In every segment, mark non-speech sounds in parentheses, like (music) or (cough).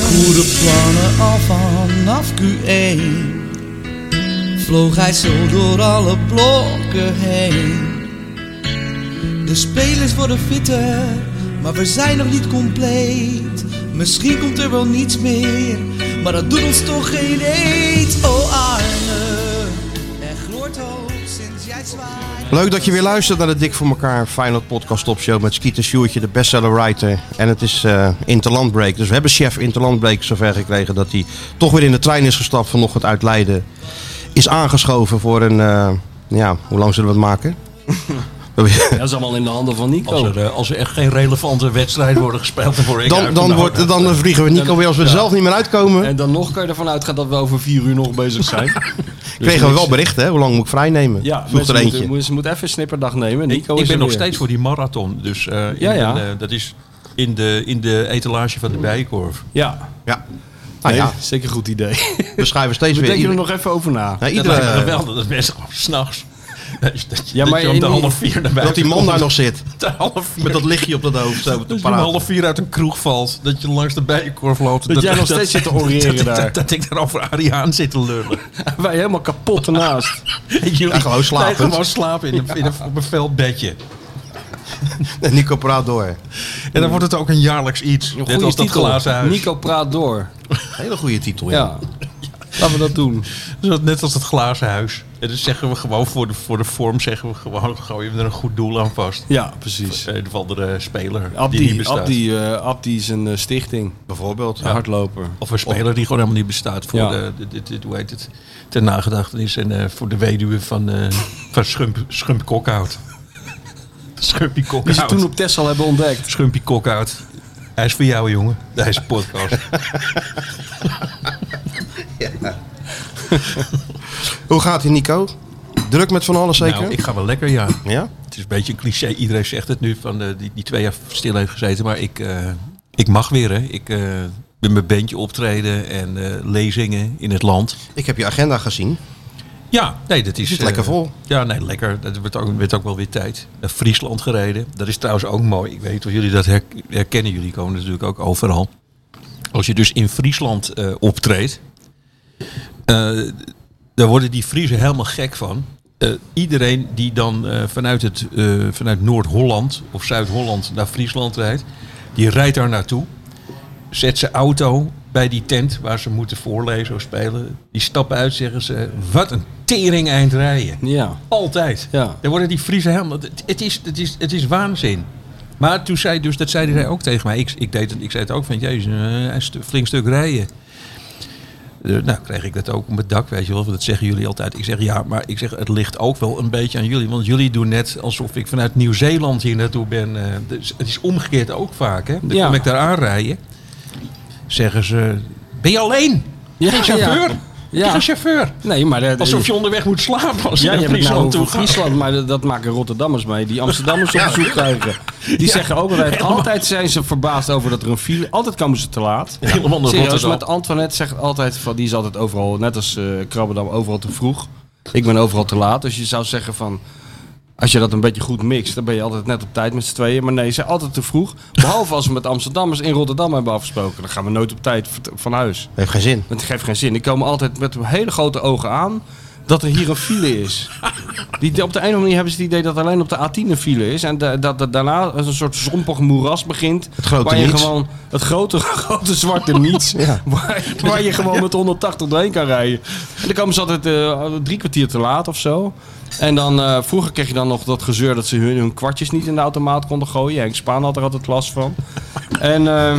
goede plannen al vanaf Q1 Vloog hij zo door alle blokken heen De spelers worden fitter, maar we zijn nog niet compleet Misschien komt er wel niets meer, maar dat doet ons toch geen eet Oh Arne, er gloort hoop sinds jij zwaait Leuk dat je weer luistert naar de Dik voor elkaar Feyenoord podcast topshow met Skeeter Sjoertje, de bestseller writer. En het is eh Interlandbreak. Dus we hebben chef Interlandbreak zover gekregen dat hij toch weer in de trein is gestapt vanochtend uit Leiden. Is aangeschoven voor een, eh, ja, hoe lang zullen we het (laughs) maken? Ja, dat is allemaal in de handen van Nico. Als er, eh, als er echt geen relevante wedstrijden worden gespeeld, dan word ik Dan, dan, uitgenodigd. wordt, dan vliegen we Nico weer als we er zelf niet meer uitkomen. nou. En dus dan nog kan je ervan uitgaan dat we over vier uur nog bezig (laughs) zijn. Dus Kregen we niks- wel berichten, hè? hoe lang moet ik vrij nemen? Ja, Vroeg er mensen eentje. moeten, moeten- ze moeten even een snipperdag nemen. Nico Ik is ben er nog weer. steeds voor die marathon. Dus eh, in Ja, ja. een, eh, dat is in de, in de etalage van de Bijenkorf. Ja, Ja. Ah, Nou ja, Nee, zeker een goed idee. we schrijven steeds weer. Denk je er ieder- nog even over na? Nee, Dat iedere- lijkt me geweldig. Dat mensen gewoon s'nachts... (laughs) Dat, je- dat, Ja, dat maar je om de in die- half vier naar buiten dat die man komt. daar nog zit. (laughs) De half vier, Met dat lichtje op dat hoofd. Zo, te dat je om praten. half vier uit een kroeg valt. Dat je langs de Bijenkorf loopt. Dat jij nog steeds zit te oreren (laughs) dat- dat- daar. Dat ik daar over Ariaan zit te lullen. (laughs) Wij helemaal kapot ernaast. En jullie Ja, gewoon slapend. (laughs) Nee, gewoon slapen in een, in een, op een veldbedje. En Nico praat door. En dan wordt het ook een jaarlijks iets. Een net goede als dat glazen titel. huis. Nico praat door. Hele goede titel, ja. Ja. Laten we dat doen. Dus net als dat glazen huis. En dus zeggen we gewoon voor de, voor de vorm, zeggen we gewoon, gooien we er een goed doel aan vast. Ja, precies. Een of andere speler die niet Abdi, bestaat. Abdi, eh, Abdi is een eh, stichting. Bijvoorbeeld. Een hardloper. Of een speler die gewoon helemaal niet bestaat voor Ja. de, de, de- de- hoe heet het, ter nagedachtenis en eh, voor de weduwe van, eh van Schump, Schump Kokhout. (laughs) Schumpie Die ze Kokhout. toen op Texel hebben ontdekt. Schumpie Kokhout. Hij is voor jou, jongen. Deze podcast. Hoe gaat ie, Nico? Druk met van alles zeker? Nou, ik ga wel lekker, ja. Ja? Het is een beetje een cliché. Iedereen zegt het nu van eh, die, die twee jaar stil heeft gezeten. Maar ik, eh, ik mag weer. Hè. Ik eh, met mijn bandje optreden en eh, lezingen in het land. Ik heb je agenda gezien. Ja, nee, dat is. Zit eh, lekker vol. Ja, nee, lekker. Dat werd ook, werd ook wel weer tijd. Naar Friesland gereden. Dat is trouwens ook mooi. Ik weet niet of jullie dat her- herkennen. Jullie komen natuurlijk ook overal. Als je dus in Friesland eh, optreedt, eh, daar worden die Friesen helemaal gek van. Eh, iedereen die dan eh, vanuit, het, eh, vanuit Noord-Holland of Zuid-Holland naar Friesland rijdt, die rijdt daar naartoe zet zijn auto bij die tent waar ze moeten voorlezen of spelen. Die stappen uit, zeggen ze, wat een tering eind rijden. Ja. Altijd. Ja. Dan worden die Friese helemaal... Het, het is, het, is, het is waanzin. Maar toen zei dus, dat zei hij ook tegen mij. Ik, ik, deed het, ik zei het ook van, jezus, eh, hij is een flink stuk rijden. Eh, nou, kreeg ik dat ook op het dak, weet je wel. want Dat zeggen jullie altijd. Ik zeg ja, maar ik zeg, het ligt ook wel een beetje aan jullie. Want jullie doen net alsof ik vanuit Nieuw-Zeeland hier naartoe ben. eh, dus het is omgekeerd ook vaak, hè. Dan Ja. kom ik daar aanrijden. Zeggen ze, ben je alleen? Ja, Geen chauffeur? ja. Ja. Ja. Geen chauffeur? Nee, maar... eh, dat- Alsof je onderweg moet slapen als je Ja, naar je hebt het nou Friesland toe over gaat. Friesland, maar dat, dat maken Rotterdammers mee. Die Amsterdammers op bezoek krijgen. Die zeggen ook altijd, altijd zijn ze verbaasd over dat er een file... Altijd komen ze te laat. Helemaal naar Serieus, Rotterdam. met Antoinette zegt altijd, van, die is altijd overal, net als eh Krabbendam, overal te vroeg. Ik ben overal te laat. Dus je zou zeggen van, als je dat een beetje goed mixt, dan ben je altijd net op tijd met z'n tweeën. Maar nee, ze zijn altijd te vroeg. Behalve als we met Amsterdammers in Rotterdam hebben afgesproken. Dan gaan we nooit op tijd v- van huis. Heeft geen zin. (laughs) Want het geeft geen zin. Die komen altijd met hele grote ogen aan dat er hier een file is. Die, op de een of andere manier hebben ze het idee dat alleen op de A10 een file is. En da- dat er daarna een soort zompig moeras begint. Het grote waar je niets. gewoon Het grote, (laughs) grote (laughs) zwarte niets. Waar, waar je gewoon met 180 doorheen kan rijden. En dan komen ze altijd eh, drie kwartier te laat of zo. En dan, eh, vroeger kreeg je dan nog dat gezeur dat ze hun, hun kwartjes niet in de automaat konden gooien. Henk Spaan had er altijd last van. En, eh,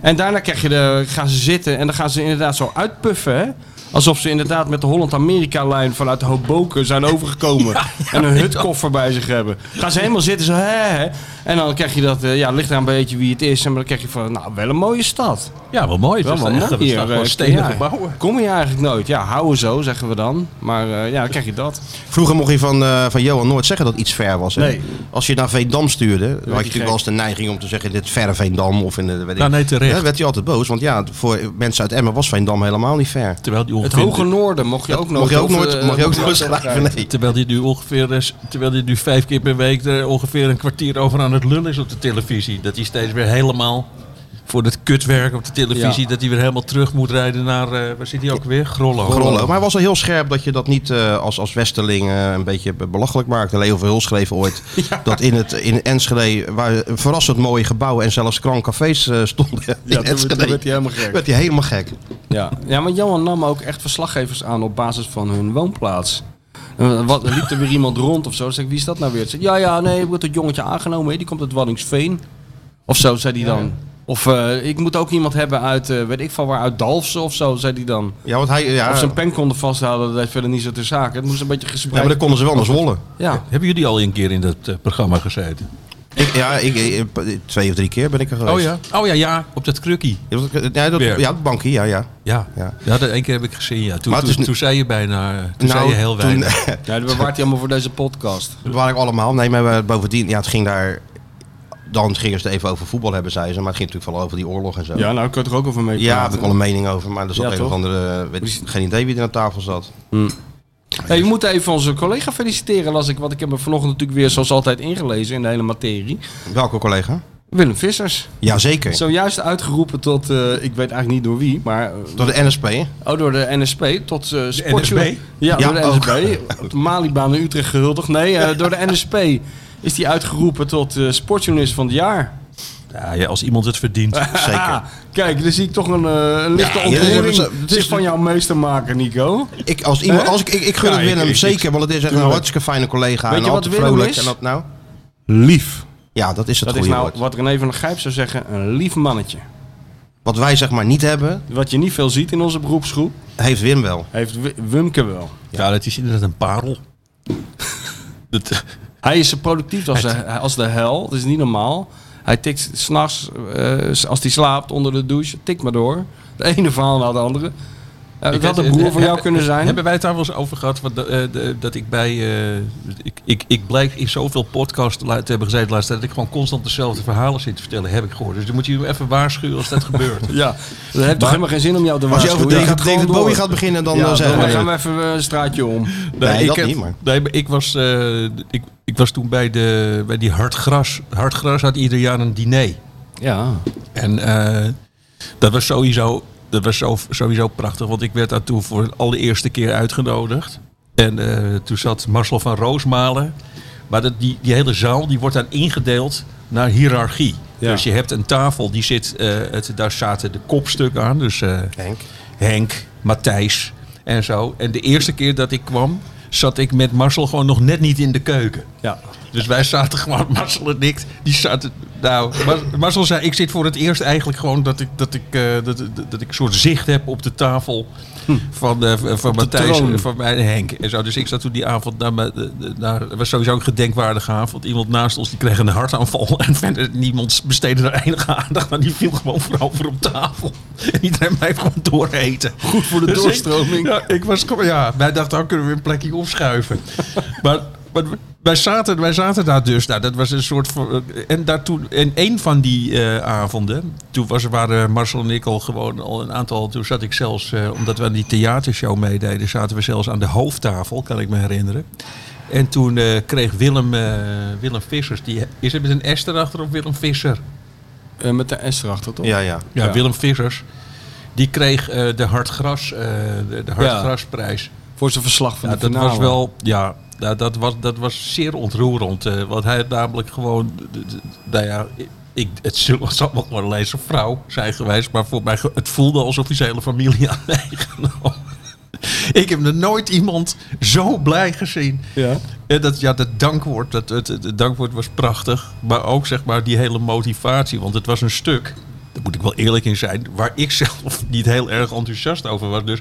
en daarna krijg je de, gaan ze zitten en dan gaan ze inderdaad zo uitpuffen. Hè? Alsof ze inderdaad met de Holland-Amerika-lijn vanuit Hoboken zijn (laughs) overgekomen. en een hutkoffer bij zich hebben. Gaan ze helemaal zitten, zo hè, hè. En dan krijg je dat, eh, ja, ligt daar een beetje wie het is. En dan krijg je van, nou, wel een mooie stad. Ja, wel mooi. Het Wel is wel echt- mooi er staan hier. gewoon eh, stenen ja. gebouwen. Kom je eigenlijk nooit. Ja, houden zo, zeggen we dan. Maar eh, ja, dan krijg je dat. Vroeger mocht je van, eh, van Johan nooit zeggen dat iets ver was. Hè? Nee. Als je naar Veendam stuurde, dan had je gek. natuurlijk wel eens de neiging om te zeggen dit verre Veendam. Of in de, weet ik- Nou, nee, terecht. Dan werd hij altijd boos. Want ja, voor mensen uit Emmen was Veendam helemaal niet ver. Terwijl die Het ongeveer, hoge noorden mocht je ook nooit. Mocht je ook over, nooit, eh, (laughs) mag je ook over- nooit schrijven, nee. terwijl die nu ongeveer is, terwijl die nu vijf keer per week er ongeveer een kwartier over aan het lullen is op de televisie. Dat hij steeds weer helemaal voor dat kutwerk op de televisie. Dat hij weer helemaal terug moet rijden naar, eh, waar zit hij ook weer? Grollo. Grollo. Maar hij was al heel scherp dat je dat niet eh, als, als westerling eh, een beetje be- belachelijk maakte. Leo Verhul schreef (laughs) ooit dat in, het, in Enschede, waar een verrassend mooie gebouwen en zelfs krankcafés cafés eh, stonden Ja, in toen, werd- Enschede, toen werd hij helemaal gek. werd hij helemaal gek. Ja. ja, maar Johan nam ook echt verslaggevers aan op basis van hun woonplaats. En Wat, er liep er weer iemand rond of zo. Zeg ik, wie is dat nou weer? Zeg, ja, ja, nee, ik word dat jongetje aangenomen. hè, Die komt uit Waddingsveen. Of zo, zei hij dan. Of eh, ik moet ook iemand hebben uit, eh, weet ik van waar, uit Dalfsen of zo, zei hij dan. Ja, want hij, ja, Of ja zijn pen konden vasthouden, dat deed verder niet zo ter zake. Het moest een beetje gespreid. maar dan konden ze wel naar Zwolle. Ja, Hebben jullie al een keer in dat eh, programma gezeten? Ik, ja, ik, ik- twee of drie keer ben ik er geweest. Oh ja, ja. Op dat krukkie. Ja, dat, Weer. ja, bankie, ja, ja. Ja, Ja. ja. dat één keer heb ik gezien. Ja. Toen, Maar het toen, is nu- toen zei je bijna, eh, toen zei je heel toen, weinig. ja die bewaart hij allemaal voor deze podcast. Dat waren ik allemaal. Nee, maar we- bovendien, ja, het ging daar. Dan gingen ze het even over voetbal hebben, zei ze. Maar het ging natuurlijk vooral over die oorlog en zo. Ja, nou, ik kan er ook over mee Ja, daar heb ik wel een mening over, maar er zat Ja, een toch? of andere... eh, Weet ik, geen idee wie er aan tafel zat. Hey, we moeten even onze collega feliciteren, las ik. Want ik heb me vanochtend natuurlijk weer zoals altijd ingelezen in de hele materie. Welke collega? Willem Vissers. Jazeker. Zojuist uitgeroepen tot, eh, ik weet eigenlijk niet door wie, maar eh, Door de NSP, (laughs) hè? oh, door de NSP tot eh sportjour- NSB? Ja, Ja, door de ook. NSB. Op de Malibaan in Utrecht gehuldigd. Nee, eh, door de NSP is die uitgeroepen tot eh, sportjournalist van het jaar. Ja, ja, als iemand het (laughs) (laughs) verdient. Zeker. Ah, kijk, dan zie ik toch een, eh, een lichte Ja, ja, ontroering dat is- dat is- zich van jouw meester maken, Nico. Ik, als iemand, als ik, ik, ik gun Ja, het ik- Willem ik- zeker, want het is echt een Tuurlijk. hartstikke fijne collega. Weet en je wat altijd Willem vrolijk. is? En dat nou? Lief. Ja, dat is het Dat is goede nou woord. wat René van der Gijp zou zeggen, een lief mannetje. Wat wij zeg maar niet hebben, Wat je niet veel ziet in onze beroepsgroep, heeft Wim wel. heeft Wi- Wumke wel. Ja, dat is inderdaad een (laughs) parel. dat, Hij is zo productief als de, als de hel. Dat is niet normaal. Hij tikt s'nachts, eh als hij slaapt onder de douche, tik maar door. De ene verhaal na de andere. Eh, het had een broer van jou kunnen zijn. Hebben wij het daar wel eens over gehad? Want, eh, de- dat ik bij. eh, ik, ik, ik blijk in zoveel podcasts la- te hebben gezeten de laatste tijd. dat ik gewoon constant dezelfde verhalen zit te vertellen, heb ik gehoord. Dus dan moet je hem even waarschuwen als (laughs) dat gebeurt. Ja, dat heeft toch helemaal geen zin om jou te Als je waarschuwen. over Je David, gaat gewoon David door. Bowie gaat beginnen, dan Ja, eh, zeggen dan we... gaan we even eh, een straatje om. Nee, ik dat heb- niet, maar- Nee, maar ik was, eh, ik, ik was toen bij, de, bij die Hartgras. Hartgras had ieder jaar een diner. Ja. En eh, dat was sowieso, dat was zo, sowieso prachtig, want ik werd daar toen voor de allereerste keer uitgenodigd. En eh, toen zat Marcel van Roosmalen. Maar dat, die, die hele zaal die wordt dan ingedeeld naar hiërarchie. Ja. Dus je hebt een tafel, die zit, eh, het, daar zaten de kopstuk aan. Dus eh, Henk. Henk, Matthijs en zo. En de eerste keer dat ik kwam, zat ik met Marcel gewoon nog net niet in de keuken. ja. Dus wij zaten gewoon, (laughs) Marcel en ik, die zaten... Nou, Mar- Marcel zei, ik zit voor het eerst eigenlijk gewoon dat ik, dat ik, eh, dat, dat, dat ik een soort zicht heb op de tafel van, eh, van Matthijs, troon. en van mij en Henk. En zo. Dus ik zat toen die avond naar, mijn- eh, naar... Het was sowieso een gedenkwaardige avond. Iemand naast ons, die kreeg een hartaanval. (laughs) En verder niemand besteedde er enige aandacht aan. Die viel gewoon voorover op tafel. (laughs) En iedereen bleef gewoon dooreten. (laughs) Goed voor de doorstroming. Dus ja, ik was gewoon, ja, wij dachten, dan kunnen we een (laughs) plekje opschuiven. maar, maar wij, zaten, wij zaten daar dus. Nou, dat was een soort van. eh, En daartoe, en één van die eh, avonden, toen was, waren Marcel en ik al gewoon al een aantal. Toen zat ik zelfs, eh, omdat we aan die theatershow meededen, zaten we zelfs aan de hoofdtafel, kan ik me herinneren. En toen eh, kreeg Willem, eh, Willem Vissers, die, is het met een S erachter of Willem Visser? Eh, met de S erachter, toch? Ja, ja. Ja, Ja. Willem Vissers. Die kreeg eh, de Hartgras, eh, de, de Hartgrasprijs. Voor zijn verslag van Ja, de dat finale. was wel, ja, ja, dat, was, dat was zeer ontroerend. eh, want hij had namelijk gewoon, d- d- nou ja, ik, het (laughs) zal het zal wel gewoon een lezer vrouw zijn geweest. Maar voor mij, ge- het voelde alsof hij zijn hele familie (laughs) aan meegenomen. Ik heb nog nooit iemand zo blij gezien. Ja. En dat, ja, dat dankwoord, dat, het, het- het dankwoord was prachtig. Maar ook zeg maar die hele motivatie. Want het was een stuk, daar moet ik wel eerlijk in zijn, waar ik (laughs) zelf niet heel erg enthousiast over was. Dus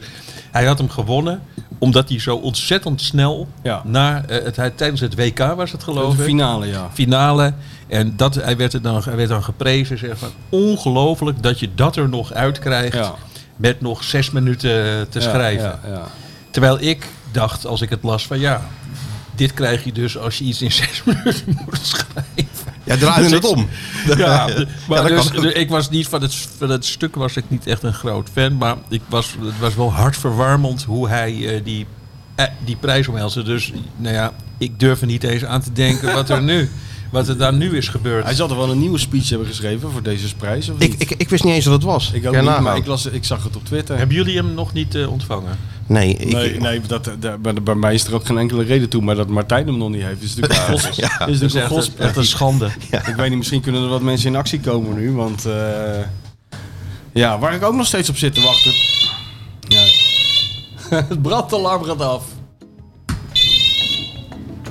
hij had hem gewonnen omdat hij zo ontzettend snel Ja. na eh, het, hij, tijdens het WK was het De geloof ik finale, ja. finale. En dat, hij, werd het dan, hij werd dan geprezen. Zeg maar. Ongelooflijk dat je dat er nog uitkrijgt. Ja. Met nog zes minuten te Ja, schrijven. Ja, ja. Terwijl ik dacht, als ik het las, van ja, dit krijg je dus als je iets in (laughs) zes minuten moet schrijven. Ja, (laughs) draaien het om. (laughs) Ja, maar dat dus, kan ook. dus ik was niet van het, van het stuk was ik niet echt een groot fan, maar ik was, het was wel hartverwarmend hoe hij eh, die, eh, die prijs omhelste. Dus nou ja, ik durf er niet eens aan te denken wat er nu. Wat er daar nu is gebeurd. Hij zal er wel een nieuwe speech hebben geschreven voor deze prijs, of Ik, niet? ik, ik wist niet eens wat het was. ik Kan ook je niet, maar nagaan. ik, las, ik zag het op Twitter. Hebben jullie hem nog niet eh, ontvangen? Nee, ik- Nee, nee dat, eh, daar- bij, bij mij is er ook geen enkele reden toe. Maar dat Martijn hem nog niet heeft, is natuurlijk een gos- Ja. is Dat natuurlijk is een Dus echt, eh, gos- een- echt een (laughs) schande. Ik weet niet, misschien kunnen er wat mensen in actie komen nu. Want eh, ja, waar ik ook nog steeds op zit te wachten. Ja. (laughs) het brandalarm gaat af.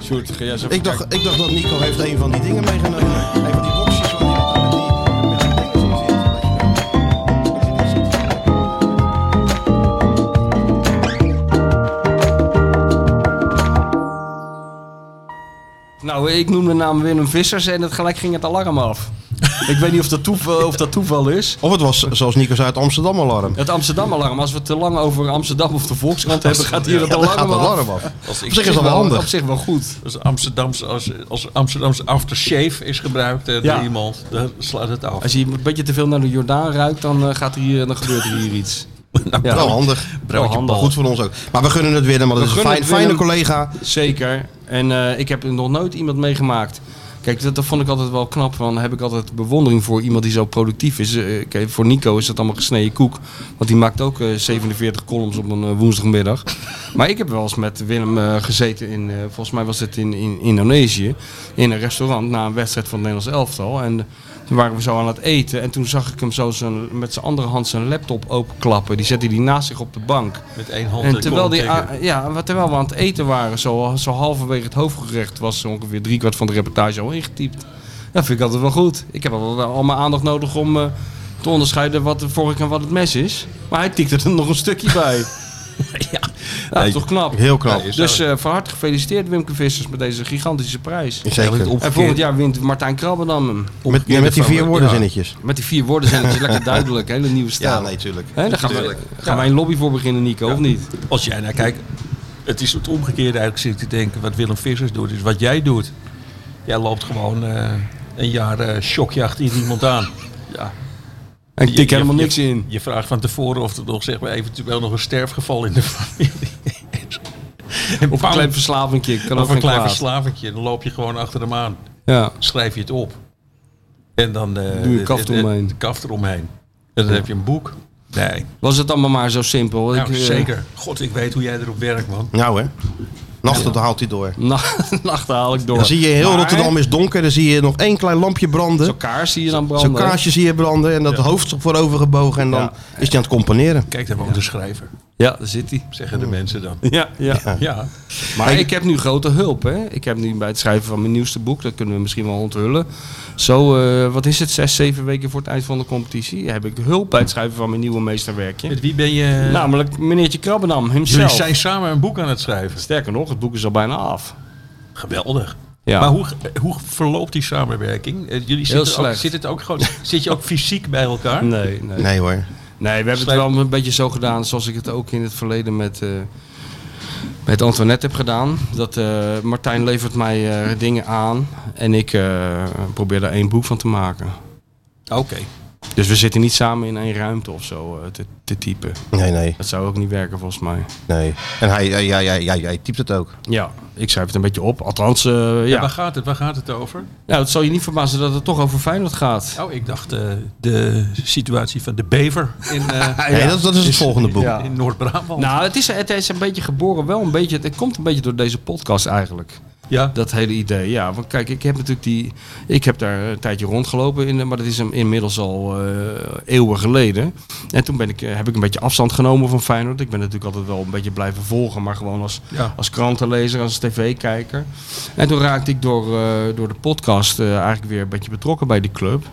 Sjoerd, ga jij eens even ik, dacht, ik dacht dat Nico heeft een van die dingen meegenomen. Een van die boxjes waar hij altijd met die- met zo'n dingetjes in zit. Nou, ik noem de naam Willem Vissers en het gelijk ging het alarm (laughs) af. ik weet niet of dat, toeval, of dat toeval is. Of het was, zoals Nico zei, het Amsterdam-alarm. Het Amsterdam-alarm. Als we het te lang over Amsterdam of de Volkskrant hebben, gaat hier het Ja, dan gaat alarm het af. alarm af. Als Op ik zich is dat wel Op handig. zich wel goed. Als Amsterdamse, Dus als, als Amsterdamse aftershave is gebruikt eh, Ja. door iemand, dan slaat het af. Als je een beetje te veel naar de Jordaan ruikt, dan, eh, gaat hier, dan gebeurt er hier iets. Nou, Ja. Wel handig. Broodje handig. Goed voor ons ook. Maar we gunnen het Willem, want het is een gunnen fijn, het fijne Willem. collega. Zeker. En eh, ik heb nog nooit iemand meegemaakt. Kijk, dat, dat vond ik altijd wel knap. Want daar heb ik altijd bewondering voor iemand die zo productief is. Eh, kijk, voor Nico is dat allemaal gesneden koek. Want die maakt ook eh, 47 columns op een eh, woensdagmiddag. Maar ik heb wel eens met Willem eh, gezeten in, eh, volgens mij was het in, in Indonesië. In een restaurant na een wedstrijd van het Nederlands elftal. En eh, toen waren we zo aan het eten. En toen zag ik hem zo zijn, met zijn andere hand zijn laptop openklappen. Die zette hij naast zich op de bank. Met één hand En de terwijl, kolom die, tikken. ah, ja, wat- terwijl we aan het eten waren, zo, zo halverwege het hoofdgerecht, was ongeveer driekwart van de reportage al ingetypt. Dat vind ik altijd wel goed. Ik heb al, al mijn aandacht nodig om eh, te onderscheiden wat de vork en wat het mes is. Maar hij tikte er (laughs) nog een stukje (laughs) bij. ja, dat is toch knap. Heel knap. Nee, is- Dus eh, van harte gefeliciteerd Wimke Vissers met deze gigantische prijs. Zeker. En volgend jaar wint Martijn Krabbe dan hem. Met, ja, met die vier woordenzinnetjes. Met die vier woorden zijn (laughs) het lekker duidelijk. Hele nieuwe stijl. tuurlijk. Hè, daar gaan, we, gaan wij een lobby voor beginnen, Nico, of niet? Als jij naar kijkt, het is het omgekeerde eigenlijk zit ik te denken. Wat Willem Vissers doet, is wat jij doet. Jij loopt gewoon eh, een jaar eh shockjacht in iemand aan. Ja. En ik Je- tik je- helemaal je- niks in. Je vraagt van tevoren of er nog, zeg maar, eventueel nog een sterfgeval in de familie is. En Of een bam, klein verslavingje. Kan ook of een geen klein kwaad. verslavingje. Dan loop je gewoon achter hem aan. Ja. schrijf je het op. En dan eh, Doe je de- kaft de- de- eromheen. De kaft eromheen. En dan heb je een boek. Nee, Was het allemaal maar zo simpel? nou, Ik, eh, (laughs) zeker. God, ik weet hoe jij erop werkt, man. Nou hè. Nachten haalt hij door. Nacht, nachten haal ik door. Dan zie je heel Maar Rotterdam is donker. Dan zie je nog één klein lampje branden. Zo'n kaars zie je dan branden. Zo'n kaarsje zie je branden. En dat hoofd voorover gebogen. En dan Ja. is hij aan het componeren. Kijk, daar woont de schrijver, Ja, daar zit hij. zeggen de mensen dan. Ja, ja. Ja, Maar ik heb nu grote hulp. Hè? Ik heb nu bij het schrijven van mijn nieuwste boek, dat kunnen we misschien wel onthullen. Zo, eh, wat is het, zes, zeven weken voor het eind van de competitie, heb ik hulp bij het schrijven van mijn nieuwe meesterwerkje. met wie ben je... Namelijk meneertje Krabbenam jullie himself. zijn samen een boek aan het schrijven. Sterker nog, het boek is al bijna af. Geweldig. Ja. Maar hoe, hoe verloopt die samenwerking? Eh, Jullie zitten ook, slecht. Mm. zit, het ook gewoon, (laughs) zit je ook fysiek bij elkaar? Nee, nee. Nee hoor. Nee, we hebben het Slijp- wel een beetje zo gedaan zoals ik het ook in het verleden met, eh, met Antoinette heb gedaan. Dat eh, Martijn levert mij eh, dingen aan en ik eh, probeer daar één boek van te maken. Oké. Dus we zitten niet samen in één ruimte of zo eh, te, te typen. Nee, nee, Dat zou ook niet werken volgens mij. nee. En hij, ja, ja, ja, ja, hij typt het ook. Ja, ik schrijf het een beetje op. Althans, eh, Ja. ja. Waar, gaat het, waar gaat het over? Nou, het zal je niet verbazen dat het toch over Feyenoord gaat. Oh, ik dacht eh, de situatie van de bever in, eh, Nee, dat, dat is het volgende boek. (laughs) Ja. in Noord-Brabant. Nou, het is, het is een beetje geboren, wel een beetje. Het komt een beetje door deze podcast eigenlijk. ja. Dat hele idee, ja. Want kijk, ik heb natuurlijk die... Ik heb daar een tijdje rondgelopen, in, de- maar dat is hem inmiddels al eh, eeuwen geleden. En toen ben ik, eh, heb ik een beetje afstand genomen van Feyenoord. Ik ben natuurlijk altijd wel een beetje blijven volgen, maar gewoon als, Ja. als krantenlezer, als tv-kijker. En toen raakte ik door, eh, door de podcast eh, eigenlijk weer een beetje betrokken bij die club.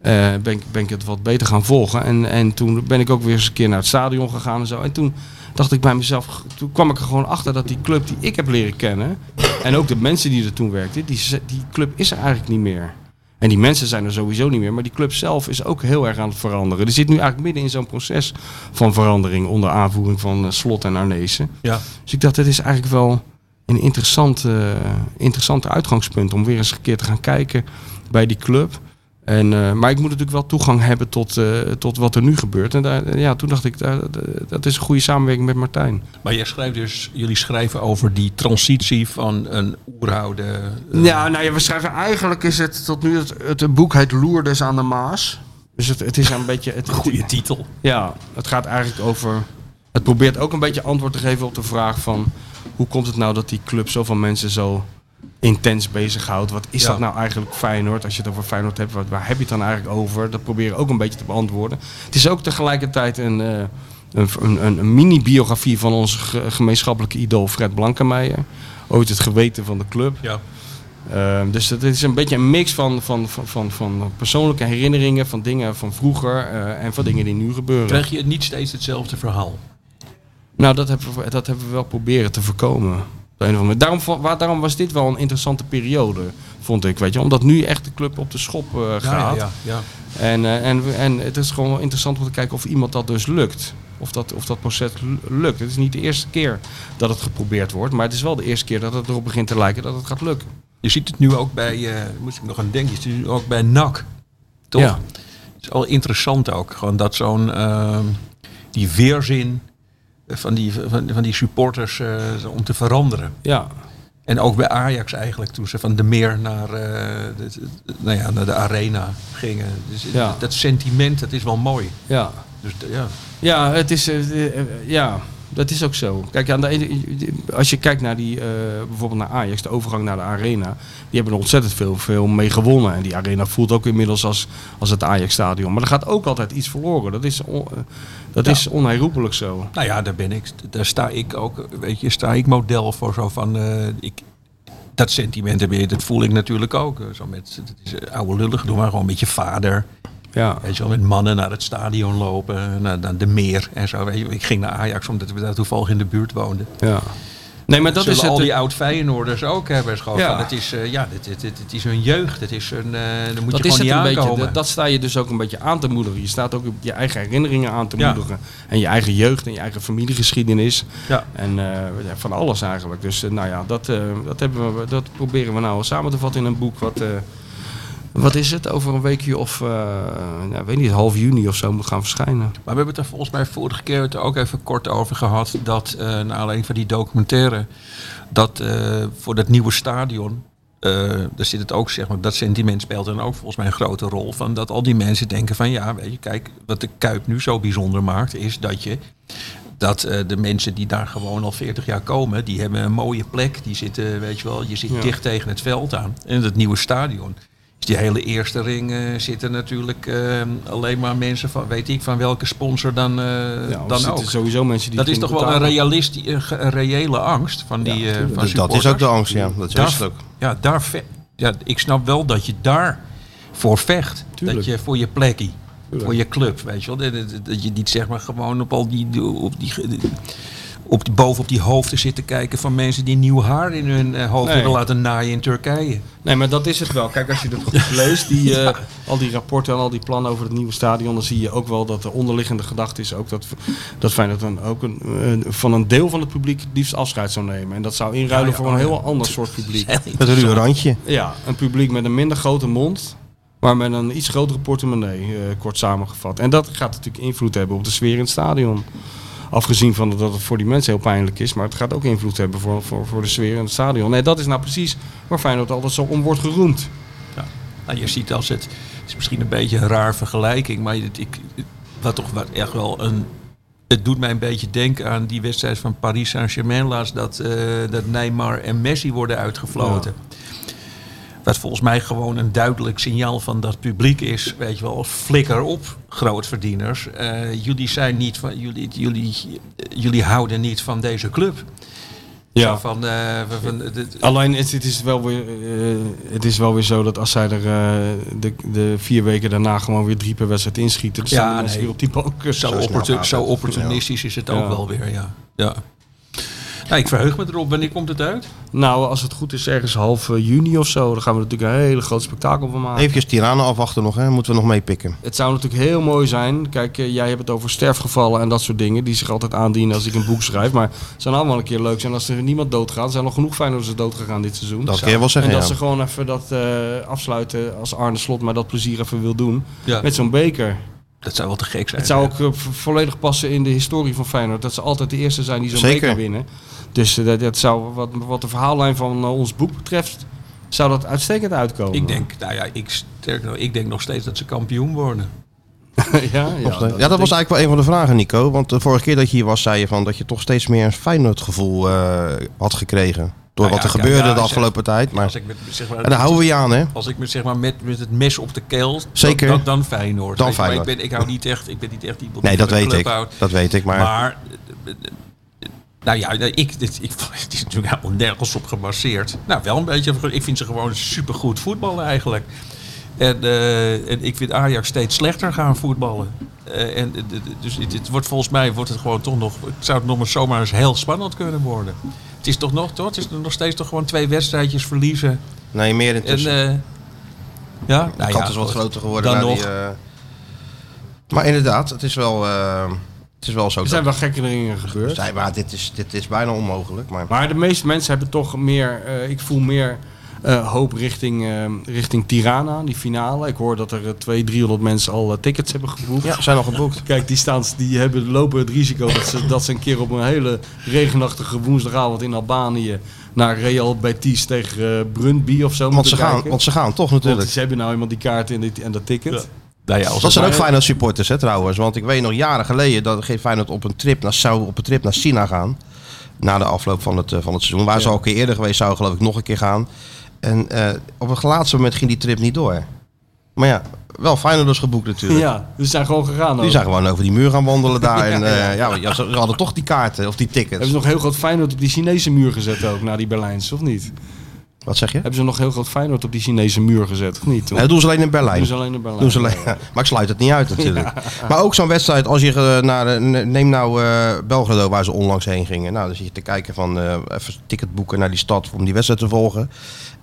Eh, ben, ik, ben ik het wat beter gaan volgen. En, en toen ben ik ook weer eens een keer naar het stadion gegaan en zo. En toen dacht ik bij mezelf, toen kwam ik er gewoon achter dat die club die ik heb leren kennen. En ook de mensen die er toen werkten, die, ze- die club is er eigenlijk niet meer. En die mensen zijn er sowieso niet meer, maar die club zelf is ook heel erg aan het veranderen. Er zit nu eigenlijk midden in zo'n proces van verandering onder aanvoering van eh, Slot en Arnezen. ja. Dus ik dacht, dit is eigenlijk wel een interessant, eh, interessant uitgangspunt om weer eens een keer te gaan kijken bij die club. En, eh, maar ik moet natuurlijk wel toegang hebben tot, eh, tot wat er nu gebeurt. En daar, ja, toen dacht ik, daar, dat is een goede samenwerking met Martijn. Maar jij schrijft dus, jullie schrijven over die transitie van een oerhoude... eh, Ja, nou ja, we schrijven eigenlijk is het tot nu het, het boek heet Loerdes aan de Maas. Dus het, het is een beetje. Het, goede titel. ja, het gaat eigenlijk over. Het probeert ook een beetje antwoord te geven op de vraag van hoe komt het nou dat die club zoveel mensen zo intens bezighoudt? Wat is Ja. dat nou eigenlijk Feyenoord? Als je het over Feyenoord hebt, wat- waar heb je het dan eigenlijk over? Dat proberen we ook een beetje te beantwoorden. Het is ook tegelijkertijd een, eh, een, een, een, een mini-biografie van onze ge- gemeenschappelijke idool Fred Blankenmeijer. Ooit het geweten van de club. Ja. Ehm, dus het is een beetje een mix van, van, van, van, van persoonlijke herinneringen, van dingen van vroeger eh, en van dingen die nu gebeuren. Krijg je niet steeds hetzelfde verhaal? Nou, dat hebben, we, dat hebben we wel proberen te voorkomen. Op de een of andere manier. Daarom, va- waar, daarom was dit wel een interessante periode, vond ik. Weet je? Omdat nu echt de club op de schop eh, gaat. ja, ja. En, eh, en, we- en het is gewoon wel interessant om te kijken of iemand dat dus lukt. Of dat, of dat proces lu- lukt. Het is niet de eerste keer dat het geprobeerd wordt. Maar het is wel de eerste keer dat het erop begint te lijken dat het gaat lukken. Je ziet het nu ook bij, eh, moest ik nog aan denken, je ziet het nu ook bij NAC. Toch? Ja. Het is wel interessant ook, gewoon dat zo'n, ehm, die weerzin van die, van, van die supporters eh, om te veranderen. Ja, En ook bij Ajax eigenlijk, toen ze van de meer naar, eh, de, de- nou ja, naar de arena gingen. Dus Ja. dat sentiment, dat is wel mooi. ja. Dus d- ja, Ja, het is, eh, de- eh, ja, dat is ook zo. Kijk, aan de ene, als je kijkt naar die, eh, bijvoorbeeld naar Ajax, de overgang naar de arena, die hebben er ontzettend veel, veel mee gewonnen. En die arena voelt ook inmiddels als, als het Ajax-stadion. Maar er gaat ook altijd iets verloren. Dat is, on- eh, dat Ja. is onherroepelijk zo. nou ja, daar ben ik. Daar sta ik ook, weet je, sta ik model voor zo van... eh, ik, dat sentiment heb je, dat voel ik natuurlijk ook. eh, Zo met, het is eh, oude lullig, doe maar gewoon met je vader. Ja, Weet je wel, met mannen naar het stadion lopen, naar, naar de meer en zo. Weet je, wel. ik ging naar Ajax omdat we daar toevallig in de buurt woonden. ja. Nee, maar dat Zullen is het. eh, al die oud Feyenoorders ook hebben. Gewoon Ja. van, het is, eh, ja, dit, dit, dit, dit is hun jeugd. Het is hun, eh daar moet dat je is gewoon het niet een beetje. aankomen. Dat, dat sta je dus ook een beetje aan te moedigen. Je staat ook je eigen herinneringen aan te Ja. moedigen. En je eigen jeugd en je eigen familiegeschiedenis. Ja. En eh, ja, van alles eigenlijk. Dus eh, nou ja, dat, eh, dat, hebben we, dat proberen we nou wel samen te vatten in een boek. Wat, eh, wat is het? Over een weekje of, eh, nou, ik weet niet, half juni of zo moet gaan verschijnen. Maar we hebben het er volgens mij vorige keer het er ook even kort over gehad. Dat eh naar aanleiding van die documentaire. Dat eh, voor dat nieuwe stadion. eh, daar zit het ook, zeg maar, dat sentiment speelt dan ook volgens mij een grote rol. Van dat al die mensen denken van ja, weet je, kijk, wat de Kuip nu zo bijzonder maakt, is dat je dat eh, de mensen die daar gewoon al 40 jaar komen, die hebben een mooie plek. Die zitten, weet je wel, je zit Ja. dicht tegen het veld aan. En het nieuwe stadion. Dus die hele eerste ring eh, zitten natuurlijk eh, alleen maar mensen van, weet ik, van welke sponsor dan, eh, Ja, er dan zitten ook. sowieso mensen die Dat het is toch kunnen wel een, betalen. realist, een ge- een reële angst van die eh, van Dus dat is ook supporters. de angst, ja. Dat Daar- is het ook. Ja, daar ve- ja, ik snap wel dat je daar voor vecht. Tuurlijk. Dat je voor je plekkie, Tuurlijk. voor je club, weet je wel. Dat- Dat, dat je niet zeg maar gewoon op al die, op die, ge- op die boven op die hoofden zit te kijken van mensen die nieuw haar in hun eh, hoofd Nee. hebben laten naaien in (laughs) Turkije. Nee, maar dat is het wel. Kijk, als je dat (laughs) goed leest, die, eh, al die rapporten en al die plannen over het nieuwe stadion, dan zie je ook wel dat de onderliggende gedachte is ook dat, dat Feyenoord dan ook een, een- van een deel van het publiek het liefst afscheid zou nemen. En dat zou inruilen Ja, ja, voor een oh, heel ja. ander soort publiek. Het ruwe randje. Ja, een publiek met een minder grote mond, maar met een iets grotere portemonnee, eh, kort samengevat. En dat gaat natuurlijk invloed hebben op de sfeer in het stadion. Afgezien van dat het voor die mensen heel pijnlijk is, maar het gaat ook invloed hebben voor, voor, voor de sfeer in het stadion. Nee, dat is nou precies waar Feyenoord altijd zo om wordt geroemd. Nou, je ziet als het, het is misschien een beetje een raar vergelijking, maar het, ik, het- wat toch wat echt wel een. Het doet mij een beetje denken aan die wedstrijd van Paris Saint-Germain laatst, dat, eh, dat Neymar en Messi worden uitgefloten. Wat volgens mij gewoon een duidelijk signaal van dat publiek is, weet je wel, flikker op, grootverdieners. Eh, jullie zijn niet van, jullie, jullie, jullie houden niet van deze club. Zo Van, eh, van- van, dit- Alleen het, het, is wel weer, eh, het is wel weer zo dat als zij er eh, de, de vier weken daarna gewoon weer drie per wedstrijd inschieten, dan Ja, staan de mensen nee. weer op die balken. Zo, eh, Zo snel opportu- gaat zo het. opportunistisch is het ook Ja. wel weer, ja. ja. Nou, ik verheug me erop. Wanneer komt het uit? Nou, als het goed is, ergens half eh, juni of zo. Dan gaan we er natuurlijk een hele groot spektakel van maken. Even Tirana Ah. afwachten nog, hè? moeten we nog meepikken. Het zou natuurlijk heel mooi zijn. Kijk, eh, jij hebt het over sterfgevallen en dat soort dingen. Die zich altijd aandienen als ik een (laughs) boek schrijf. Maar het zou allemaal een keer leuk zijn als er niemand doodgaat. Er zijn nog genoeg Feyenoorders dood gegaan dit seizoen. Dat kun je wel zeggen, en dat ja. ze gewoon even dat eh, afsluiten als Arne Slot maar dat plezier even wil doen. Ja. Met zo'n beker. Dat zou wel te gek zijn. Het zou ook eh, vo- volledig passen in de historie van Feyenoord. Dat ze altijd de eerste zijn die zo'n Zeker. beker winnen. Dus eh, dat, dat zou, wat, wat de verhaallijn van eh, ons boek betreft, zou dat uitstekend uitkomen. (laughs) Ik denk, nou ja, ik, sterk nog, ik denk nog steeds dat ze kampioen worden. ja, ja, Ja, dat, denk was ik. eigenlijk wel een van de vragen, Nico. Want de vorige keer dat je hier was, zei je van dat je toch steeds meer een Feyenoord gevoel eh, had gekregen. Door Nou wat ja, er kijk, gebeurde ja, de als- afgelopen tijd. Maar, Als ik met, zeg maar, en daar houden we je aan, hè? als ik met, zeg maar, met, met het mes op de keel, dan- Zeker. Dan, dan Feyenoord. Dan Weet je, maar Feyenoord. Ik ben, ik, hou niet echt, ik ben niet echt iemand Nee, die dat van de weet club ik. houdt. Dat weet ik, maar... Maar, eh, eh, nou ja, nou, ik, dit, ik, (laughs) het is natuurlijk helemaal nergens op gebaseerd. Nou, wel een beetje. Ik vind ze gewoon supergoed voetballen eigenlijk. En, eh, en ik vind Ajax steeds slechter gaan voetballen. Eh, en, eh, d- d- dus het, het wordt volgens mij wordt het gewoon toch nog. Het zou het nog maar zomaar eens heel spannend kunnen worden. Het is toch nog, toch? Het is nog steeds toch gewoon twee wedstrijdjes verliezen. nee, meer En, intussen. eh, ja, nou de ja, kans is wat goed. groter geworden. Dan na nog. Die, eh, maar inderdaad, het is wel, eh, het is wel zo. Er zijn dat- wel gekke dingen gebeurd. Zij- maar dit is, dit is bijna onmogelijk. Maar, Maar de meeste mensen hebben toch meer, eh, ik voel meer eh, hoop richting, eh, richting Tirana, die finale. Ik hoor dat er eh, 200, 300 mensen al eh, tickets hebben geboekt. ja, zijn al geboekt. Kijk, die, staan, die hebben, lopen het risico dat ze, dat ze een keer op een hele regenachtige woensdagavond in Albanië naar Real Betis tegen eh, Brøndby of zo Want moeten ze, gaan, kijken. want ze gaan toch Want natuurlijk. ze hebben nou eenmaal die kaart en, dit- en dat ticket. Ja. Nou ja, als Dat het- zijn ook Feyenoord supporters hè, trouwens. Want ik weet nog jaren geleden dat geen Feyenoord op een trip naar, zou op een trip naar China gaan. Na de afloop van het, eh, van het seizoen. Waar ze Ja. al een keer eerder geweest zouden geloof ik nog een keer gaan. En eh, op het laatste moment ging die trip niet door. Maar ja, wel Feyenoorders geboekt natuurlijk. Ja, dus ze zijn gewoon gegaan. Die ook. zijn gewoon over die muur gaan wandelen daar. En eh, ja, ja, ze ze hadden toch die kaarten of die Hebben tickets. ze nog heel groot Feyenoord op die Chinese muur gezet ook, na die Berlijnse, of niet? Wat zeg je? Hebben ze nog heel groot Feyenoord op die Chinese muur gezet, of niet? Nee, dat doen ze alleen in Berlijn. Doen ze alleen in Berlijn. Doen ze alleen- (laughs) maar ik sluit het niet uit (laughs) natuurlijk. Maar ook zo'n wedstrijd, als je eh, naar, eh, ne- neem nou eh, Belgrado waar ze onlangs heen gingen. Nou, dan zit je te kijken van eh, even ticket boeken naar die stad om die wedstrijd te volgen.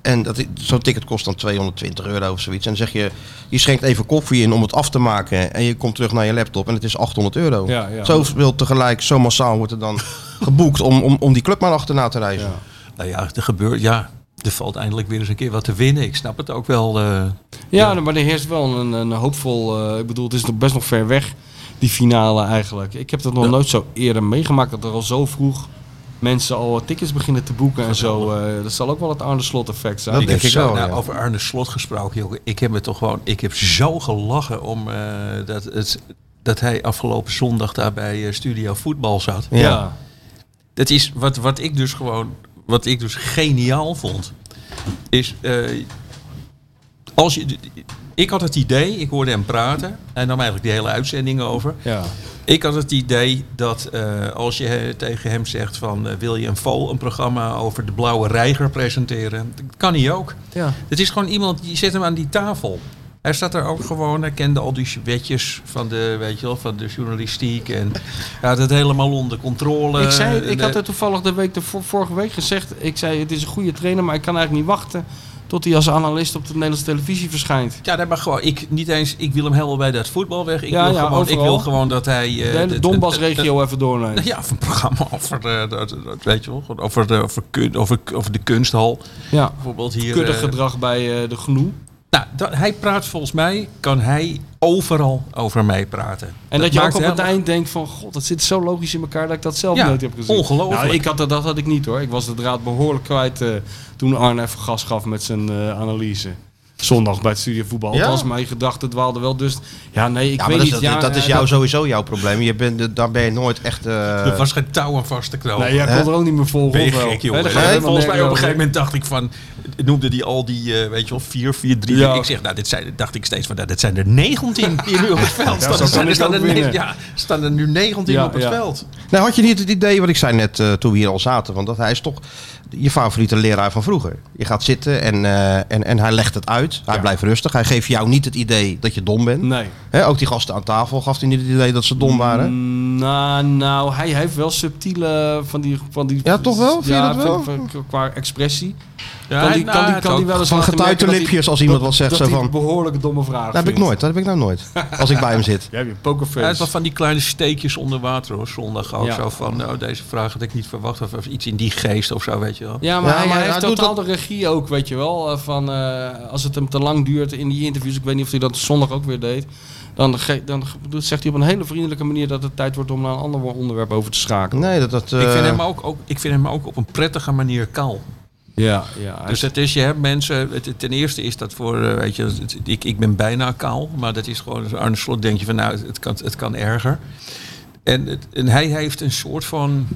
En dat i- zo'n ticket kost dan 220 euro of zoiets. En dan zeg je, je schenkt even koffie in om het af te maken. En je komt terug naar je laptop en het is 800 euro. Ja, ja. Zoveel tegelijk, zo massaal wordt er dan (laughs) geboekt om, om, om die club maar achterna te reizen. Ja. Nou ja, er gebeurt, ja, er valt eindelijk weer eens een keer wat te winnen. Ik snap het ook wel. eh, Ja, maar er heerst wel een, een hoopvol. eh, ik bedoel, het is nog best nog ver weg, die finale eigenlijk. Ik heb dat nog nooit zo eerder meegemaakt dat er al zo vroeg mensen al wat tickets beginnen te boeken en zo. eh, dat zal ook wel het Arne Slot effect zijn. Dat- denk heb ik zo- wel, nou, ja. Over Arne Slot gesproken, jongen. Ik heb het toch gewoon. Ik heb zo gelachen om eh, dat, het, dat hij afgelopen zondag daar bij eh, Studio Voetbal zat. ja. Dat is wat, wat ik dus gewoon. Wat ik dus geniaal vond. Is. eh, als je, ik had het idee, ik hoorde hem praten. Hij nam eigenlijk die hele uitzending over. ja. Ik had het idee dat eh, als je eh, tegen hem zegt van eh, wil je een vol een programma over de blauwe reiger presenteren, dat kan hij ook. Ja. Het is gewoon iemand die zet hem aan die tafel. Hij staat daar ook gewoon, hij kende al die wetjes van de, weet je wel, van de journalistiek en hij had het helemaal onder controle. Ik, zei, En, ik had eh, het toevallig de week de vorige week gezegd. Ik zei, het is een goede trainer, maar ik kan eigenlijk niet wachten tot hij als analist op de Nederlandse televisie verschijnt. Ja, nee, maar gewoon, ik, niet eens, ik wil hem helemaal bij dat voetbal weg. Ik, Ja, wil, ja, gewoon, ik overal. wil gewoon dat hij... eh, De hele dat- Donbassregio even doornemen. Ja, of een programma over, de, dat- dat- weet je wel, gewoon over, de, over, kun- over, over de kunsthal. Ja. Bijvoorbeeld hier. Kudde eh, gedrag bij eh, de Gnoe. nou, dat- hij praat volgens mij, kan hij overal over meepraten. En dat, je ook maakt op het helemaal- eind denkt van, god, dat zit zo logisch in elkaar dat ik dat zelf Ja, nooit heb gezien. ongelooflijk. Nou, ik had dat, dat had ik niet hoor. Ik was de draad behoorlijk kwijt eh, toen Arne even gas gaf met zijn eh, analyse. Zondag bij het studie voetbal. Ja? Althans, mijn gedachten dwaalden wel dus. Ja, nee, ik Ja, maar weet dat, niet. is- ja, dat eh, is jou, sowieso jouw probleem. Je bent, daar ben je nooit echt... eh, Er was geen touw aan vast te knopen. Nee, jij kon Hè? er ook niet meer volgen. Ben je of wel? gek, Nee, jongen. daar ga je Nee, helemaal volgens mij op een nergens gegeven over. moment dacht ik van... Noemde die al die, eh, weet je wel, 4, 4, 3. Ja. Ik zeg, nou, dit zijn, dacht ik steeds van, nou, dit zijn er 19 die (laughs) nu op het veld staan. zo kan er ik staan, ook er ne- winnen. ja, staan er nu 19 Ja, op het ja. veld. Nou, had je niet het idee wat ik zei net eh, toen we hier al zaten? Want dat hij is toch je favoriete leraar van vroeger. Je gaat zitten en, eh, en, en hij legt het uit. uit. Hij blijft rustig. Hij geeft jou niet het idee dat je dom bent. Nee. Hè, ook die gasten aan tafel gaf hij niet het idee dat ze dom waren. Nou, nou, hij heeft wel subtiele eh, van die... Van die Ja, toch wel? Vind je ja, dat wel? van- van- qua expressie. Ja, kan hij- die, kan nou, die, kan die wel eens Van laten merken dat getuitenlipjes hij- als iemand dat- wat zegt dat zo hij van- behoorlijk domme vragen Dat heb ik vindt. nooit. Dat heb ik nou nooit. Als ik bij hem (laughs) zit. Jij hebt een Hij heeft wel pokerface. van die kleine steekjes onder water hoor, zondag ook. Ja. Zo van, nou deze vraag had ik niet verwacht. Of, of iets in die geest of zo, weet je wel. Ja, maar Ja, hij, maar hij hij heeft doet totaal de regie ook, weet je wel. eh, Van, eh, als het hem te lang duurt in die interviews, ik weet niet of hij dat zondag ook weer deed. Dan, ge- dan ge- zegt hij op een hele vriendelijke manier dat het tijd wordt om naar een ander onderwerp over te schakelen. Nee, dat... dat Ik, eh, vind hem ook, ook, ik vind hem ook op een prettige manier kaal. Ja, ja. hij Dus het is, je hebt mensen, het, ten eerste is dat voor, eh, weet je, het- ik, ik ben bijna kaal, maar dat is gewoon, dus Arne Slot denk je van, nou, het kan, het kan erger. En, het- en hij heeft een soort van,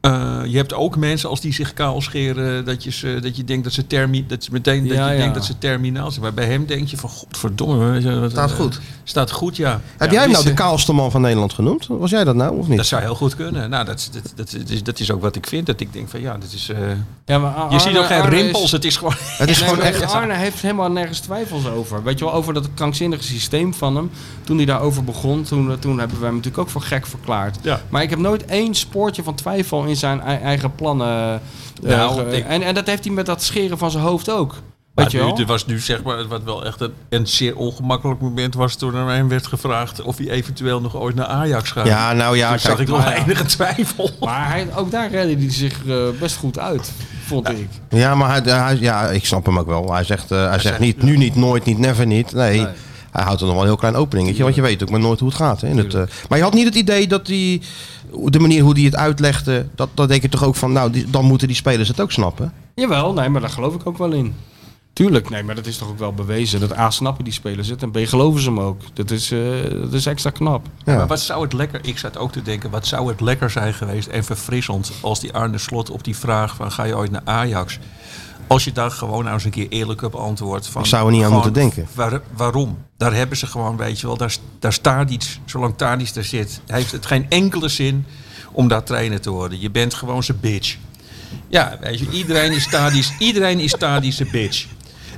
eh, je hebt ook mensen als die zich kaal scheren, dat je, ze, dat je denkt dat ze termi, dat ze meteen, dat Ja, je ja. denkt dat ze terminaal zijn. Maar bij hem denk je van, godverdomme. weet je, wat- Staat eh, goed. Staat goed, ja. heb Ja, jij hem nou die de kaalste man van Nederland genoemd? Was jij dat nou of Dat niet? zou heel goed kunnen. Nou, dat, dat, dat, dat is, dat is ook wat ik vind. Dat ik denk van ja, dat is. eh, Ja, maar Ar- je ziet Arne- ook geen Arne is- rimpels. Het is gewoon. (laughs) Het is Nee, gewoon maar echt... Arne heeft helemaal nergens twijfels over. Weet je wel, over dat krankzinnige systeem van hem. Toen hij daarover begon, toen, eh, toen hebben wij hem natuurlijk ook voor gek verklaard. Ja. Maar ik heb nooit één spoortje van twijfel in zijn ei- eigen plannen. eh, Nou, ge- ik- en, en dat heeft hij met dat scheren van zijn hoofd ook. Weet Maar je nu, wel? er was nu zeg maar wat wel echt een, een zeer ongemakkelijk moment was toen er hem werd gevraagd of hij eventueel nog ooit naar Ajax gaat. Ja, nou ja, Toen zag kijk, ik nog maar ja. enige twijfel. Maar hij, ook daar redde hij zich eh, best goed uit, vond ik. Ja, maar hij, hij- ja, ik snap hem ook wel. Hij zegt, eh, hij zegt niet nu niet, nooit niet, never niet. Nee, hij houdt er nog wel een heel klein openingetje. Want je weet ook maar nooit hoe het gaat. Hè, in het, eh, maar je had niet het idee dat die, de manier hoe hij het uitlegde... Dat, dat denk je toch ook van, nou, die- dan moeten die spelers het ook snappen. Jawel, nee, maar daar geloof ik ook wel in. Tuurlijk, nee, maar dat is toch ook wel bewezen. Dat A, snappen die spelers het en B, geloven ze hem ook. Dat is, eh, dat is extra knap. Ja. Maar wat zou het lekker, ik zat ook te denken, wat zou het lekker zijn geweest en verfrissend als die Arne Slot op die vraag van ga je ooit naar Ajax? Als je daar gewoon nou eens een keer eerlijk op antwoordt van... Ik zou er niet aan gewoon, moeten denken. waar- waarom? Daar hebben ze gewoon, weet je wel, daar, daar staat iets. Zolang Tadic daar zit, heeft het geen enkele zin om daar trainer te worden. Je bent gewoon zijn bitch. Ja, weet je, iedereen is Tadic, iedereen is Tadic zijn bitch.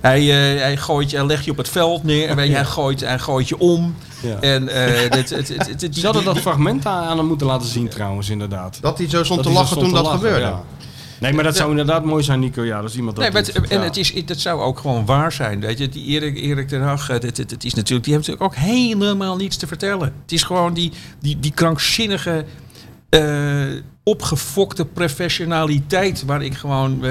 Hij, eh, hij, gooit, je- hij legt je op het veld neer en weet je, hij, gooit, hij gooit je om. Ja. (laughs) En, eh, dit- het- het- het- die- Ze hadden die- dat fragment aan aan hem moeten laten zien trouwens, inderdaad. Dat hij zo stond Dat te hij lachen zo toen stond dat te lachen, gebeurde. ja. Nee, maar dat zou inderdaad mooi zijn, Nico. Ja, als iemand dat Nee, maar doet. het, en Ja. het is, dat zou ook gewoon waar zijn. Weet je, die Erik, Erik ten Hag, eh, dit, dit, dit is natuurlijk, die heeft natuurlijk ook helemaal niets te vertellen. Het is gewoon die, die, die krankzinnige, eh, opgefokte professionaliteit waar ik gewoon, eh,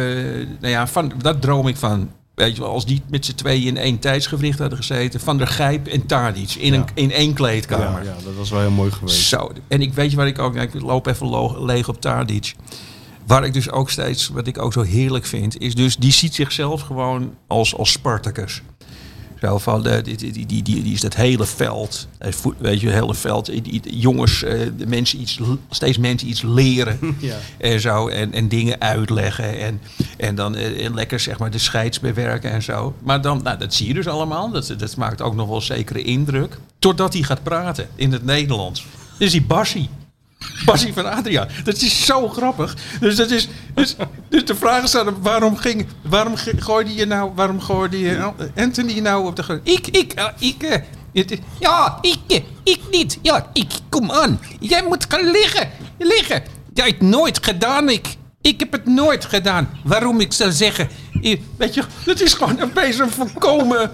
nou ja, van, daar droom ik van. Weet je wel, als die met z'n tweeën in één tijdsgevricht hadden gezeten, Van der Gijp en Tadic in, een, in één kleedkamer. Ja, ja, dat was wel heel mooi geweest. Zo. En ik weet je waar ik ook... Ik loop even lo- leeg op Tadic. Waar ik dus ook steeds... Wat ik ook zo heerlijk vind... Is dus... Die ziet zichzelf gewoon als, als Spartacus. Zo van... eh, die, die, die, die, die die is dat hele veld. eh, voet- Weet je, het hele veld. eh, die- die Jongens, eh, de mensen iets, l- steeds mensen iets leren. (laughs) Ja. En zo. En, en dingen uitleggen. En, en dan eh, en lekker zeg maar de scheids bewerken en zo. Maar dan, nou, dat zie je dus allemaal. Dat, dat maakt ook nog wel zekere indruk. Totdat hij gaat praten in het Nederlands. Dus die Bassie. Bassie van Adriaan. Dat is zo grappig. Dus, dat is, dus, dus de vraag is aan hem, waarom, ging, waarom ge- gooide je nou, waarom gooide je Anthony nou op de grond? Ik, ik, eh, ik. eh, het is- ja, ik, eh, ik niet. Ja, ik, kom aan. Jij moet gaan liggen, liggen. Dat heb ik nooit gedaan, ik. Ik heb het nooit gedaan. Waarom ik zou zeggen. eh, Weet je, dat is gewoon opeens een voorkomen.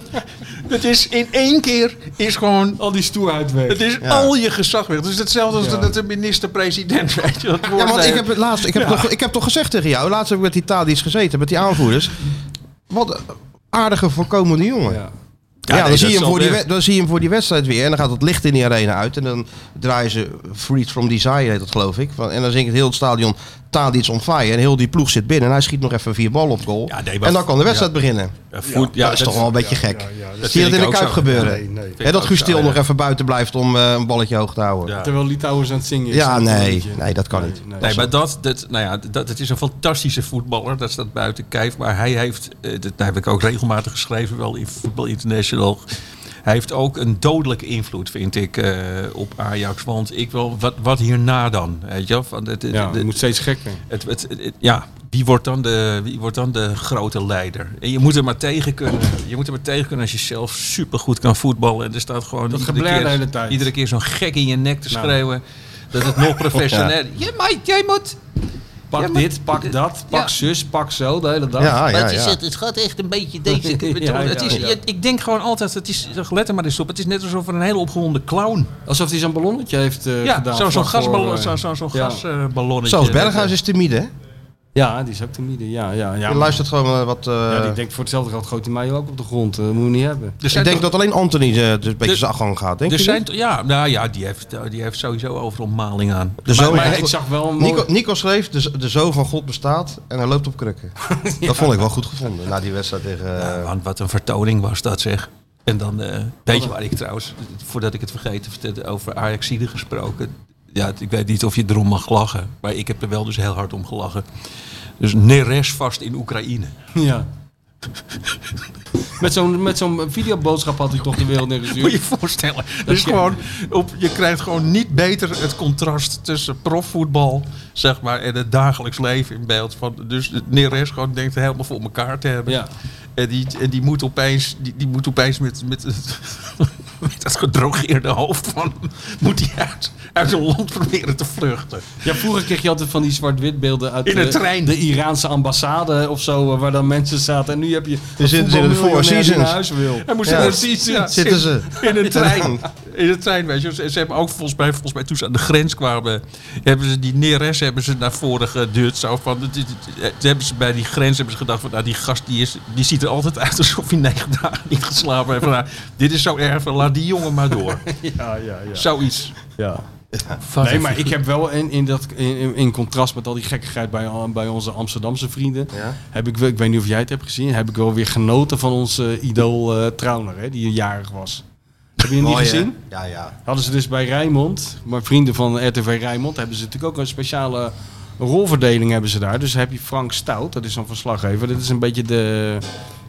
Dat is in één keer is gewoon Al die stoerheid weg. het is al je gezag weg. Het is hetzelfde als dat de minister-president, weet je. Dat Ja, woord want ik heeft. heb, het laatst, ik, heb toch, ik heb toch gezegd tegen jou, laatst heb ik met die Tadi's gezeten, met die aanvoerers. Wat een aardige voorkomende jongen. Ja. Ja, nee, dan, dat zie je hem zal voor die, best. wed- dan zie je hem voor die wedstrijd weer. En dan gaat het licht in die arena uit. En dan draaien ze Freed from Desire, heet dat geloof ik. Van- En dan zingt heel het stadion Tadic on fire. En heel die ploeg zit binnen. En hij schiet nog even vier ballen op goal. Ja, nee, maar- en dan kan de wedstrijd beginnen. Ja, voet- ja, dat is toch wel een beetje gek. vind zie je ik dat in de ook Kuip zo. gebeuren. Nee, nee. Hè, dat ook Guus zo, Til ja. nog even buiten blijft om eh, een balletje hoog te houden. Ja, Ja. Terwijl Litouwers aan het zingen is. nee, nee, dat kan niet. Nee, maar dat, dat, nou ja, dat, het is een fantastische voetballer. Dat staat buiten kijf. Maar hij heeft, eh, dat heb ik ook regelmatig geschreven, wel in Voetbal International. Hij heeft ook een dodelijke invloed, vind ik, eh, op Ajax. Want ik wil, wat, wat hierna dan? Weet je wel? Van, het, het- Ja, het- het moet steeds gekker. het, het, het- ja, die- wie wordt, dan de, wie wordt dan de grote leider? En je moet er maar tegen kunnen. Je moet er maar tegen kunnen als je zelf supergoed kan voetballen. En er staat gewoon Dat iedere geblær keer, de hele tijd. iedere keer zo'n gek in je nek te Nou. schreeuwen. Dat het (laughs) nog professioneel... Jij, moet- jij moet... Pak Ja, maar- dit, pak dat, pak Ja. zus, pak zo, de hele dag. Ja, Maar ja, het, is, ja. het, het gaat echt een beetje deze kant (laughs) Ja, op. het ja, is, ja. je- Ik denk gewoon altijd, het is, let er maar eens op, het is net alsof er een hele opgewonden clown. Alsof hij zo'n ballonnetje heeft eh, Ja, gedaan. zo'n zo vlak voor, gasballon, eh, zo, zo, zo'n ja. gasballonnetje. Zelfs Berghuis is timide, hè? Ja, die is ook timide. Ja, ja, ja. Je maar- luistert gewoon eh, wat... eh, ja, die denkt voor hetzelfde geld gooit hij mij ook op de grond. Dat moet je niet hebben. Er ik zijn, denk toch- dat alleen Anthony eh, dus een beetje Er- zijn afgang gaat, denk er je zijn niet? toch- ja, nou ja, die heeft, die heeft sowieso overal maling aan. De zoon, Maar ik zag wel een mooi- Oh, Nico, Nico schreef, de, z- de zoon van God bestaat en hij loopt op (laughs) krukken. Dat vond ik wel goed gevonden, na die wedstrijd tegen... eh, Ja, want wat een vertoning was dat zeg. En dan, eh weet je waar ik trouwens, voordat ik het vergeet, te vertellen, over Ajaxide gesproken. Ja, ik weet niet of je erom mag lachen, maar ik heb er wel dus heel hard om gelachen. Dus Neres vast in Oekraïne. Ja. (laughs) met zo'n met zo'n videoboodschap had hij toch de wereld Moet je ingestuurd. je voorstellen. Dus je- gewoon op, je krijgt gewoon niet beter het contrast tussen profvoetbal zeg maar, en het dagelijks leven in beeld. Van, dus Neres gewoon denkt helemaal voor elkaar te hebben. Ja. En, die, en die moet opeens, die, die moet opeens met, met, het- met dat gedrogeerde hoofd van moet die uit, uit een land proberen te vluchten. ja, vroeger kreeg je altijd van die zwart-wit beelden uit In een de, trein. de Iraanse ambassade of zo, eh, waar dan mensen zaten. En nu heb je zitten ze in de Four voetbalmiljonair die naar Seasons. huis wil. Hij moest Ja. er precies ja, Zitten ze. in een trein. In een trein, weet je. Ze, ze hebben ook volgens mij, volgens mij toen ze aan de grens kwamen, hebben ze die Neres hebben ze naar voren geduwd. Zo van, dit- dit- dit- toen hebben ze bij die grens hebben ze gedacht van, nou die gast die, is, die ziet er altijd uit alsof hij negen dagen niet geslapen heeft. Nou, dit is zo erg, van, laat die jongen maar door. Ja, ja, ja. Zoiets. ja. Nee, maar ik heb wel in, in, dat, in, in- in contrast met al die gekkigheid bij, eh, bij onze Amsterdamse vrienden. Ja. Heb ik, wel- ik weet niet of jij het hebt gezien. Heb ik wel weer genoten van onze idool eh Trauner, hè, die jarig was. Heb je hem niet mooi, hè? gezien? Ja, ja. Hadden ze dus bij Rijnmond, maar vrienden van RTV Rijnmond, hebben ze natuurlijk ook een speciale rolverdeling hebben ze daar. Dus heb je Frank Stout, dat is zo'n verslaggever. Dat is een beetje de,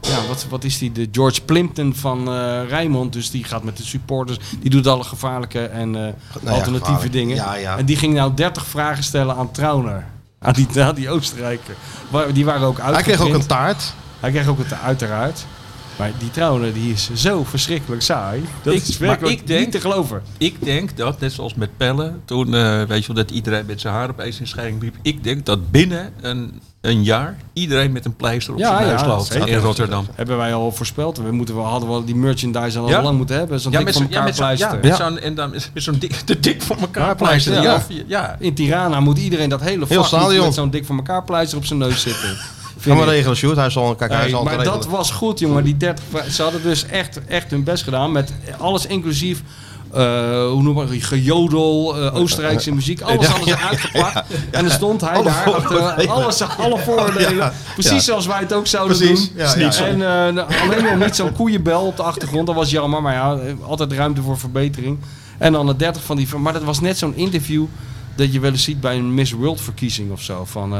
ja, wat, wat is die? De George Plimpton van eh Rijnmond. Dus die gaat met de supporters, die doet alle gevaarlijke en eh, Nou ja, alternatieve gevaarlijk. dingen. Ja, ja. En die ging nou 30 vragen stellen aan Trauner. Aan die, aan die Oostenrijker. Waar- Die waren ook Hij kreeg ook uitgeprint. een taart. Hij kreeg ook het uiteraard. Maar die Trauner die is zo verschrikkelijk saai. Dat Ik- is maar werkelijk ik denk- niet te geloven. Ik denk dat, net zoals met Pellen, toen eh, weet je wel, dat iedereen met zijn haar opeens in scheiding liep. Ik denk dat binnen een, een jaar iedereen met een pleister op Ja, zijn neus ja, loopt zeker. in Rotterdam. Hebben wij al voorspeld. We moeten wel, hadden wel die merchandise al Ja? lang moeten hebben. Zo'n Ja, ding met van zo'n ja, elkaar met zo'n- ja, pleister. met zo'n- en dan met zo'n dik, (laughs) de dik voor elkaar Ja, pleister. pleister, Ja, ja. In Tirana moet iedereen dat hele Heel vak niet stadion. met zo'n dik voor elkaar pleister op zijn neus zitten. Ga Vind maar ik. regelen, Sjoerd. Hij zal, kijk, hij Hey, zal het maar dat regelen. was goed, jongen. Die 30, vra- ze hadden dus echt, echt hun best gedaan. Met alles inclusief. eh, hoe noem maar gejodel, eh, Oostenrijkse muziek, alles hadden ze uitgepakt. En dan stond hij daar, achter, alles, alle voordelen, precies Ja. zoals wij het ook zouden Precies. doen. Ja, ja, ja. En eh, nou, alleen nog niet zo'n koeienbel op de achtergrond, dat was jammer, maar ja, altijd ruimte voor verbetering. En dan de 30 van die, maar dat was net zo'n interview dat je wel eens ziet bij een Miss World verkiezing of zo. Van eh,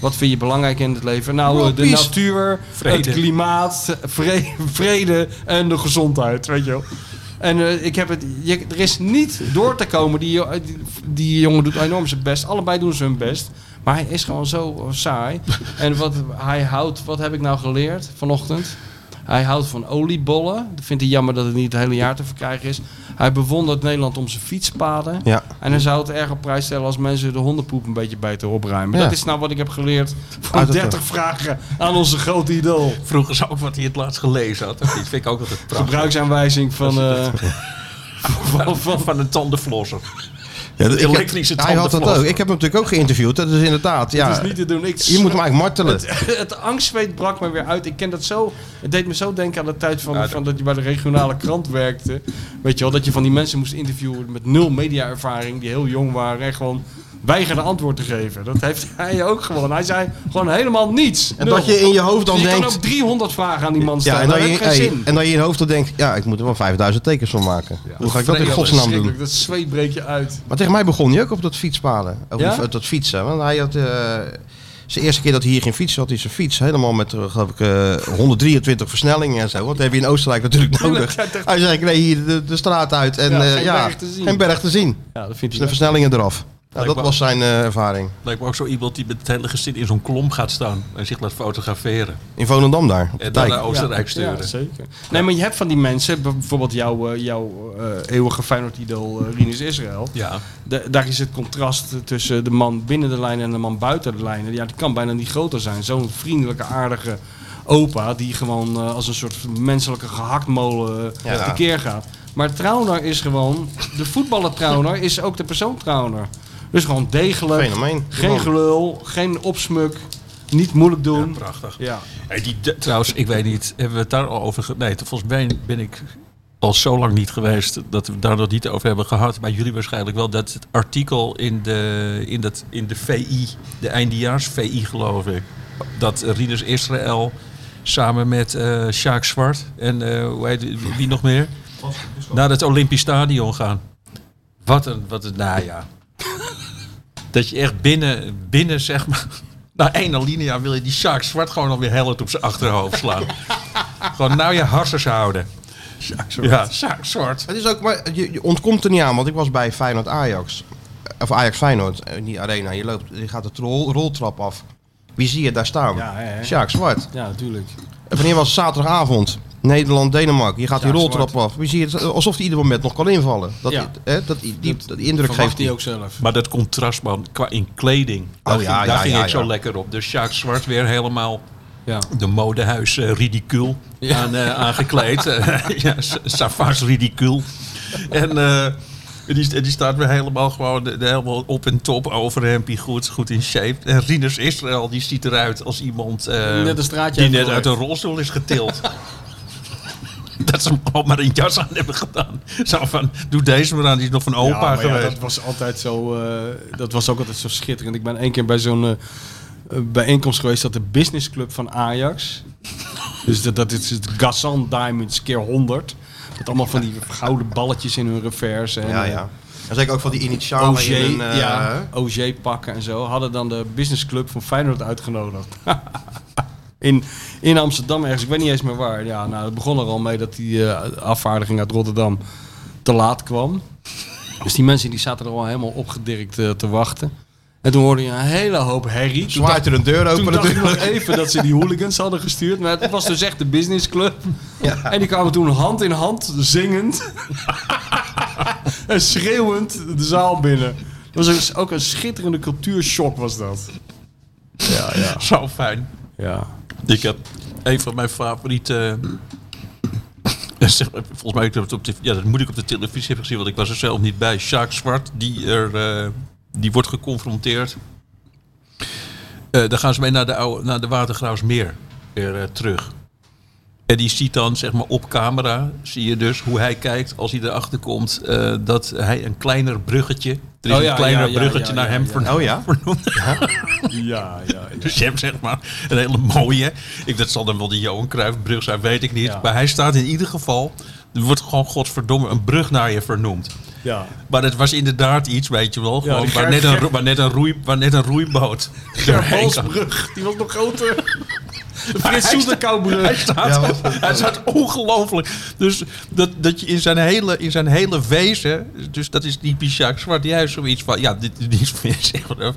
wat vind je belangrijk in het leven? Nou, eh, de World natuur, Vrede. het klimaat, vre- vrede en de gezondheid, weet je wel. En eh, ik heb het, je- er is niet door te komen. Die, jo- die, die jongen doet enorm zijn best. Allebei doen ze hun best. Maar hij is gewoon zo saai. (laughs) En wat hij houdt, wat heb ik nou geleerd vanochtend? Hij houdt van oliebollen. Dat vindt hij jammer dat het niet het hele jaar te verkrijgen is. Hij bewondert Nederland om zijn fietspaden. Ja. En hij zou het erg op prijs stellen als mensen de hondenpoep een beetje beter opruimen. Ja. Dat is nou wat ik heb geleerd Uit van het 30 vragen aan onze grote idool. Vroeger ze ook wat hij het laatst gelezen had. Dat vind ik (laughs) ook altijd prachtig. Gebruiksaanwijzing van, eh, van, van- van een tandenflosser. Ja, ik heb- elektrische Hij had dat tandenflosser. ook. Ik heb hem natuurlijk ook geïnterviewd. Dat is inderdaad, ja. Het is niet te doen. Ik Je moet hem eigenlijk martelen. (laughs) het angstzweet brak me weer uit. Ik ken dat zo. Het deed me zo denken aan de tijd van, Ja, dat- van dat je bij de regionale krant werkte. Weet je wel, dat je van die mensen moest interviewen met nul mediaervaring, die heel jong waren en gewoon weigerden antwoord te geven. Dat heeft (laughs) hij ook gewoon. Hij zei gewoon helemaal niets. En Nul. dat je in je hoofd dan Dus je denkt... kan ook 300 vragen aan die man Ja, stellen. en dat dan, heeft je, geen hey, zin. en dan je in je hoofd dan denkt, ja, ik moet er wel 5000 tekens van maken. Hoe ga ik dat in Ja, godsnaam verschrikkelijk. doen? Dat zweet breekt je uit. Maar tegen mij begon hij ook op dat fietspaden. Over Ja? die- op dat fietsen. Want hij had... eh, zijn eerste keer dat hij hier geen fiets had, hij zijn fiets helemaal met eh, geloof ik, eh, 123 versnellingen en zo. Want dat heb je in Oostenrijk (laughs) natuurlijk nodig. Hij zei, ik reed hier de, de straat uit en Ja, eh, geen ja, berg te zien. geen berg te zien. Ja, dat vindt Dus hij de versnellingen eraf. Nou, dat was zijn eh, ervaring. Lijkt me ook zo iemand die met het hele gezin in zo'n klomp gaat staan en zich laat fotograferen. In Volendam daar, op de En dan dijk. eh, naar Oostenrijk sturen. Ja, zeker. Nee, maar je hebt van die mensen, bijvoorbeeld jouw, eh, jouw eh, eeuwige Feyenoord-idool eh, Rinus Israël. Ja. Da- daar is het contrast tussen de man binnen de lijn en de man buiten de lijn. Ja, die kan bijna niet groter zijn. Zo'n vriendelijke, aardige opa die gewoon eh, als een soort menselijke gehaktmolen Ja. eh, tekeer gaat. Maar Trauner is gewoon, de voetballer Trauner is ook de persoon Trauner. Dus gewoon degelijk, Fenomeen. geen Man. gelul, geen opsmuk, niet moeilijk Ja, doen. prachtig. Ja, Hey, die, de- trouwens, ik weet niet, hebben we het daar al over... ge- Nee, volgens mij ben ik al zo lang niet geweest dat we het daar nog niet over hebben gehad. Maar jullie waarschijnlijk wel dat het artikel in de, in dat, in de VI, de eindejaars VI geloof ik, dat Rinus Israël samen met eh Sjaak Zwart en eh, hoe heet, die- wie, wie nog meer, naar het Olympisch Stadion gaan. Wat een, wat een, nou ja. dat je echt binnen, binnen zeg maar, (laughs) na één alinea wil je die Sjaak Zwart gewoon alweer hellend op zijn achterhoofd slaan. gewoon nou je harsers houden. Sjaak Zwart. Ja, Sjaak Zwart. Het is ook, maar je, je ontkomt er niet aan, want ik was bij Feyenoord Ajax. Eh, Of Ajax Feyenoord, in die arena. Je, loopt, je gaat de rol, roltrap af. Wie zie je daar staan? Ja, hè, hè. Sjaak Zwart. ja, natuurlijk. En wanneer was het zaterdagavond? Nederland, Denemarken. Je gaat die Sjaak roltrap af. Wie zie je het? eh, Alsof hij ieder moment nog kan invallen. Dat, Ja. hè, dat, die, die, dat die indruk geeft hij. ook zelf. Maar dat contrast, man, qua in kleding, ja, daar, ging, daar ja, ging ja, ik zo ja. lekker op. Dus Sjaak Zwart weer helemaal Ja. de modehuis eh, ridicule aan, eh, (laughs) aangekleed. Eh, ja, sa- Savage ridicule. En eh, die, st- die staat weer helemaal gewoon de, de- helemaal op en top overhempie, goed, goed in shape. En Rinus Israël, die ziet eruit als iemand eh, Die net een straatje die heeft net uit een gehoord. rolstoel is getild. (laughs) Dat ze hem al maar een jas aan hebben gedaan. Zo van, doe deze maar aan, die is nog van Ja, opa maar ja, geweest. dat was altijd zo. eh, dat was ook altijd zo schitterend. Ik ben één keer bij zo'n eh, eh, bijeenkomst geweest dat de businessclub van Ajax. dus dat, dat is het Gazan Diamonds keer 100. Met allemaal van die gouden balletjes in hun revers. En, Ja, eh, ja. En zeker ook van die initialen OG, in een... eh, ja, OG pakken en zo. Hadden dan de businessclub van Feyenoord uitgenodigd. (laughs) in, in Amsterdam ergens, ik weet niet eens meer waar. Ja, nou, het begon er al mee dat die eh, afvaardiging uit Rotterdam te laat kwam. Dus die mensen die zaten er al helemaal opgedirkt eh, te wachten. En toen hoorde je een hele hoop herrie. Toen Zwaait er een deur toen open dacht ik nog natuurlijk. even dat ze die hooligans hadden gestuurd. Maar het was dus echt de businessclub. En die kwamen toen hand in hand (laughs) zingend en schreeuwend de zaal binnen. Dat was dus ook een schitterende cultuurshock was dat. Ja, ja. Zo fijn. Ja, Ik heb een van mijn favoriete. eh, (laughs) Zeg maar, Volgens mij heb ik dat op de, ja, dat moet ik op de televisie hebben gezien, want ik was er zelf niet bij. Sjaak Zwart, die, er, eh, die wordt geconfronteerd. Eh dan gaan ze mee naar de, oude, naar de Watergraafsmeer weer eh, terug. En die ziet dan, zeg maar, op camera, zie je dus hoe hij kijkt als hij erachter komt eh, dat hij een kleiner bruggetje, er is Oh ja, een kleiner ja, ja, bruggetje ja, naar ja, hem ja. (laughs) vernoemd. Oh ja? ja, ja. Dus je hebt zeg maar een hele mooie. Ik, dat zal dan wel de Johan Cruijffbrug zijn, weet ik niet. Ja. Maar hij staat in ieder geval. Er wordt gewoon godverdomme een brug naar je vernoemd. ja. Maar het was inderdaad iets, weet je wel. Gewoon, die waar, Ger- net een, Ger- ro- waar, net een roei, waar net een roeiboot doorheen kan. Balsbrug, die was nog groter. De Hij Frits staat- Hij Soeterkouwbrug. staat, hij staat ongelooflijk. Dus dat, dat je in zijn, hele, in zijn hele wezen. Dus dat is typisch Jacques Zwart. Die heeft zoiets van. Ja, dit, dit is meer zeg maar.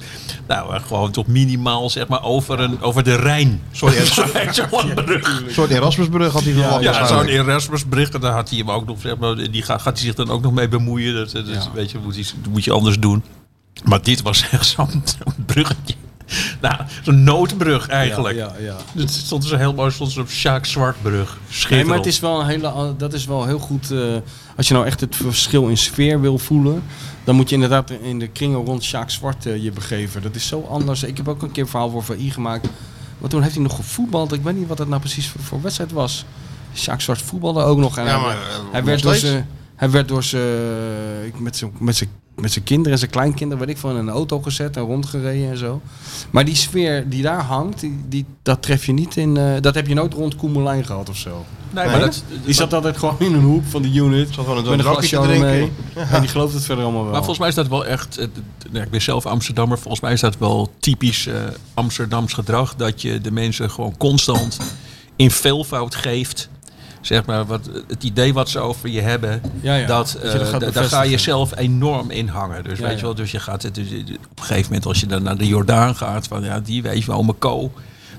Nou, eh, gewoon toch minimaal zeg maar over, een, over de Rijn. Sorry, zo'n lang brug. Een soort Erasmusbrug had hij verwacht. Ja, zo'n waarschijnlijk. Erasmus bericht. En daar had hij hem ook nog. Zeg maar, die gaat, gaat hij zich dan ook nog mee bemoeien. Dat, dat Ja. weet je, moet, iets- moet je anders doen. Maar dit was (laughs) echt zo'n zo'n bruggetje. Nou, zo'n noodbrug eigenlijk. Ja, ja, ja. Het stond dus heel mooi stond dus op Sjaak Zwartbrug. Nee, Schitterend. maar het is wel een hele, an- dat is wel heel goed. eh, als je nou echt het verschil in sfeer wil voelen, dan moet je inderdaad in de kringen rond Sjaak Zwart eh, je begeven. Dat is zo anders. Ik heb ook een keer een verhaal voor VI gemaakt. Maar toen heeft hij nog gevoetbald. Ik weet niet wat dat nou precies voor, voor wedstrijd was. Sjaak Zwart voetbalde ook nog. En Ja, hij- maar, eh, hij, nog werd door steeds? zijn, hij werd door zijn, eh, ik- met zijn, met zijn, met zijn kinderen en zijn kleinkinderen, weet ik veel, in een auto gezet en rondgereden en zo. Maar die sfeer die daar hangt, die, die, dat tref je niet in, eh, dat heb je nooit rond Koemelijn gehad of zo. Nee, Nee. maar dat, Die zat altijd gewoon in een hoek van de unit. Zat gewoon een met een drankje te glasje drinken. mee. En die gelooft het verder allemaal wel. maar volgens mij is dat wel echt. eh, d- d- nou, ik ben zelf Amsterdammer. Volgens mij is dat wel typisch eh, Amsterdams gedrag. Dat je de mensen gewoon constant in veelvoud geeft. zeg maar, wat, het idee wat ze over je hebben, Ja, ja. Dat, Dat eh, je dat gaat da- daar bevestigen. ga je zelf enorm in hangen. Dus Ja, weet ja. je wel, dus je gaat het, dus, eh, op een gegeven moment als je dan naar de Jordaan gaat, van ja, die weet je wel, ome Ko.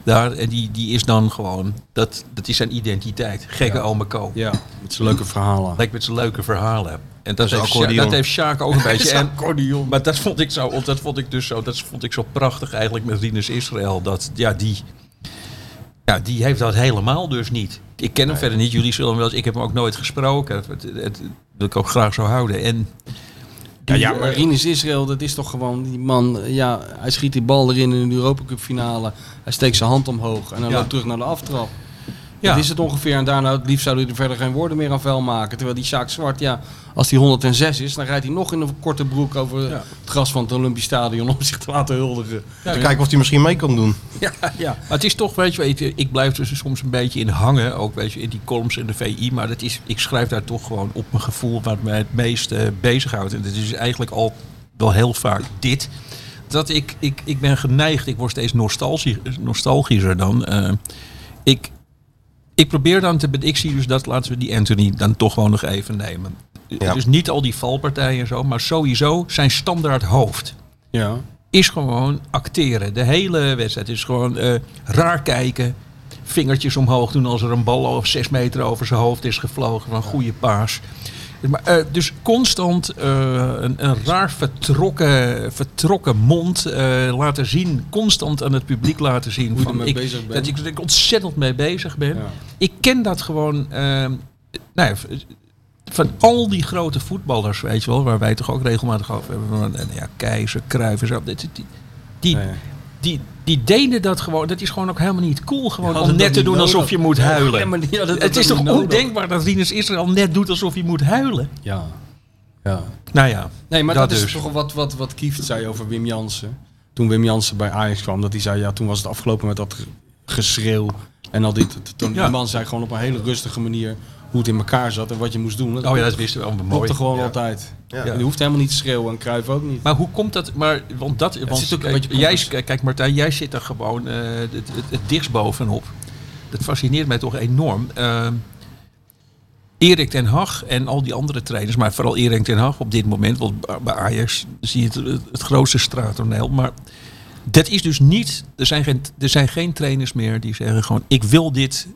Daar, en die, die is dan gewoon, dat, dat is zijn identiteit. Gekke ome Ko. Ja, met zijn leuke verhalen. Lijkt met zijn leuke verhalen. En dat, is heeft, Sja- accordeon. dat heeft Sjaak ook een beetje. En, accordeon. maar dat vond ik zo, want dat vond ik dus zo, dat vond ik zo prachtig eigenlijk met Rinus Israël. Dat ja, die, ja, die heeft dat helemaal dus niet. Ik ken hem verder niet. Jullie zullen hem wel eens. Ik heb hem ook nooit gesproken. Het, het- het wil ik ook graag zo houden. En Ja, ja, eh, maar Rinus Israël, dat is toch gewoon die man. eh, Ja, hij schiet die bal erin in de Europa Cup finale. Hij steekt zijn hand omhoog en dan Ja. loopt terug naar de aftrap. Ja. Dat is het ongeveer. En daarna, het liefst zou hij er verder geen woorden meer aan vuil maken. Terwijl die Sjaak Zwart, ja, als hij 106 is, dan rijdt hij nog in een korte broek over Ja. het gras van het Olympisch Stadion om zich te laten huldigen. Te kijken of hij misschien mee kan doen. (laughs) Ja, ja. Maar het is toch, weet je, wel, ik, ik blijf dus soms een beetje in hangen, ook weet je, in die columns in de VI, maar dat is, ik schrijf daar toch gewoon op mijn gevoel wat mij het meest eh, bezighoudt. En dat is eigenlijk al wel heel vaak dit. Dat ik, ik, ik ben geneigd, ik word steeds nostalgie, nostalgischer dan. eh, ik, ik probeer dan te, ik zie dus dat, laten we die Anthony dan toch gewoon nog even nemen. Ja. Dus niet al die valpartijen en zo, maar sowieso zijn standaard hoofd Ja. is gewoon acteren. De hele wedstrijd is gewoon eh, raar kijken. Vingertjes omhoog doen als er een bal of zes meter over zijn hoofd is gevlogen. Van goede paas. Maar, eh, dus constant eh, een, een raar vertrokken, vertrokken mond eh, laten zien. Constant aan het publiek laten zien. je van, ermee ik, bezig bent. dat ik, dat ik ontzettend mee bezig ben. Ja. Ik ken dat gewoon. eh, nou ja, van al die grote voetballers, weet je wel, waar wij toch ook regelmatig over hebben. Van, eh, ja, Keizer, Cruijff en zo. Dit- dit- Die, die, Nee. die, die deden dat gewoon. Dat is gewoon ook helemaal niet cool. Gewoon Hadden om dat net te niet doen nodig. alsof je moet huilen. Ja, maar die hadden dat het is ook toch niet nodig? ondenkbaar dat Rinus Israël net doet alsof hij moet huilen? Ja. ja. Nou ja. Nee, maar dat, Dat is dus. toch wat, wat, wat Kieft zei over Wim Jansen. Toen Wim Jansen bij Ajax kwam, dat hij zei, ja, toen was het afgelopen met dat ge- geschreeuw en al dit. Toen Ja. die man zei gewoon op een hele rustige manier hoe het in elkaar zat en wat je moest doen. Oh ja, dat wisten we allemaal mooi. klopte gewoon Ja. altijd. Ja. En je hoeft helemaal niet te schreeuwen en Cruijff ook niet. Maar hoe komt dat? Maar, want dat want, zit ook een kijk, beetje jij, pompers. kijk, Martijn, jij zit er gewoon eh, het, het, het dichtst bovenop. Dat fascineert mij toch enorm. Eh, Erik ten Hag en al die andere trainers, maar vooral Erik ten Hag op dit moment, want bij- bij Ajax zie je het, het grootste straattoneel. Maar dat is dus niet, er zijn, geen, er zijn geen trainers meer die zeggen gewoon, ik wil dit,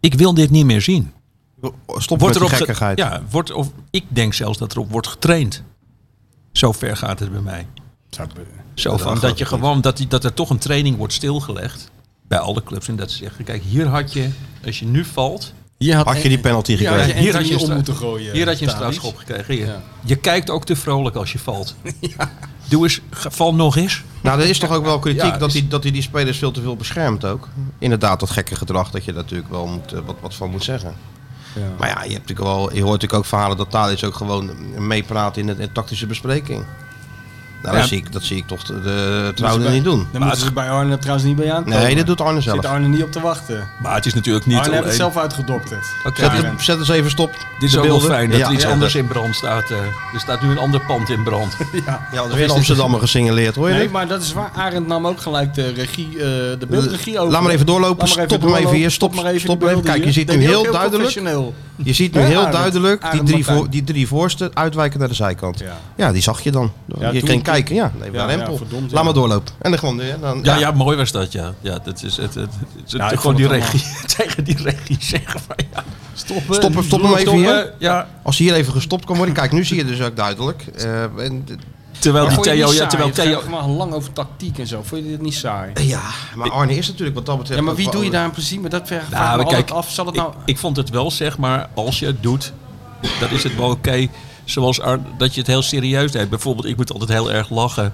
ik wil dit niet meer zien. Stop met die ge- gekkigheid. ja, wordt, of, ik denk zelfs dat erop wordt getraind. Zo ver gaat het bij mij. Zo dat van gaat dat je het niet. gewoon dat, die, dat er toch een training wordt stilgelegd bij alle clubs en dat ze zeggen: kijk, hier had je als je nu valt, Hier Had je die penalty hier had gekregen? je Hier had Anthony je een om stra- moeten gooien. hier had je een Thalys. strafschop gekregen. Hier. Ja. Je kijkt ook te vrolijk als je valt. Doe eens, ge- val nog eens. Nou, er is toch ook wel kritiek Ja, dat, is- hij, dat hij die spelers veel te veel beschermt ook. Inderdaad, dat gekke gedrag dat je daar natuurlijk wel moet, eh, wat, wat van moet zeggen. Ja. Maar ja, je, hebt natuurlijk wel, je hoort natuurlijk ook verhalen dat Thalys ook gewoon meepraat in de in de tactische bespreking. Nou, Ja. dat, zie ik, dat zie ik toch de, de Dat trouwen bij- niet doen. Dan moeten ze bij Arne trouwens niet bij aankomen. Nee, dat doet Arne Zit zelf. Arne niet op te wachten. Maar het is natuurlijk niet Arne heeft het alleen. zelf uitgedokterd. Oké, Zet, Ja, het, zet eens even stop. dit is de ook wel beelden. fijn dat Ja, er iets ja, anders dat- in brand staat. eh. er staat nu een ander pand in brand. Ja, want er is in Amsterdammer gesignaleerd, hoor je Nee, dit? maar dat is waar. Arend nam ook gelijk de regie, eh, de beeldregie over. Laat maar even doorlopen. Laat maar Stop hem even doorlopen. hier. Stop, maar even stop die hem even. beelden Kijk, je hier. ziet Deed nu hij ook heel duidelijk. professioneel. Je ziet nu Hè, heel Arend? duidelijk die Arend drie, Martijn. voor, die drie voorste uitwijken naar de zijkant. Ja. Ja, die zag je dan. Ja, je toen- ging kijken, ja, nee, Ja, ja, rempel. ja, verdomd, Laat ja. maar doorlopen. En dan gewoon weer. Dan, Ja, ja, mooi was dat, ja. ja dat is het, het, het- Nou, Ja, ik gewoon die vond het regie, (laughs) tegen die regie zeggen van ja. Stoppen. Stop hem, stop hem even hier. Ja, Als hier even gestopt kan worden. Kijk, nu zie je dus ook duidelijk. eh, en, terwijl die Vond je Theo, niet ja, saai? terwijl Het ging Theo, Nou, gewoon lang over tactiek en zo. Vond je dit niet saai? ja, maar Arne is natuurlijk wat dat betreft... Ja, maar ook wie wel- doe je daar een plezier met? Dat vergt Nou, maar kijk, af. Zal het nou... ik, ik vond het wel zeg maar, als je het doet, dan is het wel oké. Zoals Ar- dat je het heel serieus deed. Bijvoorbeeld, ik moet altijd heel erg lachen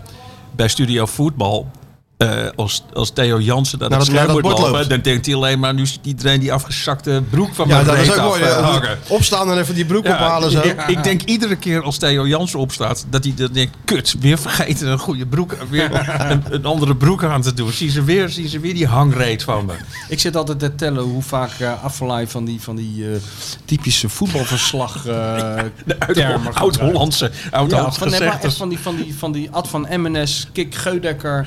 bij Studio Voetbal. eh, als, als Theo Jansen naar Naar het dat- naar scherm dat moet bord lopen, loopt. dan denkt hij alleen maar nu ziet iedereen die afgezakte broek van Ja, mijn dat is reet ook mooi. af, eh, ja. hangen. Opstaan en even die broek Ja, ophalen zo. Ik, ik denk iedere keer als Theo Jansen opstaat, dat hij dan denkt, kut, weer vergeten een goede broek, weer (laughs) een, een andere broek aan te doen. Zien ze weer, zien ze weer die hangreet van me. Ik zit altijd te tellen hoe vaak eh Affelay van die, van die eh, typische voetbalverslag eh (laughs) Uit- termen gebruikt. Oud-Hollandse, Ja, oud-Hollandse van, nee, maar gezegdes. echt van die, van die, van die Ad van Emmenes, Kik (laughs) Geudekker,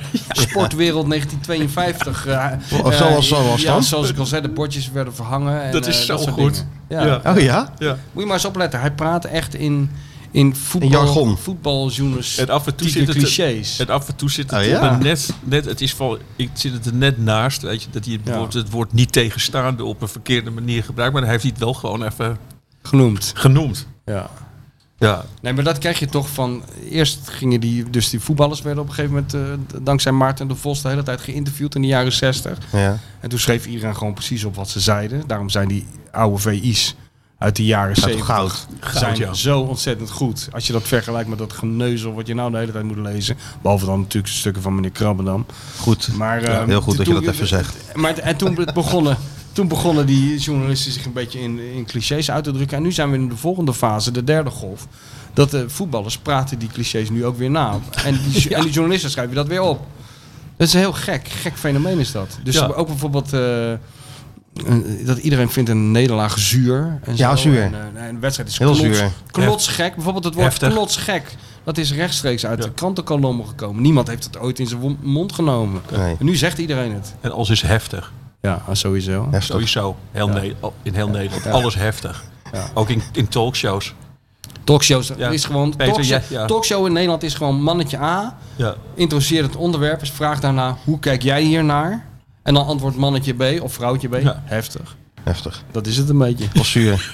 Sportwereld 1952. eh, Of eh, zoals- zoals ja, dan? zoals ik al zei, de bordjes werden verhangen. En, Dat is eh, zo soort goed. dingen. Ja. Ja. Oh ja? Moet je maar eens opletten. Hij praat echt in, in voetbal... In jargon. Voetbaljournalistieke En af en toe zit het er- clichés. En af en toe zit het Oh, ja. op een net, net, het is van, ik zit het er net naast, weet je, dat hij bijvoorbeeld het woord niet tegenstaande op een verkeerde manier gebruikt, maar hij heeft hij het wel gewoon even genoemd. genoemd. Ja. Ja, Nee, maar dat krijg je toch van. Eerst gingen die, dus die voetballers werden op een gegeven moment, eh, d- dankzij Maarten de Vos, de hele tijd geïnterviewd in de jaren 60. Ja. En toen schreef iedereen gewoon precies op wat ze zeiden. Daarom zijn die oude VI's uit de jaren toch 70 goud. zijn ja. zo ontzettend goed. Als je dat vergelijkt met dat geneuzel wat je nou de hele tijd moet lezen. Behalve dan natuurlijk stukken van meneer Krabbendam. Goed. Maar, Ja, ehm, heel goed dat je toen- dat even zegt. Maar, t- en toen het begonnen, toen begonnen die journalisten zich een beetje in, in clichés uit te drukken. En nu zijn we in de volgende fase, de derde golf. Dat de voetballers praten die clichés nu ook weer na. En die, (laughs) jo- en die journalisten schrijven dat weer op. Dat is heel gek. Gek fenomeen is dat. Dus Ja. ook bijvoorbeeld... eh, eh, dat iedereen vindt een nederlaag zuur. En Ja, zo. zuur. En, eh, nee, een wedstrijd is Heel knots, zuur. Knotsgek. Bijvoorbeeld het woord Heftig. knotsgek. Dat is rechtstreeks uit Ja. de krantenkolommen gekomen. Niemand heeft het ooit in zijn wo- mond genomen. Nee. En nu zegt iedereen het. en alles is heftig. Ja, ah, sowieso. Heftig. Sowieso, heel Ne- al- in heel Nederland, alles heftig. Ja. Ook in, in talkshows. Talkshows Ja. is gewoon. Peter, talkshow, ja, ja. talkshow in Nederland is gewoon mannetje A. (laughs) Ja. Introduceert het onderwerp. Dus vraag daarna hoe kijk jij hiernaar? En dan antwoordt mannetje B of vrouwtje B. Ja. Heftig. Heftig. Dat is het een beetje. Wel zuur.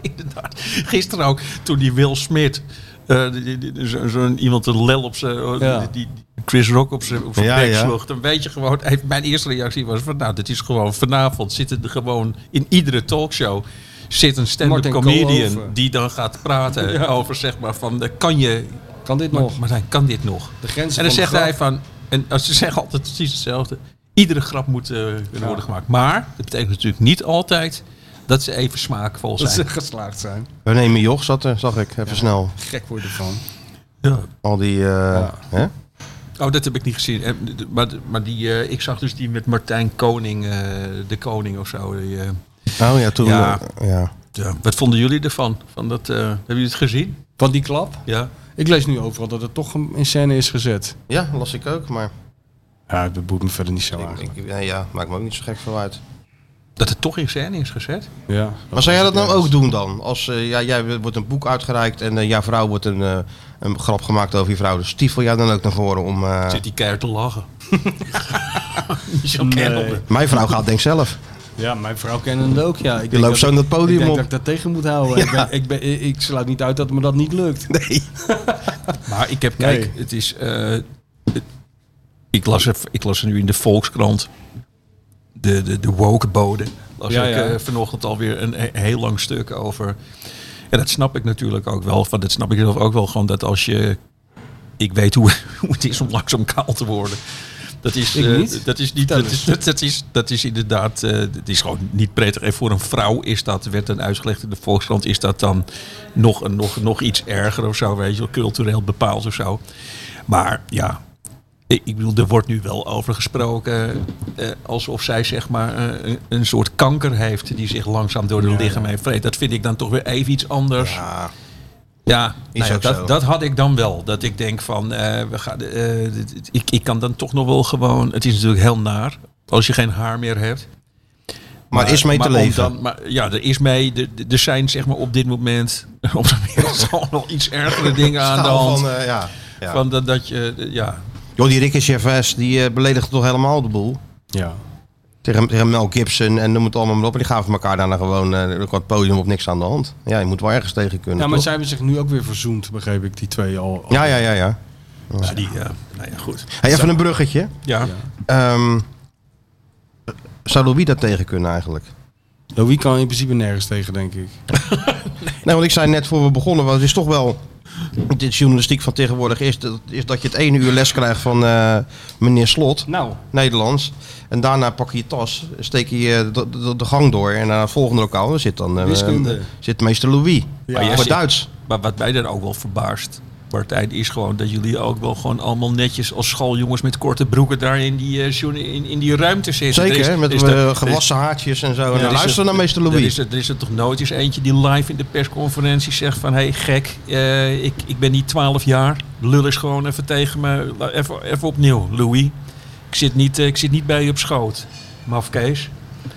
Inderdaad. Gisteren ook, toen die Will Smith, eh, die- die- die- zo- zo'n iemand een lel op zijn, Ja. die, die Chris Rock op zijn op zijn Ja, bek ja. sloeg, dan weet je gewoon, even- mijn eerste reactie was van, nou, dit is gewoon vanavond zitten er gewoon in iedere talkshow zit een stand-up Martin comedian Koolhoven. die dan gaat praten over zeg maar van, eh, kan je, Kan dit nog? maar hij kan dit nog? De grenzen En dan van de zegt hij grap. van, en als ze zeggen altijd precies hetzelfde, iedere grap moet eh, kunnen worden gemaakt. Maar dat betekent natuurlijk niet altijd dat ze even smaakvol dat zijn. ze geslaagd zijn. René Joch zat er, zag ik. Even snel. Gek worden van. Ja. Al die... eh, hè? Oh, dat heb ik niet gezien. Eh, d- d- Maar, d- maar die, eh, ik zag dus die met Martijn Koning, eh, de koning of zo. Die, eh, Oh ja, toen... Ja. eh, ja. ja. Wat vonden jullie ervan? Van dat, eh, hebben jullie het gezien? Van die klap. Ja. Ik lees nu overal dat het toch in scène is gezet. Ja, las ik ook, maar Ja, dat boeit me verder niet zo ik, eigenlijk. ik- ja, ja, maakt me ook niet zo gek veel uit. Dat het toch in scène is gezet? Ja, Maar zou jij dat nou ook doen dan? Als eh, ja, jij wordt een boek uitgereikt en eh, jouw vrouw wordt een, eh, een grap gemaakt over je vrouw, dus stiefel jij dan ook naar voren om. eh, Zit die keihard te lachen? (laughs) Michel Nee. Kennel. Mijn vrouw gaat denk zelf. Ja, mijn vrouw kent het ook, ja. Ik Die denk loopt zo dat- in dat Ik podium denk op. dat ik dat tegen moet (laughs) houden. Ik, ben, ik, ben, ik sluit niet uit dat me dat niet lukt. Nee. Maar ik heb, kijk, Nee. het is. eh, het- ik, las er, ik las er nu in de Volkskrant. De, de, de woke-bode. Las Ja, ik ja. eh, vanochtend alweer een he- heel lang stuk over. En dat snap ik natuurlijk ook wel. Van, dat snap ik zelf ook wel gewoon dat als je. Ik weet hoe, (laughs) hoe het is om langzaam kaal te worden. Dat is, Ik eh, niet. dat is niet. Vertel Dat is, dat, dat is, dat is inderdaad. eh dat is gewoon niet prettig. En voor een vrouw is dat, werd dan uitgelegd in de Volkskrant, is dat dan nog, een- nog, nog iets erger of zo, weet je, wel, cultureel bepaald of zo. Maar ja, ik ik bedoel, er wordt nu wel over gesproken eh, alsof zij zeg maar eh, een, een soort kanker heeft die zich langzaam door de lichaam heen vreet. Dat vind ik dan toch weer even iets anders. Ja, Is nou ja, ook zo. dat, dat had ik dan wel. Dat ik denk van, eh, we gaan, eh, dit- dit- ik, ik kan dan toch nog wel gewoon, het is natuurlijk heel naar als je geen haar meer hebt. Maar er is mee te om leven. dan- maar, ja, er is mee. Er- er- Er zijn zeg maar op dit moment (laughs) op de wereld gewoon nog iets ergere dingen aan de Schaal hand. Van, Van, eh, ja. Ja. dat, dat je, eh, ja, Joh, die Ricky Gervais, die eh, beledigde toch helemaal de boel. Ja. Tegen, tegen Mel Gibson en noem het allemaal maar op. En die gaven elkaar daarna gewoon eh, ook wat podium op niks aan de hand. Ja, je moet wel ergens tegen kunnen. ja, Nou, maar toch? zij hebben zich nu ook weer verzoend, begreep ik, die twee al. al- ja, ja, ja, ja. ja, die, eh, nou ja, goed. Hey, even een bruggetje. Ja. Ehm, zou Louis dat tegen kunnen eigenlijk? Nou, wie kan in principe nergens tegen, denk ik. Nee, want ik zei net voor we begonnen, want het is toch wel. Dit journalistiek van tegenwoordig is dat, is dat je het ene uur les krijgt van eh, meneer Slot, Nou. Nederlands. En daarna pak je je tas, steek je eh, de, de, de gang door en naar het volgende lokaal daar zit dan eh, Wiskunde. zit meester Louis. Ja. Ja. Maar jij voor zit- Duits. Maar wat mij daar ook wel verbaast, Martijn, is gewoon dat jullie ook wel gewoon allemaal netjes als schooljongens met korte broeken daar in die, eh, journa- in, in die ruimte zitten. Zeker, Er is- hè, met er is eh, daar- er is- gewassen haartjes en zo. er en dan is luister er- naar meester Er Louis. is, er, er is er toch nooit eens eentje die live in de persconferentie zegt van... hé hey, gek, eh, ik, ik ben niet 12 jaar. Lul is gewoon even tegen me. La- Even, even opnieuw, Louis. Ik zit, niet, eh, ik zit niet bij je op schoot. Mafkees.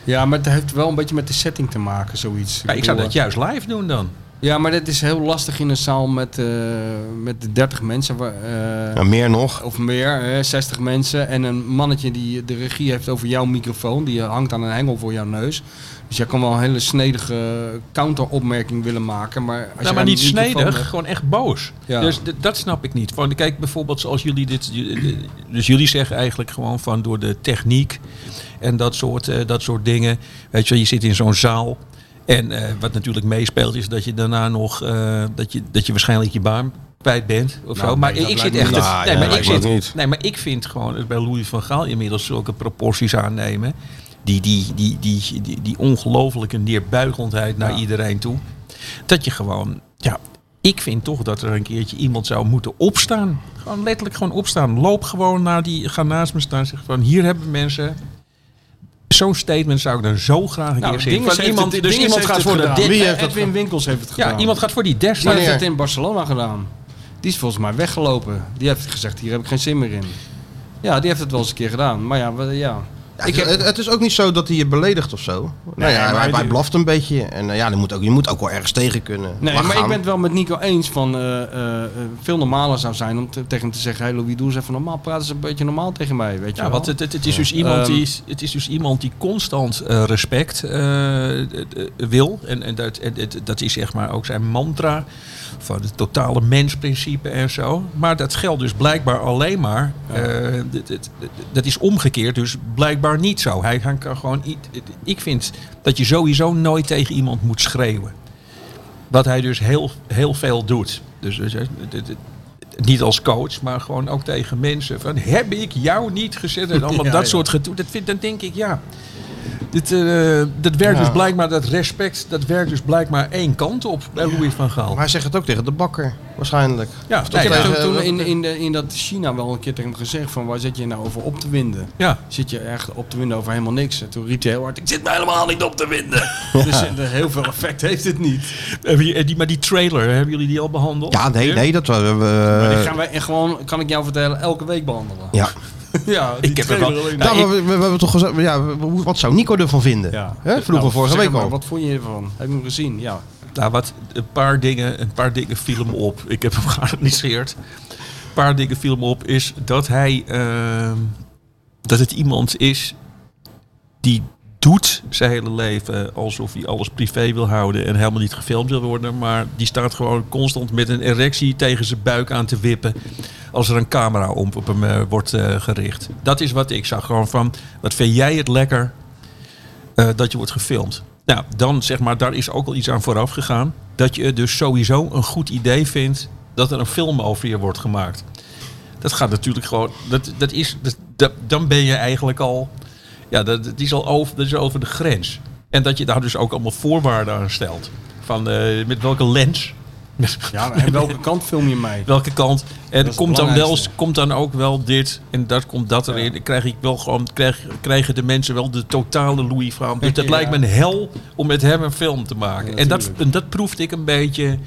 Ja, maar het heeft wel een beetje met de setting te maken, zoiets. Ja, ik zou bedoel, eh, dat juist live doen dan. Ja, maar dat is heel lastig in een zaal met, eh met 30 mensen. waar, eh, Ja, Nou, meer nog. Of meer, hè, 60 mensen. En een mannetje die de regie heeft over jouw microfoon. Die hangt aan een hengel voor jouw neus. Dus jij kan wel een hele snedige counteropmerking willen maken. Maar, als Nou, je maar aan niet die microfoon snedig, hebt- gewoon echt boos. Ja. Dus d- dat snap ik niet. Van, kijk, bijvoorbeeld zoals jullie dit... Dus jullie zeggen eigenlijk gewoon van door de techniek en dat soort, eh, dat soort dingen. Weet je, wel, je zit in zo'n zaal. En eh, wat natuurlijk meespeelt is dat je daarna nog... eh, dat, je, dat je waarschijnlijk je baan kwijt bent of zo. Maar Nou, nee, dat ik zit lijkt echt... me te- niet. nee, Nou, ja, maar ik lijkt me ook zit, niet. nee, maar ik vind gewoon dat bij Louis van Gaal inmiddels zulke proporties aannemen. Die, die, die, die, die, die, die ongelofelijke neerbuigendheid naar iedereen toe. Dat je gewoon, ja, ik vind toch dat er een keertje iemand zou moeten opstaan. Gewoon letterlijk gewoon opstaan. Loop gewoon naar die, ga naast me staan en zeg van hier hebben mensen. Zo'n statement zou ik dan zo graag een Nou, keer zien. Dinges Van heeft Iemand, het- dus Dinges iemand heeft gaat het voor de gedaan. dit- Wie heeft dat Edwin Winkels heeft het gedaan. Ja, iemand gaat voor die desk. Die heeft Wanneer? het in Barcelona gedaan. Die is volgens mij weggelopen. Die heeft gezegd, hier heb ik geen zin meer in. Ja, die heeft het wel eens een keer gedaan. Maar ja, we- ja. Ik heb- het, het is ook niet zo dat hij je beledigt of zo. nou ja, maar hij, hij die- blaft een beetje. En eh, ja, je moet, ook, je moet ook wel ergens tegen kunnen. Nee, Laat maar ik gaan. ben het wel met Nico eens van eh, eh, eh, veel normaler zou zijn om te- tegen hem te zeggen, hey Louis, doe eens even normaal, praat eens een beetje normaal tegen mij, weet je Ja, wel. want het, het, het is dus iemand Ehm. die, het is dus iemand die constant eh, respect eh, eh, wil. En, en dat, en het- dat is zeg maar ook zijn mantra van het totale mensprincipe en zo. Maar dat geldt dus blijkbaar alleen maar. eh, dit- dit- dit- dat is omgekeerd, dus blijkbaar niet zo. Hij hij kan gewoon. i- Ik vind dat je sowieso nooit tegen iemand moet schreeuwen. Wat hij dus heel, heel veel doet. Dus, dus, eh, dit- dit- niet als coach, maar gewoon ook tegen mensen. Van, heb ik jou niet gezet? En (laughs) allemaal Ja, dat ja. soort gedoe. Dat vind, dan denk ik, ja. Dit, eh, dat werkt dus blijkbaar, dat respect, dat werkt dus blijkbaar één kant op bij Louis van Gaal. Maar hij zegt het ook tegen de bakker, waarschijnlijk. ja, toch nee, Ik heb tegen- toen- toen eh, in, in, de, in dat China wel een keer tegen hem gezegd van, waar zit je nou over op te winden? ja. Zit je echt op te winden over helemaal niks? En toen riep hij heel hard, ik zit me helemaal niet op te winden. (laughs) Dus eh, heel veel effect heeft het niet. Hebben jullie- eh, die, maar die trailer, hebben jullie die al behandeld? Ja, nee, nee, dat we. Maar Eh. die we gaan wij en gewoon, kan ik jou vertellen, elke week behandelen. ja. Ja, Ik heb er wel. Nou, Nou, we, we- we hebben toch gezegd, ja, we- we- wat zou Nico ervan vinden? Ja. Hè? Vroegen Nou, we vorige zeg week maar, al. Wat vond je ervan? Heb je hem gezien? Ja. ik- nou, wat, een paar dingen, een paar dingen vielen me op. Ik heb hem (laughs) geanalyseerd. Een paar dingen vielen me op is dat hij, ehm, dat het iemand is die doet zijn hele leven alsof hij alles privé wil houden en helemaal niet gefilmd wil worden, maar die staat gewoon constant met een erectie tegen zijn buik aan te wippen als er een camera om op hem eh, wordt eh, gericht. Dat is wat ik zag gewoon van, wat vind jij het lekker eh, dat je wordt gefilmd? Nou, dan zeg maar, daar is ook al iets aan vooraf gegaan. Dat je het dus sowieso een goed idee vindt dat er een film over je wordt gemaakt. Dat gaat natuurlijk gewoon. Dat, dat is, dat, dat- dan ben je eigenlijk al. Ja, dat, dat is al over, dat is over de grens. En dat je daar dus ook allemaal voorwaarden aan stelt. Van eh, met welke lens, Ja, en welke kant film je mij? welke kant. En het komt dan, wel, belangrijkste. komt dan ook wel dit en dat komt dat erin. Dan krijg ik wel gewoon, krijg, krijgen de mensen wel de totale Louis (laughs) van. Dus dat Ja. lijkt me een hel om met hem een film te maken. Ja, en, dat, natuurlijk. en dat proefde ik een beetje.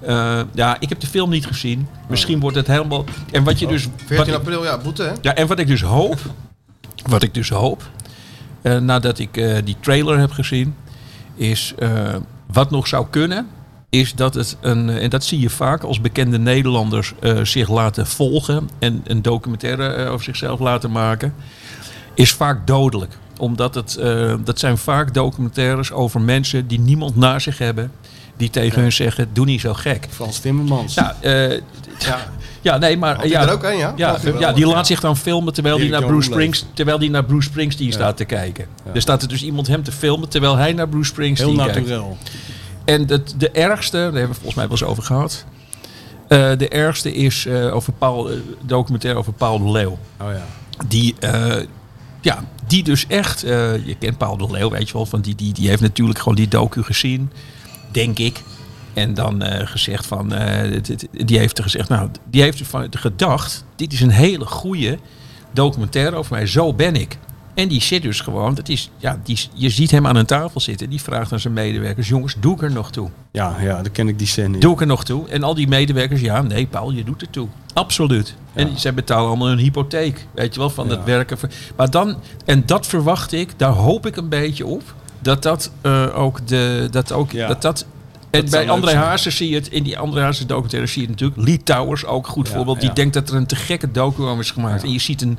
Eh, ja, ik heb de film niet gezien. Oh. Misschien wordt het helemaal. En wat je dus. wat 14 ik- april, ja, boete hè? ja, en wat ik dus hoop, wat ik dus hoop, eh, nadat ik eh, die trailer heb gezien, is eh, wat nog zou kunnen, is dat het een, eh, en dat zie je vaak als bekende Nederlanders eh, zich laten volgen en een documentaire eh, over zichzelf laten maken, is vaak dodelijk omdat het, eh, dat zijn vaak documentaires over mensen die niemand naar zich hebben. Die tegen hun zeggen, doe niet zo gek. Frans Timmermans. Ja, eh, ja. nee, maar... Had hij ja, er ook een, ja? ja, Had hij wel. ja, die laat zich dan filmen terwijl Die hij naar kan Bruce, omleven. Springs, terwijl die naar Bruce Springsteen staat te kijken. Er staat er dus iemand hem te filmen terwijl hij naar Bruce Heel Springsteen kijkt. natuurlijk. En het, de ergste, daar hebben we volgens mij wel eens over gehad. Eh, de ergste is eh over Paul, eh, documentaire over Paul de Leeuw. Oh ja. Die, eh, ja, die dus echt... eh, je kent Paul de Leeuw, weet je wel. Van die, die, die heeft natuurlijk gewoon die docu gezien. Denk ik. En dan eh, gezegd van... eh, dit- dit- die heeft er gezegd... Nou, die heeft ervan gedacht... Dit is een hele goede documentaire over mij. Zo ben ik. En die zit dus gewoon... Dat is, ja, die, je ziet hem aan een tafel zitten. Die vraagt aan zijn medewerkers... Jongens, doe ik er nog toe? Ja, ja, dan ken ik die scène. niet. Doe ik er nog toe? En al die medewerkers... Ja, nee, Paul, je doet er toe. Absoluut. En zij betalen allemaal hun hypotheek. Weet je wel, van het werken. voor- Maar dan, en dat verwacht ik, daar hoop ik een beetje op. Dat dat eh, ook de. Dat ook, Ja. dat dat, en zou bij leuk André zijn. Haase zie je het, in die André Haase documentaire zie je het natuurlijk. Lee Towers ook goed Ja, voorbeeld. Die ja. denkt dat er een te gekke docu over is gemaakt. En je ziet, een,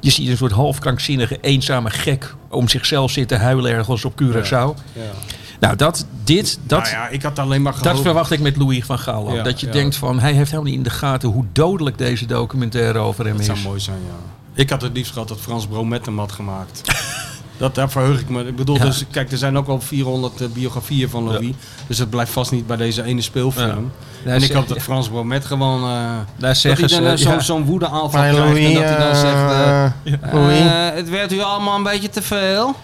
je ziet een soort half krankzinnige, eenzame gek om zichzelf zitten huilen ergens op Curaçao. Nou, dat, dit, dat, nou ja, ik had alleen maar dat gehoopt. verwacht ik met Louis van Gaal ook. Ja, dat je ja. denkt van, hij heeft helemaal niet in de gaten hoe dodelijk deze documentaire over hem dat zou is. mooi zijn, ja. Ik had het liefst gehad dat Frans Broom met hem had (laughs) gemaakt. dat, daar verheug ik me. Ik bedoel, Ja. dus, kijk, er zijn ook al 400 eh, biografieën van Louis. Dus het blijft vast niet bij deze ene speelfilm. Ja, en ik ze- hoop dat Frans Bromet gewoon... eh Daar dat hij zeggen dan ze, eh, zo- ja. zo'n woedeaanval Fijn, krijgt en dat hij dan eh, zegt... eh, Louis. eh, het werd u allemaal een beetje te veel.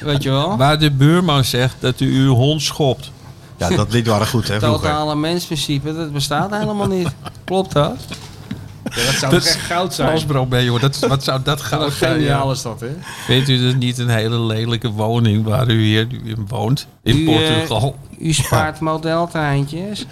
Weet je (laughs) wel? waar de buurman zegt dat u uw hond schopt. Ja, dat lied waren goed, hè, vroeger. Totale mensprincipe, dat bestaat helemaal (laughs) niet. Klopt dat? dat zou Dat echt is- goud zijn. Halsbrood ben joh. Dat, wat zou dat gaan? Wat geniaal is dat, hè? Vindt u dat niet een hele lelijke woning waar u hier nu in woont? In U, eh, Portugal. U spaart modeltreintjes.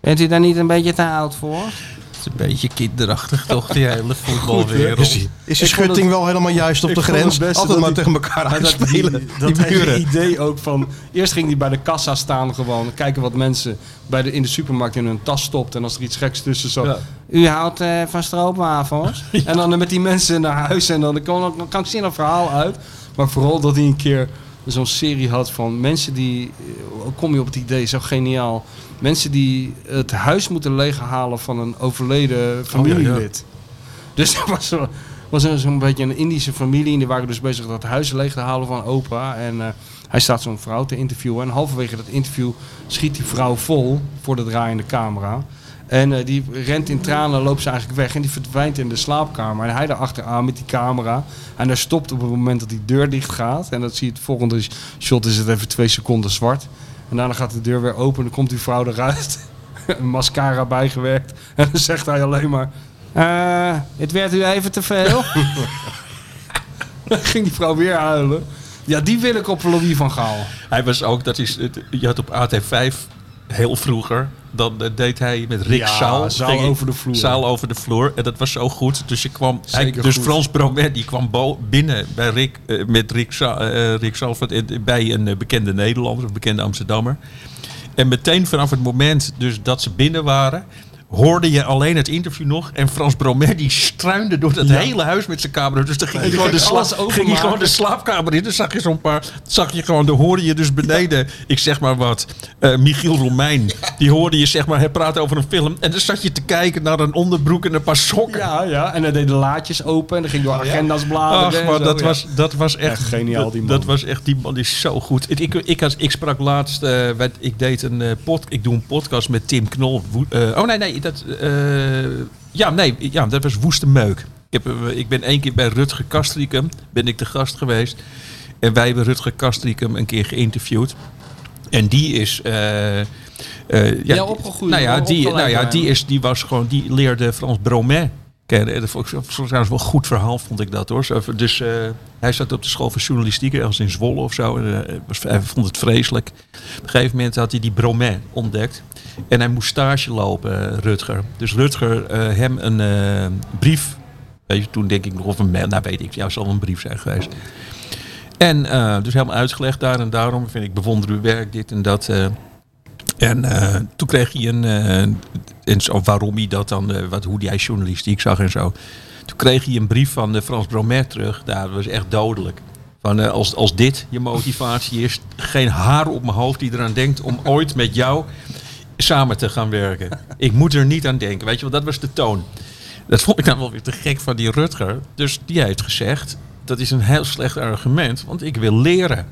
Bent u daar niet een beetje te oud voor? Het is een beetje kinderachtig toch, die hele voetbalwereld. Is de schutting wel helemaal juist op de vond grens? het beste Altijd dat maar die- tegen elkaar dat die- uitspelen. Die, dat hele buren. idee ook van... Eerst ging hij bij de kassa staan gewoon. Kijken wat mensen bij de, in de supermarkt in hun tas stopten. En als er iets geks tussen zat... Ja. U houdt eh, van (laughs) stroopwafels? En dan met die mensen naar huis. En dan er kwam ook een krankzinnig verhaal uit. Maar vooral dat hij een keer zo'n serie had van mensen die... eh, hoe Kom je op het idee, zo geniaal. Mensen die het huis moeten leeghalen van een overleden familielid. Dus er was, zo- was er zo'n beetje een Indische familie. En die waren dus bezig dat huis leeg te halen van opa. En eh, hij staat zo'n vrouw te interviewen. En halverwege dat interview schiet die vrouw vol voor de draaiende camera. En eh, die rent in tranen, loopt ze eigenlijk weg. En die verdwijnt in de slaapkamer. En hij daar achteraan met die camera. En hij stopt op het moment dat die deur dicht gaat. En dat zie je het volgende shot. Is het even twee seconden zwart. En daarna gaat de deur weer open. Dan komt die vrouw eruit. (laughs) Een mascara bijgewerkt. En dan zegt hij alleen maar... Eh, het werd u even te veel. Dan ging die vrouw weer huilen. Ja, die wil ik op Louis van Gaal. Hij was ook, dat is, het- je had op AT5 heel vroeger, dan eh, deed hij met Rick Ja, Zaal. Zaal ging hij- over de vloer. Zaal over de vloer. En dat was zo goed. Dus, je kwam, hij- Zeker dus goed. Frans Bromet die kwam bo- binnen bij Rick, eh, met Rick, Zaal, eh, Rick Zaal van- eh, bij een eh, bekende Nederlander, een bekende Amsterdammer. En meteen vanaf het moment dus dat ze binnen waren, hoorde je alleen het interview nog. En Frans Bromet die struinde door dat hele huis met zijn camera. Dus dan ging, hij, die gewoon de ging sla- alles ging hij openmaken. gewoon de slaapkamer in. Dan zag je zo'n paar, zag je gewoon, dan hoorde je dus beneden, ik zeg maar wat, eh, Michiel Romein. Die hoorde je zeg maar, hij praat over een film. En dan zat je te kijken naar een onderbroek en een paar sokken. Ja, ja. En hij deed de laadjes open. En dan ging door agendas bladeren. Ach, en maar zo, dat, ja. was, dat was echt, Echt geniaal, die dat- man. Dat was echt, die man is zo goed. Ik, ik, ik, had- ik sprak laatst, eh, met- ik deed een eh, pod, ik doe een podcast met Tim Knol. Wo- eh, oh nee, nee, dat, eh, ja, nee, ja, dat was Woeste Meuk. Ik, heb, eh, ik ben één keer bij Rutger Kastricum, ben ik de gast geweest. En wij hebben Rutger Kastricum een keer geïnterviewd. En die is. eh, eh, ja, Ja, opgegroeid, Nou ja, wel die, opgeleid nou eh. ja bij die, hem. is, die was gewoon. Die leerde Frans Bromet kennen. En Dat vond ik zo- zo- trouwens wel een goed verhaal, vond ik dat hoor. Zo even- Dus eh, hij zat op de school van journalistiek ergens in Zwolle of zo. En, eh, was, hij vond het vreselijk. Op een gegeven moment had hij die Bromet ontdekt. En hij moest stage lopen, eh, Rutger. Dus Rutger eh, hem een eh, brief. Weet je, toen denk ik nog of een mail. Nou weet ik, ja, zal wel een brief zijn geweest. En eh, dus helemaal uitgelegd daar en daarom vind ik bewonder uw werk, dit en dat. eh. en eh, toen kreeg hij een, eh, en zo, waarom hij dat dan, eh, wat, hoe hij journalistiek zag en zo. Toen kreeg hij een brief van eh, Frans Bromet terug. Nou, dat was echt dodelijk. Van, eh, als, als dit je motivatie is, geen haar op mijn hoofd die eraan denkt om ooit met jou samen te gaan werken. Ik moet er niet aan denken. Weet je wel, dat was de toon. Dat vond ik dan wel weer te gek van die Rutger. Dus die heeft gezegd, dat is een heel slecht argument, want ik wil leren.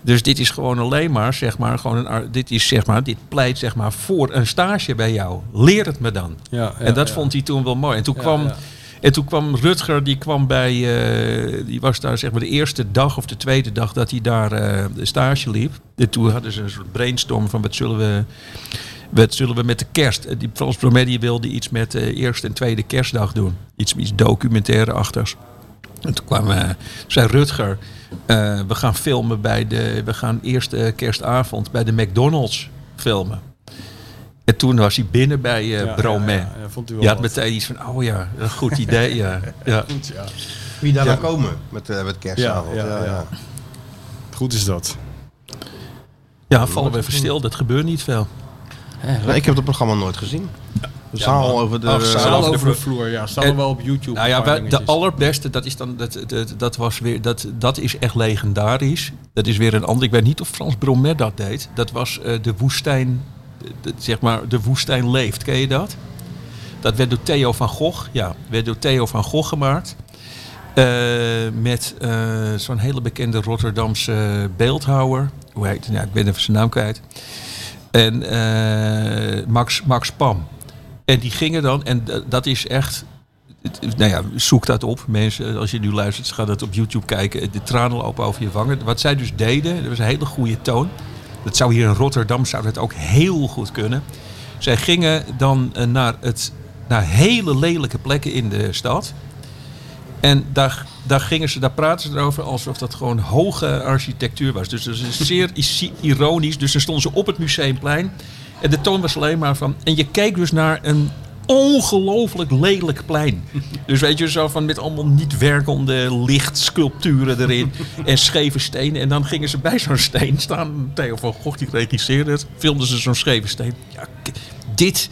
Dus dit is gewoon alleen maar, zeg maar, gewoon een, ar- dit, is, zeg maar dit pleit zeg maar, voor een stage bij jou. Leer het me dan. Ja, ja, en dat ja. vond hij toen wel mooi. En toen, Ja, kwam, ja. En toen kwam Rutger, die kwam bij, eh, die was daar zeg maar de eerste dag of de tweede dag dat hij daar eh, de stage liep. En toen hadden ze een soort brainstorm van wat zullen we, wat zullen we met de kerst. En Die Frans Bromet die wilde iets met eh eerste en tweede kerstdag doen. Iets, iets documentaire-achters. En toen kwam, eh, zei Rutger, eh, we gaan filmen bij de, we gaan eerst eh, kerstavond bij de McDonald's filmen. En toen was hij binnen bij eh Ja, Bromet. ja, ja, vond u wel je had wat. meteen iets van, oh ja, een goed idee. (laughs) ja. Ja. Goed, ja. Wie daar nou komen met, eh, met kerstavond. Ja, ja, ja. Goed is dat. ja, vallen we even stil. Dat gebeurt niet veel. Nou, ik heb het programma nooit gezien. De zaal man. over de... Ach, zaal. Zaal over de over de vloer. vloer, ja. Staan En- we wel op YouTube. Nou ja, een paar wij- de dingetjes. allerbeste, dat is dan, dat, dat, dat was weer, dat, dat is echt legendarisch. Dat is weer een ander, ik weet niet of Frans Bromet dat deed. Dat was eh, de woestijn, eh, de- zeg maar, de woestijn leeft, ken je dat? Dat werd door Theo van Gogh, ja, werd door Theo van Gogh gemaakt. Eh, met eh, zo'n hele bekende Rotterdamse beeldhouwer. Hoe heet nou, ik ben even zijn naam kwijt. En eh, Max, Max Pam. En die gingen dan, en d- dat is echt het- Nou ja, zoek dat op. Mensen, als je nu luistert, ga dat op YouTube kijken. De tranen lopen over je wangen. Wat zij dus deden, dat was een hele goede toon. Dat zou hier in Rotterdam zou dat ook heel goed kunnen. Zij gingen dan eh, naar, het, naar hele lelijke plekken in de stad. En daar, daar, gingen ze, daar praten ze erover alsof dat gewoon hoge architectuur was. Dus dat is zeer is- ironisch. Dus dan stonden ze op het museumplein. En de toon was alleen maar van. En je kijkt dus naar een ongelooflijk lelijk plein. Dus weet je, zo van met allemaal niet werkende lichtsculpturen erin. En scheve stenen. En dan gingen ze bij zo'n steen staan. Theo van Gogh die regisseerde het. Filmden ze zo'n scheve steen. Ja, k- dit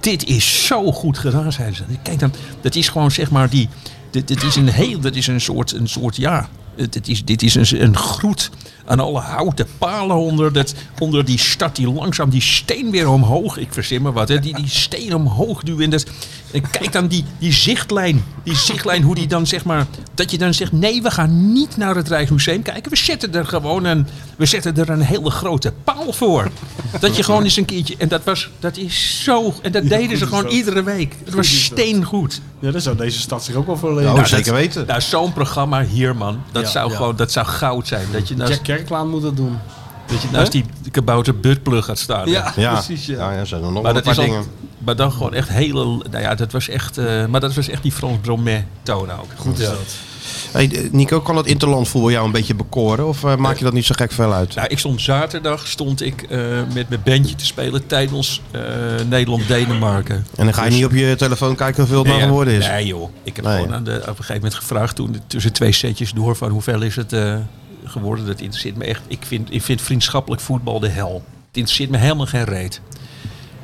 dit is zo goed gedaan, zijn ze. Kijk dan, dat is gewoon zeg maar die. Dit, dit is een heel, dat is een soort, een soort ja. Het, het is, dit is een, een groet aan alle houten palen onder, dat, onder die stad die langzaam die steen weer omhoog. Ik verzin me wat, hè, die, die steen omhoog duwen. Dat, en kijk dan die, die zichtlijn. Die zichtlijn, hoe die dan zeg maar. Dat je dan zegt: nee, we gaan niet naar het Rijksmuseum kijken. We zetten er gewoon een, we zetten er een hele grote paal voor. Dat je gewoon eens een keertje. En dat, was, dat is zo. En dat deden goed ze is gewoon dat. iedere week. Het was is dat. steengoed. Ja, daar zou deze stad zich ook wel voor lenen. Nou, zeker weten. Nou, zo'n programma hier, man. Dat Ja, zou ja. gewoon, dat zou goud zijn. Dat je naast, Jack Kerklaan moet dat doen. dat je nou- naast die kabouter buttplug gaat staan. Ja, ja, er zijn er nog wel Maar een dat paar is al- dingen. maar dan gewoon echt hele. Nou ja, dat was echt. eh, maar dat was echt die Frans Bromet toon ook. Goed is Hey, eh, Nico, kan het interland voor jou een beetje bekoren? Of eh, maak je dat niet zo gek veel uit? Nou, ik stond zaterdag stond ik eh, met mijn bandje te spelen tijdens eh, Nederland-Denemarken. En dan ga je niet op je telefoon kijken hoeveel het nou Nee, geworden is. Nee joh, ik heb Nee. gewoon aan de, op een gegeven moment gevraagd toen tussen twee setjes door van hoeveel is het eh, geworden. Dat interesseert me echt. Ik vind, ik vind vriendschappelijk voetbal de hel. Het interesseert me helemaal geen reet.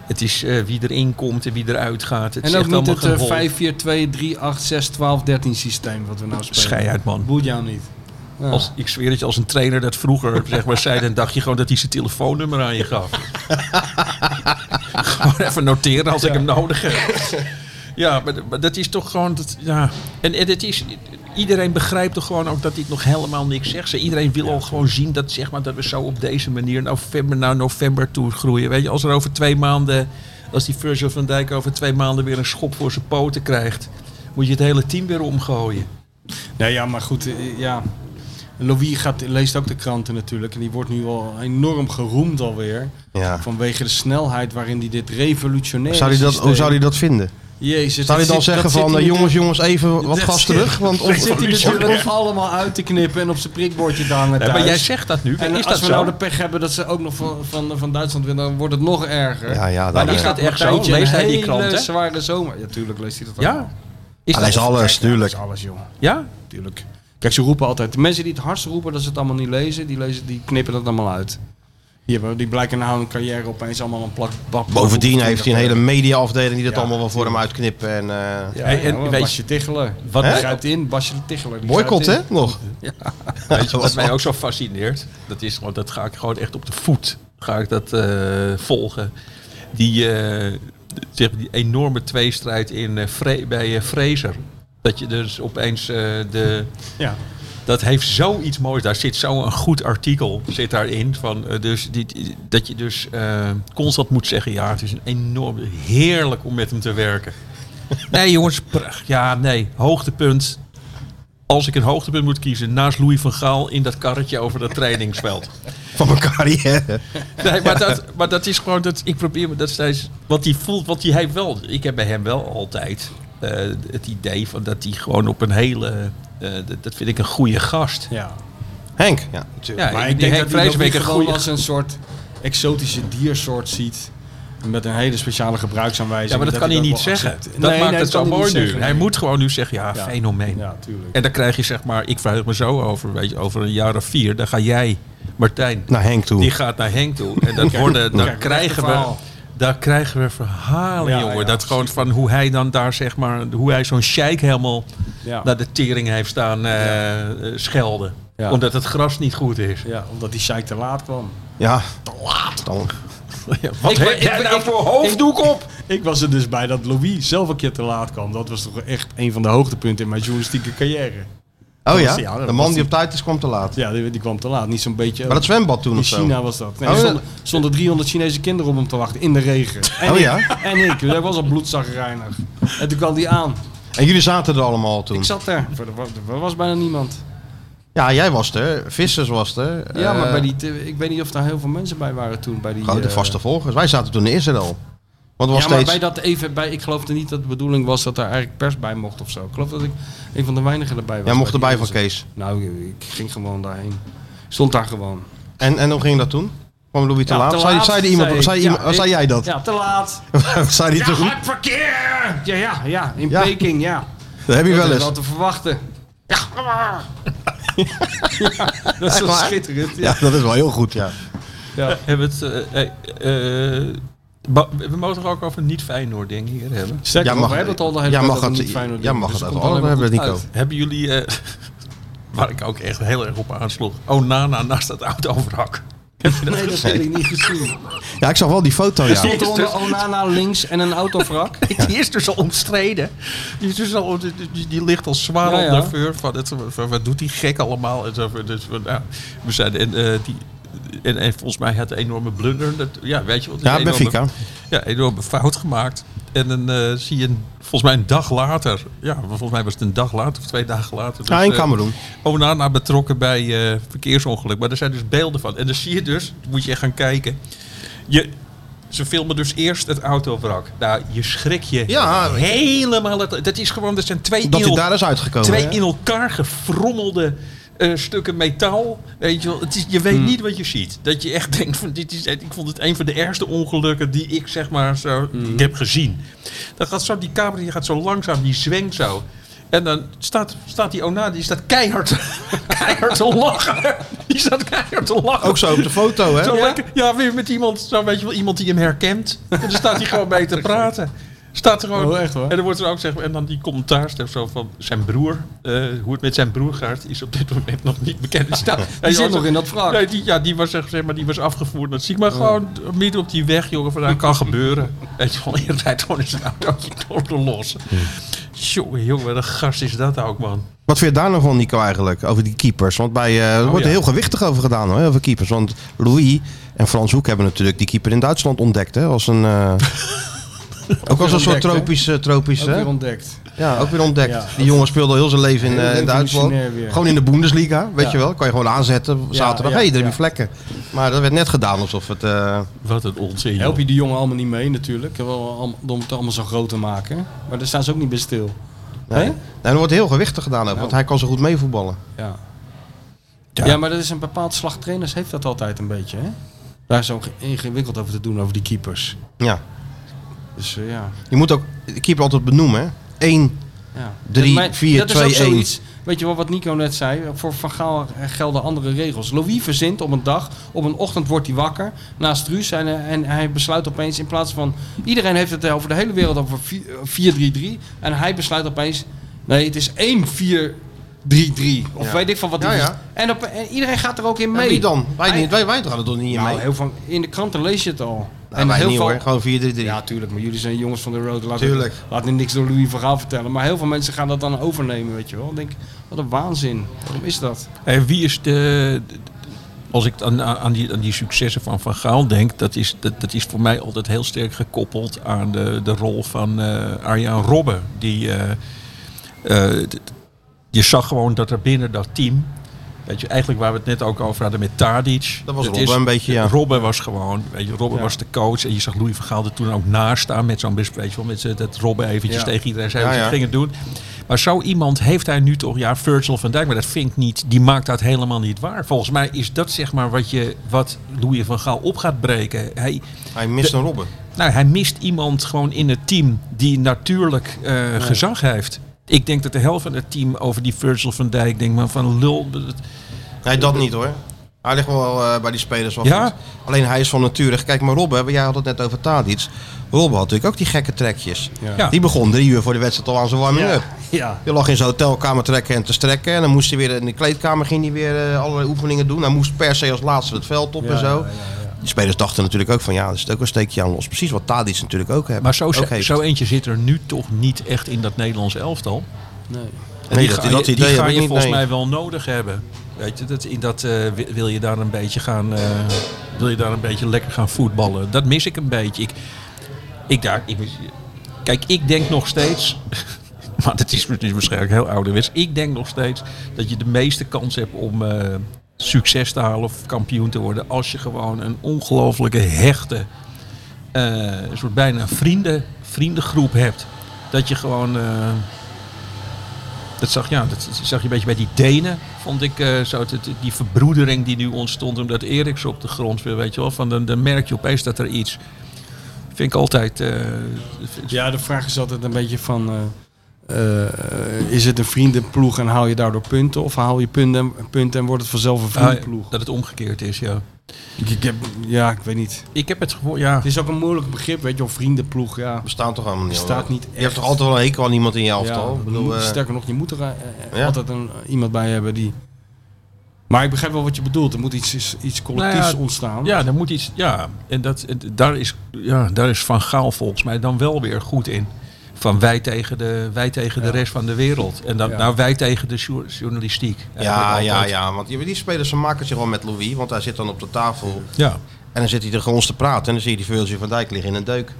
Het is eh, wie erin komt en wie eruit gaat. Het is En ook echt niet allemaal het geen eh, hol. 5, 4, 2, 3, 8, 6, 12, 13 systeem wat we nou spelen. Schei uit man. Boeit jou niet. Ja. Als, ik zweer dat je als een trainer dat (laughs) vroeger zeg maar, zei, dan dacht je gewoon dat hij zijn telefoonnummer aan je gaf. (laughs) gewoon even noteren als ik hem nodig heb. Ja, maar, maar dat is toch gewoon. Dat, ja. En, en het is, iedereen begrijpt toch gewoon ook dat dit nog helemaal niks zegt. Ze- Iedereen wil al gewoon zien dat, zeg maar, dat we zo op deze manier november naar november toe groeien. Weet je, als er over twee maanden, als die Virgil van Dijk over twee maanden weer een schop voor zijn poten krijgt, moet je het hele team weer omgooien. Nou ja, maar goed, eh, ja. Louis gaat, leest ook de kranten natuurlijk. En die wordt nu al enorm geroemd alweer. Ja. Vanwege de snelheid waarin hij dit revolutionaire Zou hij dat, systeem- hoe zou hij dat vinden? Jezus, Zou dat hij dan zit- zeggen dat van, zit eh, hij jongens, jongens, even wat Dat gas zit- terug? Ah, Want natuurlijk- of, zit hij natuurlijk allemaal uit te knippen en op zijn prikbordje te hangen Ja, maar jij thuis. zegt dat nu. en is als dat we zo? nou de pech hebben dat ze ook nog van, van, van Duitsland winnen, dan wordt het nog erger. ja, ja, Maar daar, die eh, gaat echt zo? Martijntje een Leest hij die hele kranten? zware zomer. Ja, tuurlijk leest hij dat Ja? allemaal. Is hij is alles, tuurlijk. Dat is alles, jongen. Ja? Tuurlijk. Kijk, ze roepen altijd. De mensen die het hardst roepen dat ze het allemaal niet lezen, die, lezen, die knippen dat allemaal uit. Die, hebben, die blijken na hun carrière opeens allemaal een plak bak. Bovendien heeft hij een hele mediaafdeling die dat Ja. allemaal wel voor hem uitknipt. En, eh, Ja, Hey, en en weet Basje Ticheler. Wat Wat- Hè? grijpt in? Basje Ticheler. die boycott, hè? grijpt Nog. Weet je wat mij ook zo fascineert? Dat is gewoon, dat ga ik gewoon echt op de voet ga ik dat eh, volgen. Die, eh, zeg, maar die enorme tweestrijd in, eh, Fre- bij eh, Fraser. Dat je dus opeens eh, de... in. Ja. Dat heeft zoiets moois. Daar zit zo'n goed artikel zit daarin. Van, eh, dus die, die- dat je dus eh, constant moet zeggen... Ja, het is een enorm... Heerlijk om met hem te werken. Nee jongens, pracht. Ja, nee. Hoogtepunt. Als ik een hoogtepunt moet kiezen... naast Louis van Gaal in dat karretje over dat trainingsveld. Van mijn carrière. Nee, maar dat, maar dat is gewoon dat ik probeer me dat steeds. Wat hij voelt, wat hij heeft wel. Ik heb bij hem wel altijd eh, het idee van dat hij gewoon op een hele. eh, dat, dat vind ik een goede gast. ja. Henk, ja. Ja, Maar die ik denk Henk dat hij Vreeswijk dat een gewoon goede. als een soort exotische diersoort ziet. Met een hele speciale gebruiksaanwijzing. Ja, maar dat, kan hij hij niet ook wel zeggen. accepteert. Dat Nee, maakt nee, het kan zo mooi nu. niet zeggen. Hij moet gewoon nu zeggen, ja, Ja. fenomeen. Ja, tuurlijk. En dan krijg je zeg maar, ik verheug me zo over, weet je, over een jaar of vier, dan ga jij, Martijn, Naar Henk toe. die gaat naar Henk toe. En dat worden, dan kijk, krijgen beste we... verhaal. Daar krijgen we verhalen, Ja, jongen. ja, dat gewoon van hoe hij dan daar, zeg maar, hoe hij zo'n sheik helemaal Ja. naar de tering heeft staan eh, eh, schelden. Ja. Omdat het gras niet goed is. Ja, omdat die zeik te laat kwam. Ja. Te laat. Wat Ik- heb ik- jij ik- nou ik- voor hoofddoek op? Ik was er dus bij dat Louis zelf een keer te laat kwam. Dat was toch echt een van de hoogtepunten in mijn journalistieke carrière. Oh was- ja, ja, dat de was man die die- op tijd is kwam te laat. Ja, die, die kwam te laat. Niet zo'n beetje... Maar dat zwembad toen in of zo. China was dat. Nee, Oh, er ja. stonden, stonden 300 Chinese kinderen op hem te wachten in de regen. En Oh, ik, (laughs) ja? En ik. Dat was al bloedzagrijnig. En toen kwam die aan. En jullie zaten er allemaal toen. Ik zat daar. Er was, er was bijna niemand. Ja, jij was er. Vissers was er. Ja, maar eh, bij die, te- ik weet niet of daar heel veel mensen bij waren toen. Bij die, Gewoon de eh, vaste volgers. Wij zaten toen in Israël. Want het was ja, maar steeds... bij dat even, bij, ik geloofde niet dat de bedoeling was dat daar eigenlijk pers bij mocht of zo. Ik geloof dat ik een van de weinigen erbij was. Jij mocht bij die erbij van mensen. Kees. Nou, ik ging gewoon daarheen. Ik Stond daar gewoon. En, en hoe ging dat toen? Kwam Louis te Ja, laat? te Zei, laat, zei, er iemand, zei ik. zei, iemand- oh, Ja, ik- zei jij dat? (laughs) Ja, te laat. zei die Ja, toen? hard verkeer! Ja, ja, ja. In Ja. Peking, ja. Dat heb je Dat wel is eens. wel te verwachten. (laughs) Ja. ja dat is wel waar? schitterend. Ja, Ja. dat is wel heel goed, ja. Ja. Hebben we het, eh, eh, eh, ba- we mogen het ook over niet Feyenoord ding hier hebben. Sterker Jij nog, mag- we hebben het al de hele jij tijd mag over het- niet Feyenoord jij doen, mag dus het dat over komt alle helemaal hebben, goed uit. Hebben jullie, eh, (laughs) waar ik ook echt heel erg op aansloeg, oh Nana naast dat auto overhak. Nee, dat heb ik niet (laughs) gezien. Ja, ik zag wel die foto, (laughs) ja. Stond er onder Onana links en een autovrak. (laughs) Die is dus al omstreden. Die, is dus al, die, die- die ligt al zwaar Ja, op ja. de veur van, het, van wat doet die gek allemaal. En zo, dus, we- nou, we zijn, en, eh, die, en, en volgens mij had een enorme blunder. Dat, ja, weet je wat? Ja, een enorme- Benfica. Ja, enorme fout gemaakt. En dan eh, zie je een- volgens mij een dag later. Ja, volgens mij was het een dag later of twee dagen later. Ja, in eh, Cameroen. Onana betrokken bij eh, verkeersongeluk. Maar er zijn dus beelden van. En dan zie je dus, moet je echt gaan kijken. Je, ze filmen dus eerst het autowrak. Nou, je schrik je Ja, helemaal. Het, dat is gewoon, dat zijn twee, Dat in, hij el- daar is uitgekomen. twee in elkaar gefrommelde eh, stukken metaal. Weet je, wel. Het is, je weet niet wat je ziet. Dat je echt (laughs) denkt, van, dit is, ik vond het een van de ergste ongelukken die ik zeg maar zo, ik heb gezien. Dan gaat zo die camera, die gaat zo langzaam, die zwengt zo. En dan staat, staat die Onana, die staat keihard, (laughs) keihard te lachen. Die staat keihard te lachen. Ook zo op de foto, hè? Zo lekker. Ja, weer met iemand, zo weet je wel, iemand die hem (laughs) herkent. En dan staat hij gewoon mee te praten. Staat er gewoon. Oh, echt waar? En dan wordt er ook zeg maar, en dan die commentaar sterk zo van zijn broer. eh, hoe het met zijn broer gaat, is op dit moment nog niet bekend. Die (laughs) staat, Die zit nog in dat wrak. Nee, die, ja, die was, zeg, zeg maar, die was afgevoerd. Dat zie ik maar gewoon midden op die weg, jongen. Van, dat kan gebeuren. Weet je wel, (laughs) je rijdt gewoon in zijn autootje door te lossen. Jongen, jongen, wat een gast is dat ook, man. Wat vind je daar nog van, Nico, eigenlijk? Over die keepers. Want bij, eh, er Oh, wordt ja. er heel gewichtig over gedaan, hoor. Over keepers. Want Louis en Frans Hoek hebben natuurlijk die keeper in Duitsland ontdekt, hè? Als een... (laughs) eh, ook als een soort ontdekt, hè? tropische, tropische Ook hè? weer ontdekt. Ja, ook weer ontdekt. Ja. die jongen speelde heel zijn leven in, eh, in Duitsland. Revolutionair weer. Gewoon in de Bundesliga, weet Ja. je wel. Kan je gewoon aanzetten. Zaterdag, ja, hé, daar ja. heb je vlekken. Maar dat werd net gedaan alsof het... eh, Wat een onzin. joh. Help je die jongen allemaal niet mee natuurlijk. Wel allemaal- Om het allemaal zo groot te maken. Maar daar staan ze ook niet bij stil. nee. Hè? Nee, er wordt heel gewichtig gedaan over, want Nou. hij kan zo goed meevoetballen. Ja. Ja. Ja. maar dat is een bepaald slag trainers heeft dat altijd een beetje, hè? Daar is zo ingewikkeld over te doen, over die keepers. Ja. Dus eh, ja. Je moet ook de keeper altijd benoemen, hè. Eén, ja. Drie, Maar vier, dat is ook twee, één. zoiets, Weet je wel, wat Nico net zei? Voor Van Gaal gelden andere regels. Louis verzint op een dag, op een ochtend wordt hij wakker naast Ruus. En, eh, en hij besluit opeens, in plaats van... Iedereen heeft het over de hele wereld over vi- eh, 4-3-3. En hij besluit opeens... Nee, het is 1-4-3-3. Of Ja. weet ik van wat die Ja, is. ja. En, op, en iedereen gaat er ook in Ja, mee. wie dan? Wij, Hij- niet, wij, wij hadden toch niet in Nou, mee? heel van, in de kranten lees je het al. Nou, wij heel niet, veel, hoor. Gewoon 4-3-3. Ja, tuurlijk, maar jullie zijn jongens van de road. Laat, Tuurlijk. laat me niks door Louis van Gaal vertellen. Maar heel veel mensen gaan dat dan overnemen, weet je wel. Ik denk, wat een waanzin. Waarom is dat? Hey, Eh, wie is de. de- Als ik aan, aan, die, aan die successen van Van Gaal denk, dat is, dat, dat is voor mij altijd heel sterk gekoppeld aan de, de rol van eh Arjan Robben. Die, eh, eh, d- je zag gewoon dat er binnen dat team, weet je, eigenlijk waar we het net ook over hadden met Tadic. Dat was het Robben een beetje, ja. Robben was gewoon, weet je, Robben Ja. was de coach en je zag Louis van Gaal er toen ook naast staan met zo'n bespreking, met z'n- dat Robben eventjes Ja. tegen iedereen zei Ja, wat ze ja. gingen doen. Maar zo iemand heeft hij nu toch, ja, Virgil van Dijk, maar dat vindt niet, die maakt dat helemaal niet waar. Volgens mij is dat zeg maar wat, je, wat Louis van Gaal op gaat breken. Hij, Hij mist De- een Robben. Nou, hij mist iemand gewoon in het team die natuurlijk eh, gezag heeft. Ik denk dat de helft van het team over die Virgil van Dijk denkt, maar van lul. dat- Nee, dat niet hoor. Hij ligt wel eh, bij die spelers wel Ja? goed. Alleen hij is van nature. Kijk maar Rob, hè, jij had het net over Tadic. Rob had natuurlijk ook die gekke trekjes. Ja. Die begon drie uur voor de wedstrijd al aan zijn warming up. Ja. Je lag in zijn hotelkamer trekken en te strekken. En dan moest hij weer in de kleedkamer ging hij weer eh, allerlei oefeningen doen. Hij moest per se als laatste het veld op en zo. Die spelers dachten natuurlijk ook van ja, er zit ook een steekje aan los. Precies wat Tadic natuurlijk ook heeft. Maar zo, ook heeft. zo eentje zit er nu toch niet echt in dat Nederlands elftal. Nee. En Nee, die dat- ga, dat je, die idee ga heb ik je niet, volgens nee. mij wel nodig hebben. Weet je, dat, in dat, eh, wi- wil je daar een beetje gaan, eh, wil je daar een beetje lekker gaan voetballen? Dat mis ik een beetje. Ik, ik daar, ik, kijk, ik denk nog steeds, (laughs) maar dat is, dat is waarschijnlijk heel ouderwets. Ik denk nog steeds dat je de meeste kans hebt om eh, succes te halen of kampioen te worden als je gewoon een ongelooflijke hechte eh, een soort bijna vrienden, vriendengroep hebt. Dat je gewoon. eh, dat zag, ja, dat zag je een beetje bij die Denen, vond ik. eh, zo, het- het- die verbroedering die nu ontstond omdat Eriks op de grond weer, weet je wel. Van, dan, dan merk je opeens dat er iets. Vind ik altijd. eh, vind- Ja, de vraag is altijd een beetje van... eh, eh, is het een vriendenploeg en haal je daardoor punten? Of haal je punten, punten en wordt het vanzelf een ah, vriendenploeg? dat het omgekeerd is, ja. ik, ik heb, ja, ik weet niet. Ik heb het gevoel, ja. Het is ook een moeilijk begrip, weet je wel. Vriendenploeg, ja. Bestaat toch allemaal niet. hoor. Bestaat niet Je hebt toch echt. altijd wel een hekel aan iemand in je Ja, elftal. Ik bedoel, eh, sterker nog, je moet er eh, eh, Ja. altijd een, iemand bij hebben die... Maar ik begrijp wel wat je bedoelt. Er moet iets, iets- iets collectiefs Nou ja, ontstaan. Ja, daar moet iets. Ja, en dat, en daar, is, ja, daar is Van Gaal volgens mij dan wel weer goed in. Van wij tegen de, wij tegen de rest van de wereld. En dan Ja. nou wij tegen de jour- journalistiek. ja, Eigenlijk ja, altijd. ja. Want die die spelers ze maken zich wel met Louis. Want hij zit dan op de tafel. ja. En dan zit hij tegen ons te praten. En dan zie je die Virgil van Dijk liggen in een deuk.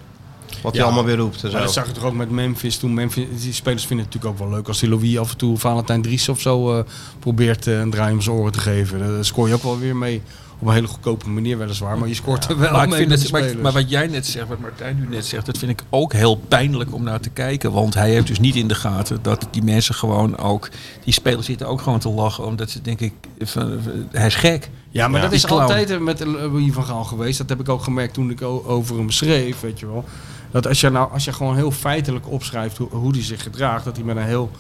Wat Ja. hij allemaal weer roept. En Maar zo. dat zag je toch ook met Memphis toen. Memphis, die spelers vinden het natuurlijk ook wel leuk als die Louis af en toe Valentijn Dries of zo eh, probeert eh, een draai om zijn oren te geven. Daar eh, scoor je ook wel weer mee. Op een hele goedkope manier weliswaar, maar je scoort (laughs) er wel Maar, ik mee vind met het, de maar, spelers. maar wat jij net zegt, wat Martijn nu net zegt, dat vind ik ook heel pijnlijk om naar te kijken. Want hij heeft dus niet in de gaten dat die mensen gewoon ook, die spelers zitten ook gewoon te lachen. Omdat ze denk ik, van, hij is gek. ja, maar Ja. dat is Die clown. altijd eh, met Louis van Gaal geweest. Dat heb ik ook gemerkt toen ik o- over hem schreef, weet je wel. Dat als je, nou, als je gewoon heel feitelijk opschrijft hoe, hoe hij zich gedraagt, dat hij met een heel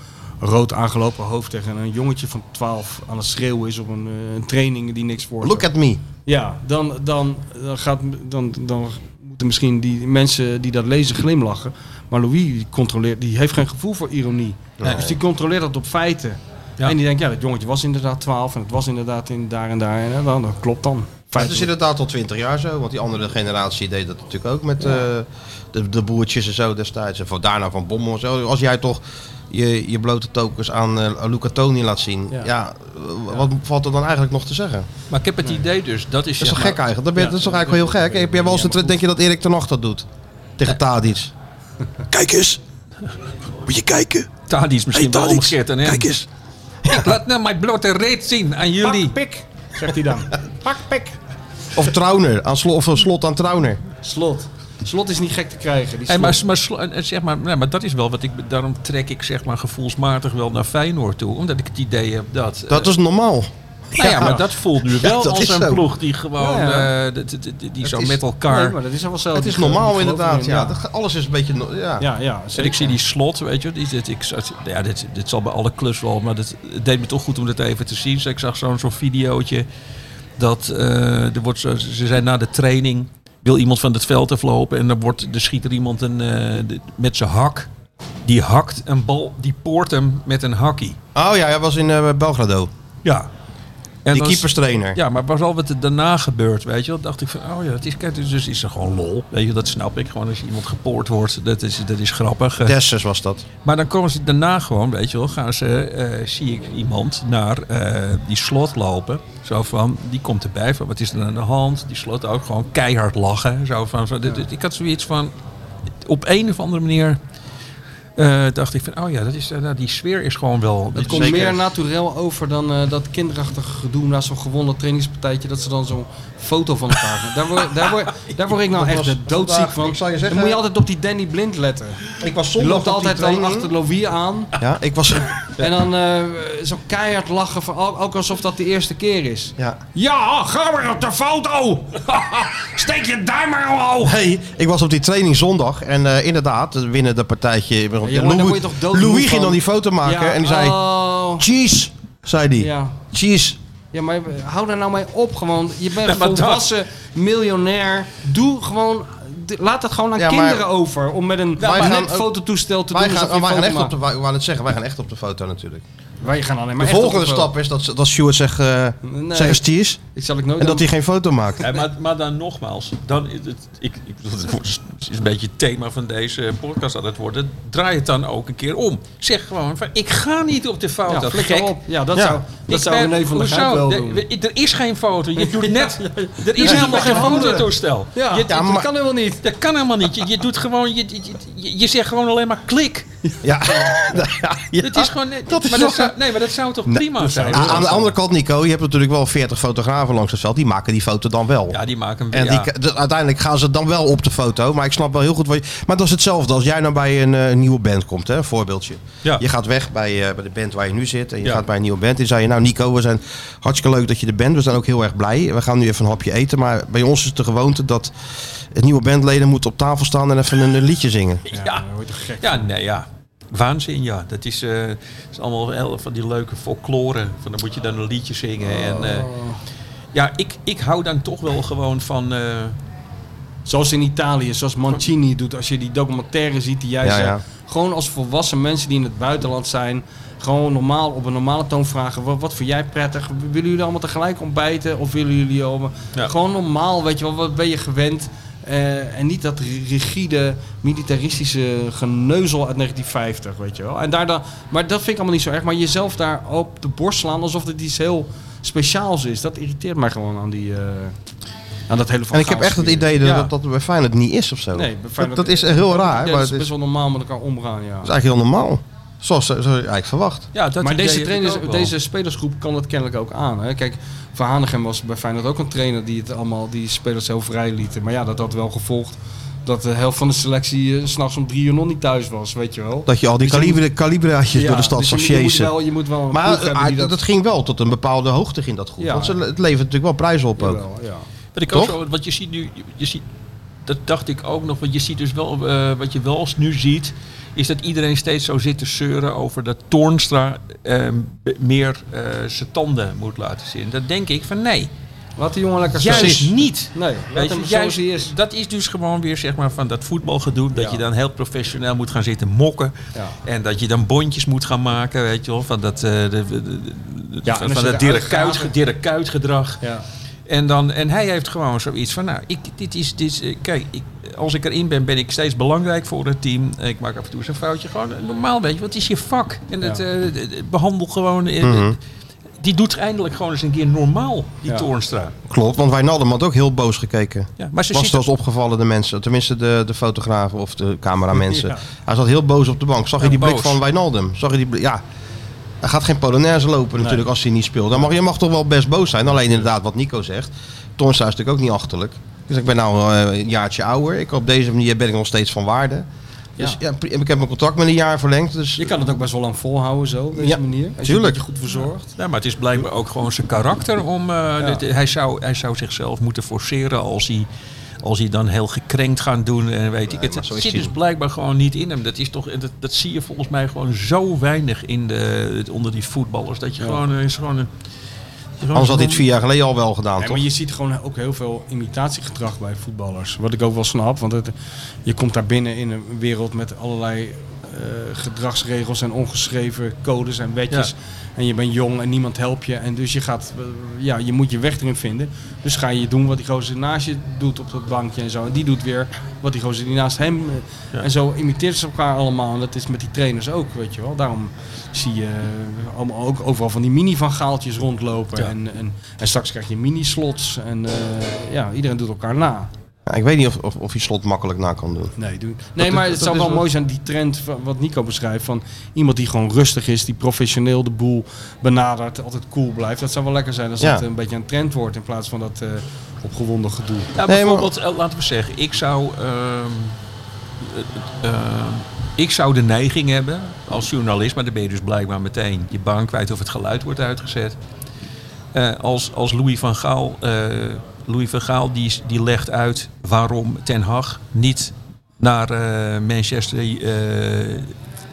rood aangelopen hoofd tegen een jongetje van 12 aan het schreeuwen is op een, eh, een training die niks voor Look at me. Ja, dan, dan, dan, gaat, dan, dan moeten misschien die mensen die dat lezen glimlachen. Maar Louis die controleert, die heeft geen gevoel voor ironie. Nee. Dus die controleert dat op feiten. Ja. En die denkt, ja, dat jongetje was inderdaad 12 en het was inderdaad in daar en daar. En eh, dan, dat klopt dan. Maar het is Feitelijk. inderdaad al twintig jaar zo. Want die andere generatie deed dat natuurlijk ook met eh, de, de boertjes en zo destijds. En van daarna van Bommel en zo. Als jij toch je, je blote tokens aan eh, Luca Toni laat zien. Ja. Ja. eh, wat valt er dan eigenlijk nog te zeggen? Maar ik heb het idee dus, dat is, Dat is zeg toch maar- gek eigenlijk? Dat, ben, ja, dat is toch eigenlijk wel heel gek? Heb jij wel eens een Ja, maar tra- denk je dat Erik ten Hag dat doet? Tegen Tadic. Kijk eens. Moet je kijken. Tadi is misschien Hey, wel Tadic, omgekeerd aan hem. Kijk eens. (laughs) Ik laat nou mijn blote reet zien aan jullie. Pak pik, zegt hij dan. Pak pik. Of Trauner. Aan slo- of een slot aan Trauner. Slot. Slot is niet gek te krijgen. Die Hey, maar, slot. maar, sl- eh, zeg maar, nee, maar dat is wel wat ik. Daarom trek ik zeg maar gevoelsmatig wel naar Feyenoord toe. Omdat ik het idee heb dat. eh, Dat is Oh, normaal. nou ja, maar dat voelt nu wel dat als is een zo. ploeg die gewoon. Ja, ja. eh, dat- dat- dat- die zo is- met elkaar. Nee, maar dat is al wel zo. Het is Die ge- normaal die geloven inderdaad. erin, Ja. Dat ge- alles is een beetje... no- Ja. Ja, ja. en zeker. ik zie die slot, weet je, die, dit, ik, zat- ja, dit, dit zal bij alle klus wel, maar dat, het deed me toch goed om dat even te zien. Dus ik zag zo'n zo'n videootje dat eh, er wordt, zo- ze zijn na de training, wil iemand van het veld aflopen en dan wordt, er schiet er iemand een, eh, de- met zijn hak, die hakt een bal, die poort hem met een hakkie. Oh ja, hij was in eh, Belgrado. Ja. En Die dan- keeperstrainer. Ja, maar was al wat er daarna gebeurt, weet je wel, dacht ik van, oh ja, het is, kijk, dus is er gewoon lol. Weet je, dat snap ik. Gewoon als iemand gepoord wordt, dat is, dat is grappig. Eh, Dessus was dat. Maar dan komen ze daarna gewoon, weet je wel, gaan ze, eh, zie ik iemand naar eh, die slot lopen. Zo van, die komt erbij van, wat is er aan de hand? Die slot ook gewoon keihard lachen. Zo van, van dit- dit- ik had zoiets van, op een of andere manier eh, dacht ik van, oh ja, dat is, eh, nou, die sfeer is gewoon wel... Het komt Zeker. meer naturel over dan eh, dat kinderachtige gedoe na zo'n gewonnen trainingspartijtje. Dat ze dan zo'n foto van elkaar hebben. Daar word, daar word, daar word ik (laughs) nou Dat echt was eh, doodziek vandaag, van. ik zal je dan zeggen- moet je altijd op die Danny Blind letten. Ik was Die zondag loopt op die altijd dan training. achter Louis aan. Ja, ik was, En dan eh, zo keihard lachen, van, ook ook alsof dat de eerste keer is. Ja. Ja, ga maar op de (laughs) foto! Steek je duim maar omhoog! Hey, ik was op die training zondag en eh, inderdaad, we winnen dat partijtje. daar word je toch doodmoe Louis ging van. dan die foto maken en die zei, oh, cheese, zei die. ja. Cheese. ja, maar hou daar nou mee op gewoon. Je bent een maar dat- volwassen miljonair. Doe gewoon... d- Laat het gewoon aan Ja, maar- kinderen over om met een Wij net gaan ook- fototoestel te Wij doen. gaan, alsof je wij een gaan foto echt op maakt. de, wij, we waren het zeggen, wij gaan echt op de foto natuurlijk. Wij gaan alleen maar de echt op volgende foto. stap is dat, ze- dat Stuart zegt, eh Nee. zeg eens cheese Ik zal ik nooit en dat aan- hij geen foto (laughs) maakt. Ja, Eh, maar, maar dan nogmaals, dan, is het, ik, ik, dat is een beetje het thema van deze podcast aan het worden. Draai het dan ook een keer om. Zeg gewoon van, ik ga niet op de foto. Ja, Gek. flikker op. Ja, dat Ja. zou, dat Ik zou ben- René van der hoezo? Gijp wel Er- doen. we- Er is geen foto. Je doet net. Er is helemaal geen fototoestel. Ja, Je- Ja, maar- dat kan helemaal niet. Dat kan helemaal niet. Je, je doet gewoon. Je, je, je, je zegt gewoon alleen maar klik. Ja, Nou ja, ja. Het is gewoon. net- dat is maar dat wel- zou, nee, maar dat zou toch prima zijn. Ah, aan de andere kant, Nico, je hebt natuurlijk wel 40 fotografen langs het veld. Die maken die foto dan wel. Ja, die maken een En ja. die, de- uiteindelijk gaan ze dan wel op de foto. Maar ik snap wel heel goed wat je... Maar dat is hetzelfde als jij nou bij een eh, nieuwe band komt. Hè? Een voorbeeldje. Ja. Je gaat weg bij, eh, bij de band waar je nu zit. En je Ja. gaat bij een nieuwe band. En zei je, nou Nico, we zijn hartstikke leuk dat je er bent. We zijn ook heel erg blij. We gaan nu even een hapje eten. Maar bij ons is het de gewoonte dat het nieuwe bandleden moeten op tafel staan en even een, een liedje zingen. Ja, ja, nee, ja. Waanzin, ja. Dat is, eh, dat is allemaal heel van die leuke folklore. Van dan moet je dan een liedje zingen. En, eh, ja, ik, ik hou dan toch wel gewoon van. eh, Zoals in Italië, zoals Mancini doet. Als je die documentaire ziet die jij Ja, zei. ja. Gewoon als volwassen mensen die in het buitenland zijn. Gewoon normaal, op een normale toon vragen. Wat, wat vind jij prettig? Willen jullie allemaal tegelijk ontbijten? Of willen jullie allemaal... Ja. Gewoon normaal, weet je wel. Wat ben je gewend? Eh, en niet dat rigide, militaristische geneuzel uit 1950, weet je wel. En daar dan, maar dat vind ik allemaal niet zo erg. Maar jezelf daar op de borst slaan alsof het iets heel speciaals is. Dat irriteert mij gewoon aan, die, eh, aan dat hele van En ik heb Gaal echt het sfeer. idee dat Ja. dat, dat het bij Feyenoord niet is of zo. Nee, bij dat, Feyenoord- dat is heel raar. Ja, maar dat is het is, best wel normaal met elkaar omgaan, ja. dat is eigenlijk heel normaal. Zoals, eh, zoals je eigenlijk verwacht. ja, dat Maar idee deze, heb ik trainers, ook wel. deze spelersgroep kan dat kennelijk ook aan. Hè? Kijk, Verhanegem was bij Feyenoord ook een trainer die het allemaal, die spelers heel vrij lieten. Maar ja, dat had wel gevolgd dat de helft van de selectie eh, 's s'nachts om drie uur nog niet thuis was, weet je wel. Dat je al die Dus je moet- kalibre, kalibraatjes Ja, door de stad dus je zag moet- je, moet chasen. wel, je moet wel een Maar ploeg hebben ah, eh, die dat... ging wel tot een bepaalde hoogte in dat groep. Ja. Want ze, le- het levert natuurlijk wel prijs op ook. Jawel, ja. Wat ik ook Toch? zo, want je ziet nu, je ziet, dat dacht ik ook nog, want je ziet dus wel, eh, wat je wel eens nu ziet, is dat iedereen steeds zo zit te zeuren over dat Toornstra eh, b- meer eh, zijn tanden moet laten zien. Dat denk ik van nee, Laat die jongen lekker juist spelen. niet. Nee, Weet laat je, hem juist- zoals hij is. Dat is dus gewoon weer zeg maar van dat voetbalgedoe, dat Ja. je dan heel professioneel moet gaan zitten mokken. Ja. En dat je dan bondjes moet gaan maken, weet je wel, van dat, eh, de, de- de- de- Ja, en van als je dat eruit Dirk gaat- Kuyt- Dirk Kuyt gedrag. Ja. En, dan, en hij heeft gewoon zoiets van, nou, ik, dit is, dit is, eh, kijk, ik, als ik erin ben, ben ik steeds belangrijk voor het team. Eh, Ik maak af en toe eens een foutje. Gewoon eh, normaal, weet je, wat is je vak? En het, Ja. eh, d- d- behandel gewoon... eh, Die doet eindelijk gewoon eens een keer normaal, die Ja. Toornstra. Klopt, want Wijnaldum had ook heel boos gekeken. Ja, maar ze Was zit zelfs opgevallen de mensen, tenminste de, de fotografen of de cameramensen. Ja. Hij zat heel boos op de bank. Zag je Ja, die blik boos. van Wijnaldum? Zag je die blik- Ja. Hij gaat geen Polonaise lopen natuurlijk als hij niet speelt. Dan mag, je mag toch wel best boos zijn. Alleen inderdaad wat Nico zegt. Toornstra is natuurlijk ook niet achterlijk. Dus ik ben nou eh, een jaartje ouder. Ik, op deze manier ben ik nog steeds van waarde. Dus ja, pri- ik heb mijn contract met een jaar verlengd. Dus Je kan het ook best wel lang volhouden zo, op deze Ja, manier. Als je tuurlijk. je goed verzorgt. Ja, maar het is blijkbaar ook gewoon zijn karakter om. eh, dit- hij, zou, hij zou zichzelf moeten forceren als hij, als hij dan heel gekrenkt gaat doen. En weet ik, het maar zo is zit hij dus niet. blijkbaar gewoon niet in hem. Dat, is toch, dat, dat zie je volgens mij gewoon zo weinig in de, het- onder die voetballers. Dat je gewoon. eh, Is gewoon een, Anders had dit vier jaar geleden al wel gedaan, Nee, toch? maar je ziet gewoon ook heel veel imitatiegedrag bij voetballers. Wat ik ook wel snap. Want het, je komt daar binnen in een wereld met allerlei eh, gedragsregels en ongeschreven codes en wetjes. Ja. En je bent jong en niemand helpt je. En dus je, gaat, eh, ja, je moet je weg erin vinden. Dus ga je doen wat die gozer naast je doet op dat bankje en zo. En die doet weer wat die gozer die naast hem. eh, Ja. En zo imiteert ze elkaar allemaal. En dat is met die trainers ook, weet je wel. Daarom zie je eh, allemaal ook overal van die mini-van Gaaltjes rondlopen. Ja. En, en, en straks krijg je mini-slots. En eh, ja, iedereen doet elkaar na. Ja, ik weet niet of, of, of je slot makkelijk na kan doen. Nee, doe. nee maar is- het dat zou is wel wel- mooi zijn, die trend van wat Nico beschrijft. Van iemand die gewoon rustig is, die professioneel de boel benadert, altijd cool blijft. Dat zou wel lekker zijn als Ja. dat een beetje een trend wordt in plaats van dat eh, opgewonden gedoe. Ja, Nee, maar- bijvoorbeeld, eh, laten we zeggen, ik zou. ehm, eh, eh, Ik zou de neiging hebben, als journalist, maar dan ben je dus blijkbaar meteen je baan kwijt of het geluid wordt uitgezet. Eh, als, als Louis van Gaal, eh, Louis van Gaal die, is- die legt uit waarom Ten Hag niet naar eh, Manchester, eh,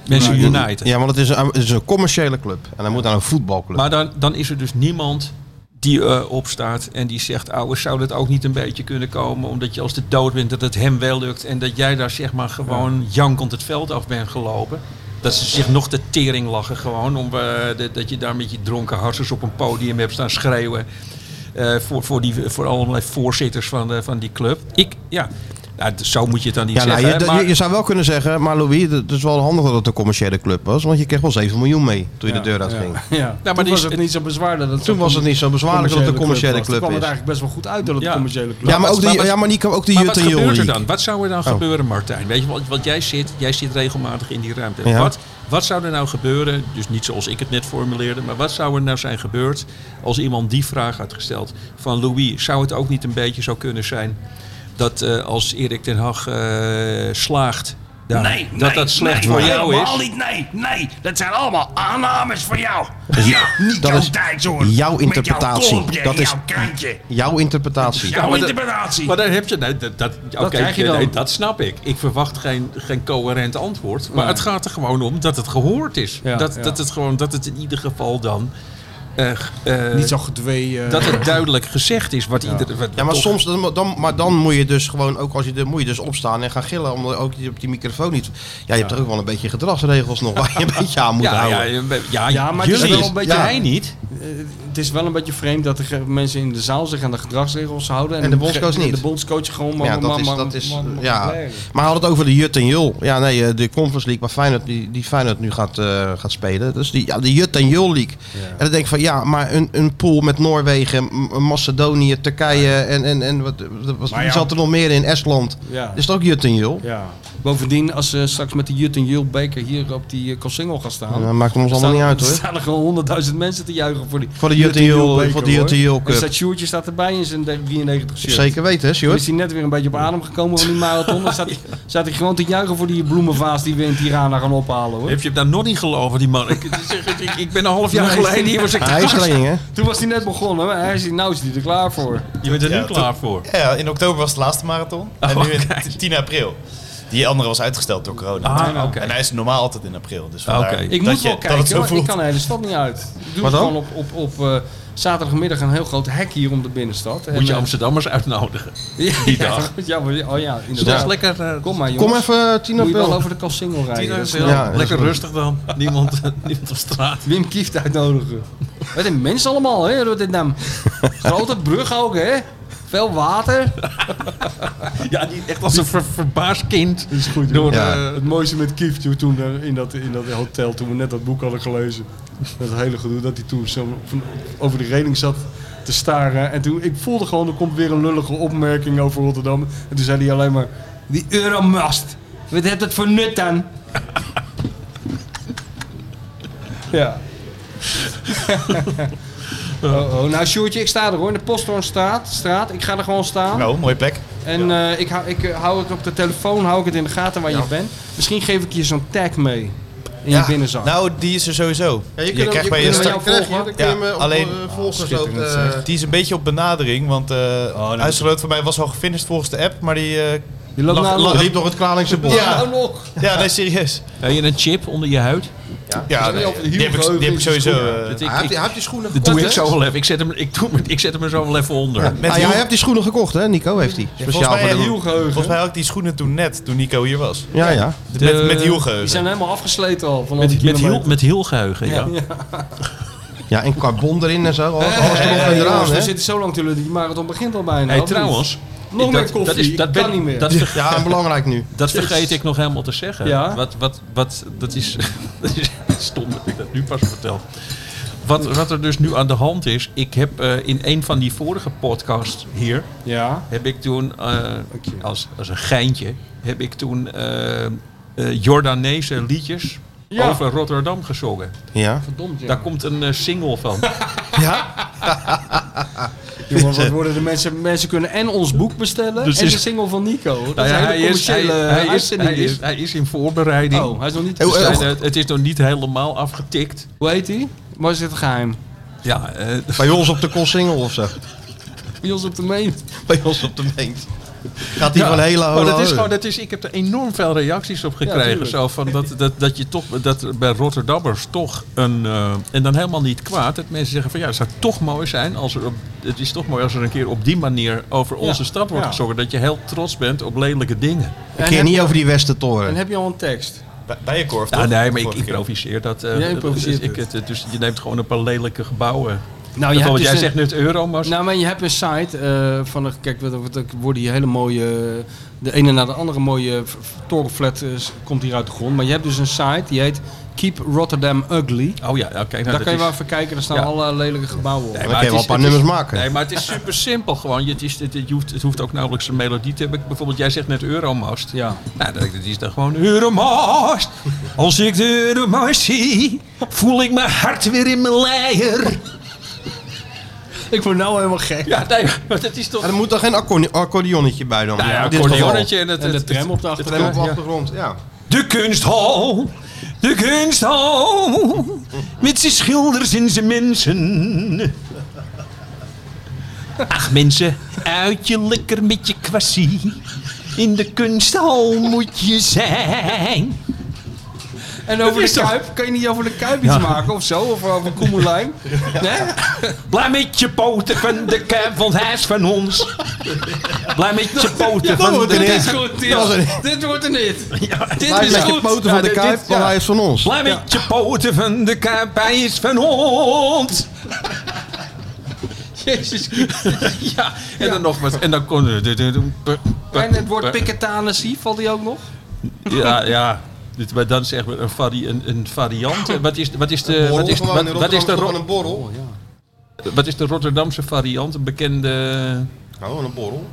Manchester United. Ja, want het is, een, het is een commerciële club. En hij moet naar een voetbalclub. Maar dan, dan is er dus niemand die eh, opstaat en die zegt... ouwe, zou dat ook niet een beetje kunnen komen... omdat je als de dood bent dat het hem wel lukt... en dat jij daar zeg maar gewoon jankend het veld af bent gelopen... Dat ze zich nog de tering lachen gewoon. Om, eh, dat- dat je daar met je dronken harsers op een podium hebt staan schreeuwen. eh, voor, voor, die, voor allerlei voorzitters van, de- van die club. Ik, ja, nou, d- zo moet je het dan niet ja, nou, zeggen. je, hè, maar- je, je zou wel kunnen zeggen, maar Louis, het is wel handig dat het een commerciële club was. Want je kreeg wel 7 miljoen mee toen je de deur uitging. ging. Ja. maar Toen die was is- het niet zo bezwaarlijk. Dat Toen was het niet zo bezwaarlijk dat het een commerciële was. Toen club kwam het is. eigenlijk best wel goed uit dat het Ja. een commerciële club Ja, maar ook Maar die, wat- ja, maar die, ook die Maar wat Jut en Jol gebeurt er League. dan? Wat zou er dan Oh. gebeuren, Martijn? Weet je, want, want jij, zit, jij zit regelmatig in die ruimte. Ja. Wat, wat zou er nou gebeuren, dus niet zoals ik het net formuleerde, maar wat zou er nou zijn gebeurd als iemand die vraag had gesteld van Louis, zou het ook niet een beetje zo kunnen zijn dat eh, als Erik ten Hag eh, slaagt, daar- Nee, dat nee, dat slecht nee, voor nee, jou helemaal is? Niet, nee, nee, dat zijn allemaal aannames van jou. Ja, niet dat jouw is tijdsoor. jouw Met interpretatie. Jouw kolompje en Dat is- jouw krantje. Jouw interpretatie. Jouw maar dat- interpretatie. Maar daar heb je, nee, dat, dat, oké, krijg je nee, dan. dat snap ik. Ik verwacht geen, geen coherent antwoord. Maar het gaat er gewoon om dat het gehoord is. Ja, dat, ja. Dat, het gewoon, dat het in ieder geval dan. eh, eh, Niet zo (laughs) gedwee. eh, dat het duidelijk gezegd is wat ieder. wat- Ja, maar toch- soms dan, dan, maar dan moet je dus gewoon ook als je de moet je dus opstaan en gaan gillen omdat ook je op die microfoon niet. Ja, je hebt er ook wel een beetje gedragsregels nog waar je een beetje aan moet Ja, ja, houden. ja, ja, Ja, maar het is jullie wel een beetje- eh, ja. hij niet. het is wel een beetje vreemd dat de ge- mensen in de zaal zich aan de gedragsregels houden. En de bondscoach ge- niet. De bondscoach gewoon maar. Ja, maar- dat is, maar- dat is, maar- maar- ja. maar- Maar we hadden het over de Jut en Jul. Ja, nee, eh, de Conference League waar Feyenoord, die, die Feyenoord nu gaat, eh, gaat spelen. Dus die, ja, de Jut en Jul League. En dan denk ik van, ja, maar een, een pool met Noorwegen, M- Macedonië, Turkije en, en, en wat, wat, wat ja. zat er nog meer in? Estland. Ja. Is dat ook Jut en Jul? Ja. Bovendien, als ze straks met de Jut en Jul beker hier op die uh, Kossingel gaan staan. Ja, maakt ons allemaal niet uit hoor. staan er gewoon honderdduizend mensen te juichen voor die Voor de Jut en Jul, Jul beker, voor de Jut en hoor. Jul En Cup. staat Sjoerdje staat erbij in zijn 93 shirt. Zeker weten, hè, Toen Sjoerd? is hij net weer een beetje op adem gekomen van die marathon. Dan staat, hij- staat hij gewoon te juichen voor die bloemenvaas die we in Tirana gaan ophalen hoor. Heb je hem nou nog niet geloven, die man? Ik, het is echt- ik, ik ben een half jaar Nee. geleden hier. Was ik Hij (laughs) is training, hè? Toen was hij net begonnen, maar hij is, nou is hij er klaar voor. je bent er nu Ja, klaar voor. Ja, in oktober was de laatste marathon. Oh, en nu in 10 april. Die andere was uitgesteld door corona. Ah, oké. Ah, En hij is normaal altijd in april. Dus vandaar Oké. Ik Ik dat moet je, wel dat het kijken, zo maar ik voelt. kan de hele stad niet uit. Ik doe Wat dan? gewoon op, op, op eh, zaterdagmiddag een heel groot hek hier om de binnenstad. En, Moet je eh, Amsterdammers uitnodigen. (laughs) ja, die dag? (laughs) Ja, maar, oh ja, Dat is inderdaad. lekker, eh, Kom maar jongens. Kom even, Tino Moet je wel Pil. over de Kalsingel rijden. Tina Dat is is eh, heel- Ja, dat is lekker goed. rustig dan. Niemand, (laughs) niemand op straat. Wim Kieft uitnodigen. (laughs) Wat een mens allemaal, hè, Rotterdam. Grote brug ook, hè. Veel water. Ja, die echt als een ver- verbaasd kind. is goed, Door, Ja. eh, Het mooiste met Kieft, joh, toen eh, in dat, in dat hotel, toen we net dat boek hadden gelezen. Dat hele gedoe, dat hij toen zo van- over de reling zat te staren. En toen, ik voelde gewoon, er komt weer een lullige opmerking over Rotterdam. En toen zei hij alleen maar, die Euromast, wat heeft het voor nut dan? (laughs) ja. (laughs) oh, oh, nou Sjoerdje, ik sta er hoor, in de Posthoornstraat. Straat. Ik ga er gewoon staan. Nou, mooie plek. En eh, ik, hou, ik eh, hou het op de telefoon, hou ik het in de gaten waar je bent. Misschien geef ik je zo'n tag mee in je binnenzak. Nou, die is er sowieso. je kunt hem- krijgt bij kunt je hem- start- ja, krijg je, dan kun je hem, Ja, eh, op, alleen- eh, volgers ook. schitterend, eh, zeg. Die is een beetje op benadering, want eh Oh, Huisgenoot van mij was al gefinished volgens de app, maar die... eh, je loopt lag- naar lag- er liep nog het Kralingse bos. Ja. Nou nog. ja, nee, serieus. Heb je een chip onder je huid? Ja, nee, over de die heb ik, die heb ik sowieso... eh, Dat Eh, ik- Hij heeft ik- die- hij heeft die schoenen Dat gekocht. doe ik hè? zo wel even. Ik zet hem, ik doe, (laughs) hem- ik zet hem er zo wel even onder. met Ah, ja, Hiel- hij heeft die schoenen gekocht, hè? Nico heeft die. volgens Speciaal mij, voor de... Hiel- volgens mij had ik die schoenen toen net, toen Nico hier was. Ja, ja. met, met Die Hielgeheugen. zijn helemaal afgesleten al. Van al die Met, met, heel, kilometer. met heel geheugen, ja. Ja, en carbon erin en zo. Alles, alles Hey, erop hey, en eraan, jongens, we hè? zitten zo lang natuurlijk, die marathon begint al bijna. Hey, of niet? trouwens, Nog ik- meer koffie, dat kan niet meer. Dat, ver- Ja, en belangrijk nu. dat vergeet ik nog helemaal te zeggen. Ja? Wat, wat, wat, dat is (laughs) dat is stom dat ik dat nu pas vertel. Wat, wat er dus nu aan de hand is, ik heb eh, in een van die vorige podcasts hier, Ja. heb ik toen, eh, als, als een geintje, heb ik toen eh, eh, Jordaanese liedjes Ja. over Rotterdam gezongen. Ja. Verdomd, ja. Daar komt een eh, single van. Ja? Jongen, (laughs) wat worden de mensen... Mensen kunnen en ons boek bestellen Dus en is- de single van Nico. Dat Nou ja, is een hij, hele is, hij, commerciële hij is, uitzending hij, is, dit. hij is in voorbereiding. Oh, hij is nog niet... Dus hij- het, het is nog niet helemaal afgetikt. Hoe heet hij? Waar is het geheim? Ja, eh, Bij ons op de Kossingel of zo. Bij ons op de meen. (laughs) Bij ons op de meent. Gaat die Ja. van hele Oh, dat hoge- is gewoon, dat is, ik heb er enorm veel reacties op gekregen. tuurlijk. zo van dat, dat, dat je toch, dat er bij Rotterdammers toch een, eh, en dan helemaal niet kwaad, dat mensen zeggen van ja, het zou toch mooi zijn als er op, het is toch mooi als er een keer op die manier over onze stad wordt ja. gezongen. Dat je heel trots bent op lelijke dingen. Een keer niet over die Westentoren. En heb je al een tekst? Bij- Bij je korf, Ja, toch? Ah, nee, maar ik Vorige keer. improviseer dat. eh, Jij improviseert ik, het. het- Dus je neemt gewoon een paar lelijke gebouwen. Nou, Bijvoorbeeld, dus jij een- zegt nu het euro, maar Nou, maar je hebt een site eh, van, een- kijk, wat- wat- er worden hier hele mooie, de ene na de andere mooie f- f- torenflat eh, s- komt hier uit de grond. Maar je hebt dus een site die heet Keep Rotterdam Ugly. oh ja, oké. nou, dat Daar kan je is- wel even kijken, daar staan Ja. alle lelijke gebouwen op. Nee, Dan maar kan je wel een het paar is- nummers maken. Nee, maar het is super simpel gewoon. Je, het, is, het, het hoeft, het hoeft ook nauwelijks een melodie te hebben. Bijvoorbeeld, jij zegt net Euromast. Ja. Nou, dat, dat is dan gewoon Euromast. Als ik de Euromast zie, voel ik mijn hart weer in mijn leier. Ik word nou helemaal gek. Ja, nee, maar dat is toch... En er moet toch geen accordi- accordeonnetje bij dan? Nou ja, in dit accordeonnetje en, het, En de het- tram op de geval. Tram achtergrond. op de achtergrond, ja. De kunsthal, de kunsthal, met zijn schilders en zijn mensen. Ach mensen, uit je lekker met je kwassie. In de kunsthal moet je zijn. En over is de toch- Kuip, kan je niet over de Kuip iets maken of zo? Of over (laughs) Koemelijn? Nee? Blij met je poten van de kuip van het huis van ons. Blij met je poten van wordt de een kuip. hit. Dit is goed, dit, Dat was een- dit wordt een hit. dit Blijf is met je goed. poten Ja, van de dit- kuip, dit- maar hij is van ons. Blij met je poten van de kuip, hij is van ons. (laughs) Jezus Ja, en dan nog wat. En dan kon. En het woord piketanesie, valt die ook nog? Ja, ja. Dit, maar dan zeggen we een, vari, een, een variant. Eh, Wat is, wat is de. Borrel Wat is, gewoon, wat, in wat is de Rotterdam Ro- gewoon een borrel. wat is de Rotterdamse variant? Een bekende. Oh, een borrel.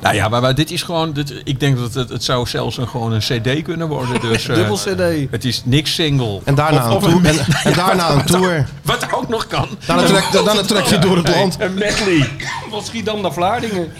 Nou ja, maar, maar dit is gewoon. Dit, ik denk dat het, het zou zelfs een, gewoon een CD kunnen worden. (laughs) Dus, eh, Dubbel CD. Het is niks single. En daarna een tour. En, en daarna een tour. (laughs) Wat ook nog kan. Daarna trek, daarna trek je door het land. Een medley. Van Schiedam naar Vlaardingen.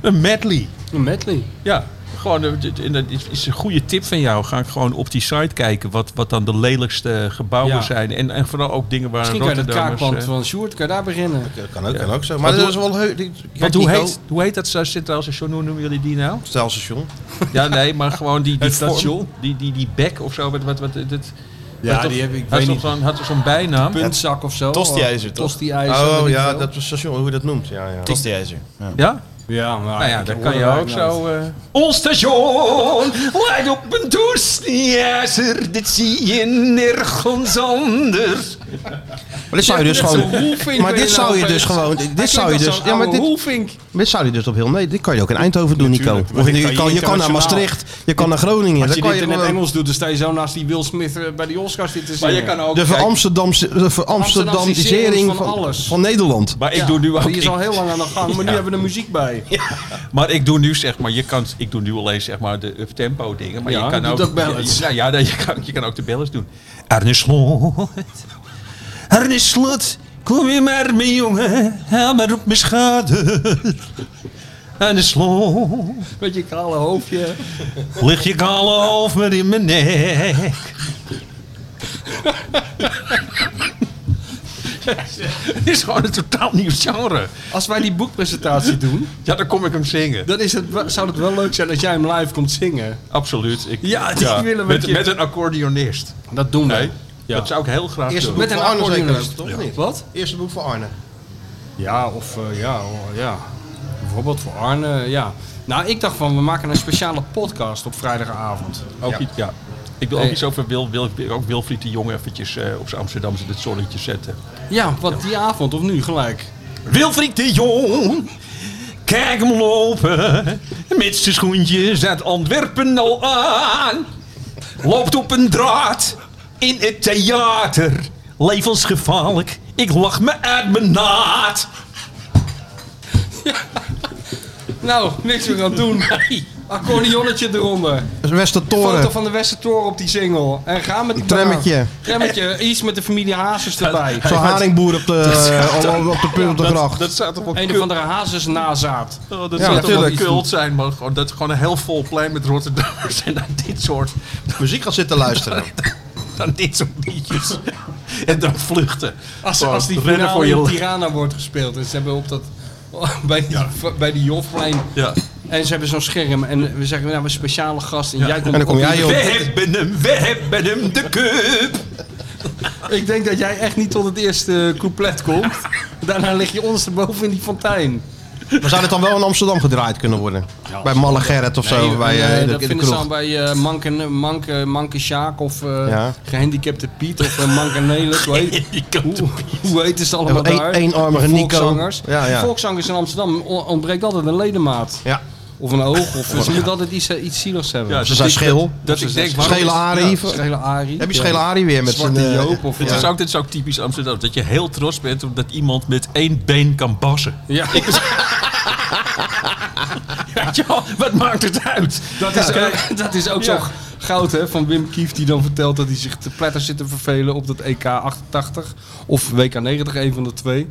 Een medley. Een medley. Ja, gewoon, eh, dit- en dat is- is een goede tip van jou. Ga ik gewoon op die site kijken wat, wat dan de lelijkste gebouwen Ja. zijn. En, en vooral ook dingen waar Misschien kan je het Rotterdammers... kraakpand eh, van Sjoerd, kan je daar beginnen. Kan ook, kan ook zo. Maar dat is wel heel... die- Want kijk, hoe Nico, heet, hoe heet dat zo- centraal station? Hoe noemen jullie die nou? Stelstation. (laughs) Ja, nee, maar gewoon (laughs) die, die Het vorm, station? Die, die, die bek of zo. Wat, wat, wat, dit- dit- Ja, had toch- die heb ik- Had weet toch niet. zo'n- had toch zo'n bijnaam? Puntzak of zo. Tosti-ijzer, toch? Tosti-ijzer. Oh weet ik ja, veel. dat is station, hoe je dat noemt. Ja, ja. Tosti-ijzer. Ja. Ja? Ja, maar Nou ja, ik dat hoor kan je het ook eigenlijk zo... eh Ons station lijkt op een toestijzer. Dit zie je nergens anders. Maar dit zou je dus net gewoon... zo'n Roelvink Maar ben dit je zou nou je dus opeens. gewoon... Dit niet. Hij zou je klinkt als dus... zo'n Ja, maar oude dit, Roelvink. Dit zou je dus op heel nee, dit kan je ook in Eindhoven doen, Nico. Natuurlijk, maar Of dit je kan je kan, je kan naar internationaal. Maastricht, je kan naar Groningen. Als je dan kan dit in het gewoon- Engels doet, dan sta je zo naast die Will Smith eh, bij die Oscars zitten Maar je kan ook... de kijk, veramsterdamse- de Amsterdamisering veramsterdamisering van van, alles. van Nederland. maar ik doe nu ook... Die is ik- al heel lang aan de gang, maar nu hebben we er muziek bij. Maar ik doe nu zeg maar, je kan, ik doe nu alleen zeg maar de up-tempo dingen, maar Ja, je kan je ook, doet ook ballads. Ja, ja, nee, je, kan, je kan ook de ballads doen. Arne Slot, Arne Slot, kom je maar mee jongen, haal maar op mijn schouder. Arne Slot, Met je kale hoofdje. lig je kale hoofd maar in mijn nek. Het is gewoon een totaal nieuw genre. Als wij die boekpresentatie doen, Ja, dan kom ik hem zingen. dan is het, wel- zou het wel leuk zijn als jij hem live komt zingen. Absoluut. Ik, Ja, die willen we met, een keer. met een accordeonist. Dat doen wij. Nee, dat zou ik heel graag Eerste doen. boek Met van een Arne zeker, accordeonist. toch? Of niet? Wat? Eerste boek van Arne. Ja, of eh, ja, oh, ja. Bijvoorbeeld voor Arne, ja. Nou, ik dacht van, we maken een speciale podcast op vrijdagavond. Ook iets, ja. Ik wil ook Nee. iets over Wil, Wil, ook Wilfried de Jong eventjes eh, op zijn Amsterdamse het zonnetje zetten. Ja, wat die avond of nu gelijk? Wilfried de Jong, kijk hem lopen. Met zijn schoentjes uit Antwerpen al aan. Loopt op een draad in het theater. Levensgevaarlijk, ik lach me uit mijn naad. Nou, niks meer aan doen. Accordeonnetje eronder. Dus Westertoren. Foto van de Westertoren op die single. En ga met die Tremmetje. banaan. Tremmetje, iets met de familie Hazes erbij. Zo'n haringboer (laughs) op de, eh, op, op de punt op de gracht. Dat zou toch wel Een of andere Hazes nazaat. Oh, Ja, dat zou toch wel natuurlijk. kult zijn, maar gewoon, dat gewoon een heel vol plein met Rotterdammers en dan dit soort, Muziek gaat zitten luisteren. dan dit soort liedjes. en dan vluchten. Als, Gewoon als die rennen finale voor je in le- Tirana wordt gespeeld. En ze hebben op dat... (laughs) Bij die, bij die Jofplein. Ja. En ze hebben zo'n scherm. En we zeggen, nou, we hebben een speciale gast. En jij komt En dan kom op- jij We op. hebben hem, we hebben hem, de cup. Ik denk dat jij echt niet tot het eerste couplet (laughs) komt. Daarna lig je ondersteboven in die fontein. Maar zou dit dan wel in Amsterdam gedraaid kunnen worden? bij Malle Gerrit of zo, bij En, eh, eh, de, dat in de vinden ze kroeg. dan bij eh, Manke, Manke, Manke Sjaak of eh, Ja. Gehandicapte Piet of eh, Manke Neluk. (laughs) Hoe heet- hoe- Hoe heet ze allemaal Ja, maar daar? één- eenarmige De Nico. Volkszangers. Ja, ja. De Volkszangers in Amsterdam on- ontbreekt altijd een ledemaat. Ja. Of een oog. Of, (laughs) ze moeten altijd iets, eh, iets zieligs hebben. Ja, Ze zijn scheel. Dat ik denk, waarom Schele is- Arie. Schele Arie. Heb je Schele Arie weer met zijn... Zwarte eh, Joop of... Het Ja. is ook, dit is ook typisch Amsterdam, dat je heel trots bent omdat iemand met één been kan (laughs) bassen. Ja. Weet je wel, wat maakt het uit? Dat is, ook, (laughs) dat is ook Ja. zo goud, hè? Van Wim Kieft, die dan vertelt dat hij zich te pletter zit te vervelen op dat EK 88 of WK 90, een van de twee.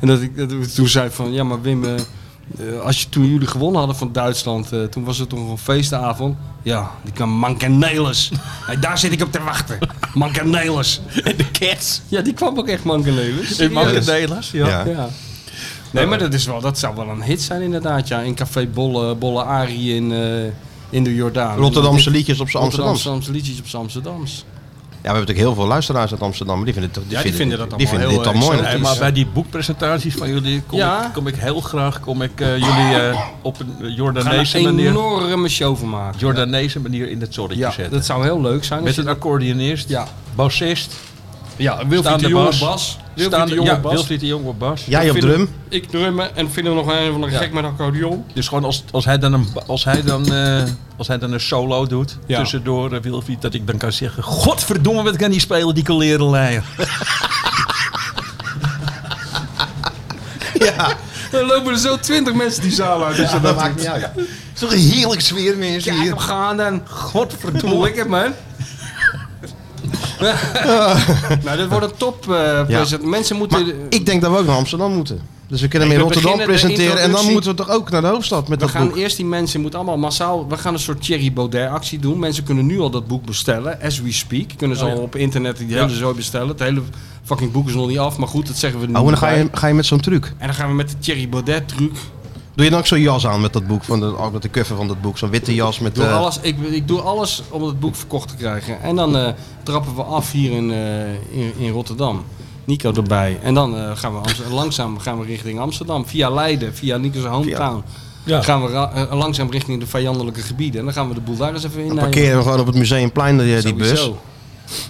En dat ik dat ik toen zei van, ja, maar Wim, eh, eh, als je, toen jullie gewonnen hadden van Duitsland, eh, toen was het toch een feestavond. Ja, die kan Mankenelis. Hey, daar zit ik op te wachten. Mankenelis. En (laughs) de cats. Ja, die kwam ook echt Mankenelis. In Mankedelas, ja. Ja. Ja. Nee, maar dat, is wel, dat zou wel een hit zijn inderdaad, ja. In Café Bolle, Bolle Arie in, eh, in de Jordaan. Rotterdamse liedjes op zijn Amsterdams. Amsterdamse liedjes op z'n Amsterdams. Ja, we hebben natuurlijk heel veel luisteraars uit Amsterdam. Maar die vinden, het- die Ja, die vinden dat die allemaal vinden dit heel eh, dan mooi. exotisch. Nee, natuurlijk. maar bij die boekpresentaties van jullie kom, Ja. ik, kom ik heel graag kom ik, eh, jullie eh, op een eh, Gaan er Jordaanese een manier, enorme show van maken. Jordaanese manier in het zonnetje Ja, zetten. dat zou heel leuk zijn. Met als een accordeonist, Ja. bassist, je- ja, Wilfried staande de Jonge bas. Bas. Wilfried de staande- Jonge ja, Bas. Wilfried de Jong op bas. Jij op Vinden- drum. Ik drummen en vinden we nog een van een gek met een accordeon. Dus gewoon als, als, hij dan een, als, hij dan, eh, als hij dan een solo doet, Ja. tussendoor eh, Wilfried, dat ik dan kan zeggen... Godverdomme, wat kan die spelen, die kolerenleier. Er lopen er zo twintig mensen die zaal uit. Dus dat Dat maakt niet uit. Het is toch een heerlijk sfeer mensen Kijk hier. hem gaan dan. Godverdomme. (laughs) Lekker man. nou, dit wordt een top. eh, present. Mensen Maar moeten... ik denk dat we ook naar Amsterdam moeten. Dus we kunnen hem in we Rotterdam beginnen de presenteren. En dan introductie. moeten we toch ook naar de hoofdstad met We dat gaan boek. eerst die mensen moeten allemaal massaal. We gaan een soort Thierry Baudet actie doen. Mensen kunnen nu al dat boek bestellen. As we speak. Kunnen Oh ze al op internet die hele zooi bestellen. Het hele fucking boek is nog niet af. Maar goed, dat zeggen we nu. Oh, en dan ga bij. je, ga je met zo'n truc. En dan gaan we met de Thierry Baudet truc. Doe je dan ook zo'n jas aan met dat boek, van de, ook met de cover van dat boek? Zo'n witte jas met... Ik doe, eh, alles, ik, ik doe alles om het boek verkocht te krijgen. En dan eh, trappen we af hier in, eh, in, in Rotterdam. Nico erbij. En dan eh, gaan we Amster- langzaam gaan we richting Amsterdam. Via Leiden, via Nico's hometown. Ja. Gaan we ra- eh, langzaam richting de vijandelijke gebieden. En dan gaan we de boel daar eens even in. dan parkeren we gewoon op het Museumplein die, eh, die bus. Sowieso.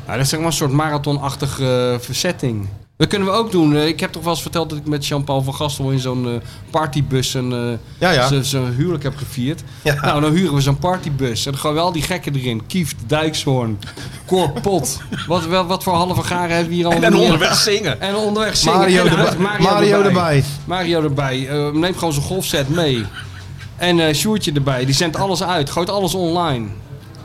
Ja, dat is zeg maar een soort marathonachtige eh, verzetting. Dat kunnen we ook doen. Eh, Ik heb toch wel eens verteld dat ik met Jean-Paul van Gastel in zo'n eh, partybus een, eh, Ja, ja. ze- zijn huwelijk heb gevierd. Nou, dan huren we zo'n partybus. En dan gaan we al die gekken erin. Kieft, Dijkshoorn, Korpot. wat, wel- wat voor halve garen hebben we hier allemaal? En neer? onderweg zingen. En onderweg zingen. Mario, en uit- erbij. Mario erbij. Mario erbij. Eh, neem gewoon zijn golfset mee. En eh Sjoertje erbij. Die zendt alles uit. Gooit alles online.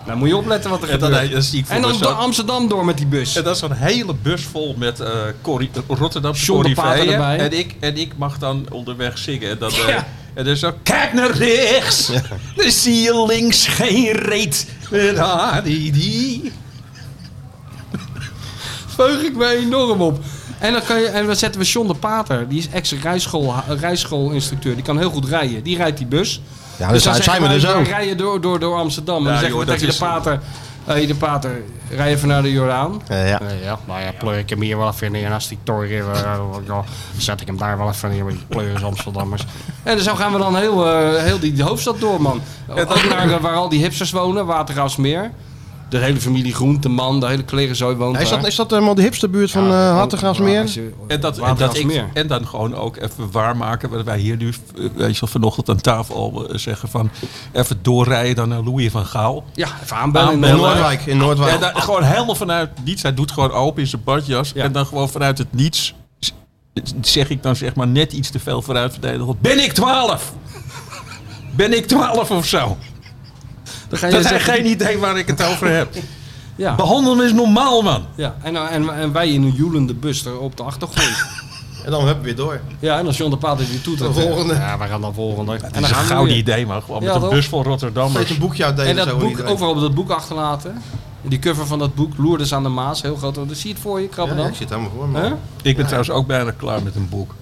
Nou, moet je opletten wat er En dan, gebeurt. dat zie ik voor En dan me door zo. Amsterdam door met die bus. En dat is een hele bus vol met eh Corrie, eh, Rotterdamse John de Pater corriveeën. erbij. En ik, en ik mag dan onderweg zingen. En dan, eh, Ja. en dan zo, kijk naar rechts, dan zie je links geen reet. En ah, die, die. Veug ik me enorm op. En dan, kan je, en dan zetten we John de Pater. Die is ex-rijschoolinstructeur. rijschoolinstructeur. Die kan heel goed rijden. Die rijdt die bus. Ja, dus dan daar zijn zeggen we wij, dus ook. rijden door, door, door Amsterdam. Ja, en dan joh, zeggen we dat tegen de Pater... Hé, de Pater, rij even naar de Jordaan. Eh, ja. Nee, ja, nou ja, pleur ik hem hier wel even neer. En als die toren, eh, ja, zet ik hem daar wel even neer. Maar die pleuris Amsterdammers. En dus zo gaan we dan heel, eh, heel die hoofdstad door, man. Ook naar eh, waar al die hipsters wonen, Watergraafsmeer. De hele familie Groenteman, de hele klerenzooi woont Is dat, daar. is dat eh, helemaal de hipste buurt van eh Als Hattegraafsmeer? je- En, dat, en, dat ik, Watergraafsmeer. en dan gewoon ook even waarmaken wat wij hier nu, eh, weet je wel, vanochtend aan tafel al eh, zeggen van, even doorrijden dan naar Louis van Gaal. Ja, even aanbellen. in In Aanbellen. Noordwijk. Noordwijk, in En Noordwijk. dan, gewoon helemaal vanuit niets. Hij doet gewoon open in zijn badjas. Ja. En dan gewoon vanuit het niets z- zeg ik dan zeg maar net iets te veel vooruit verdedigd. Ben ik 12? ben ik 12 of zo? Dan ga je Dat hij zeggen, geen idee waar ik het over heb. (laughs) Ja. Behandel me eens normaal, man. Ja, en, eh, nou, en, en wij in een joelende bus er op de achtergrond. En dan hebben we weer door. ja, en als John de Pater die toetert. De volgende. Ja, we gaan dan volgende. Dat en is dan een gaan we gouden weer. idee, man. Gewoon met Ja, een toch? bus vol Rotterdammers. Geef een boekje uitdelen. En dat zo boek, iedereen. overal dat boek achterlaten. En Die cover van dat boek, Loerders aan de Maas, heel groot. Dan zie je het voor je, Ja, krabben ja, dan. ik zit helemaal voor, Hè? man. Ik ben trouwens ook bijna klaar met een boek.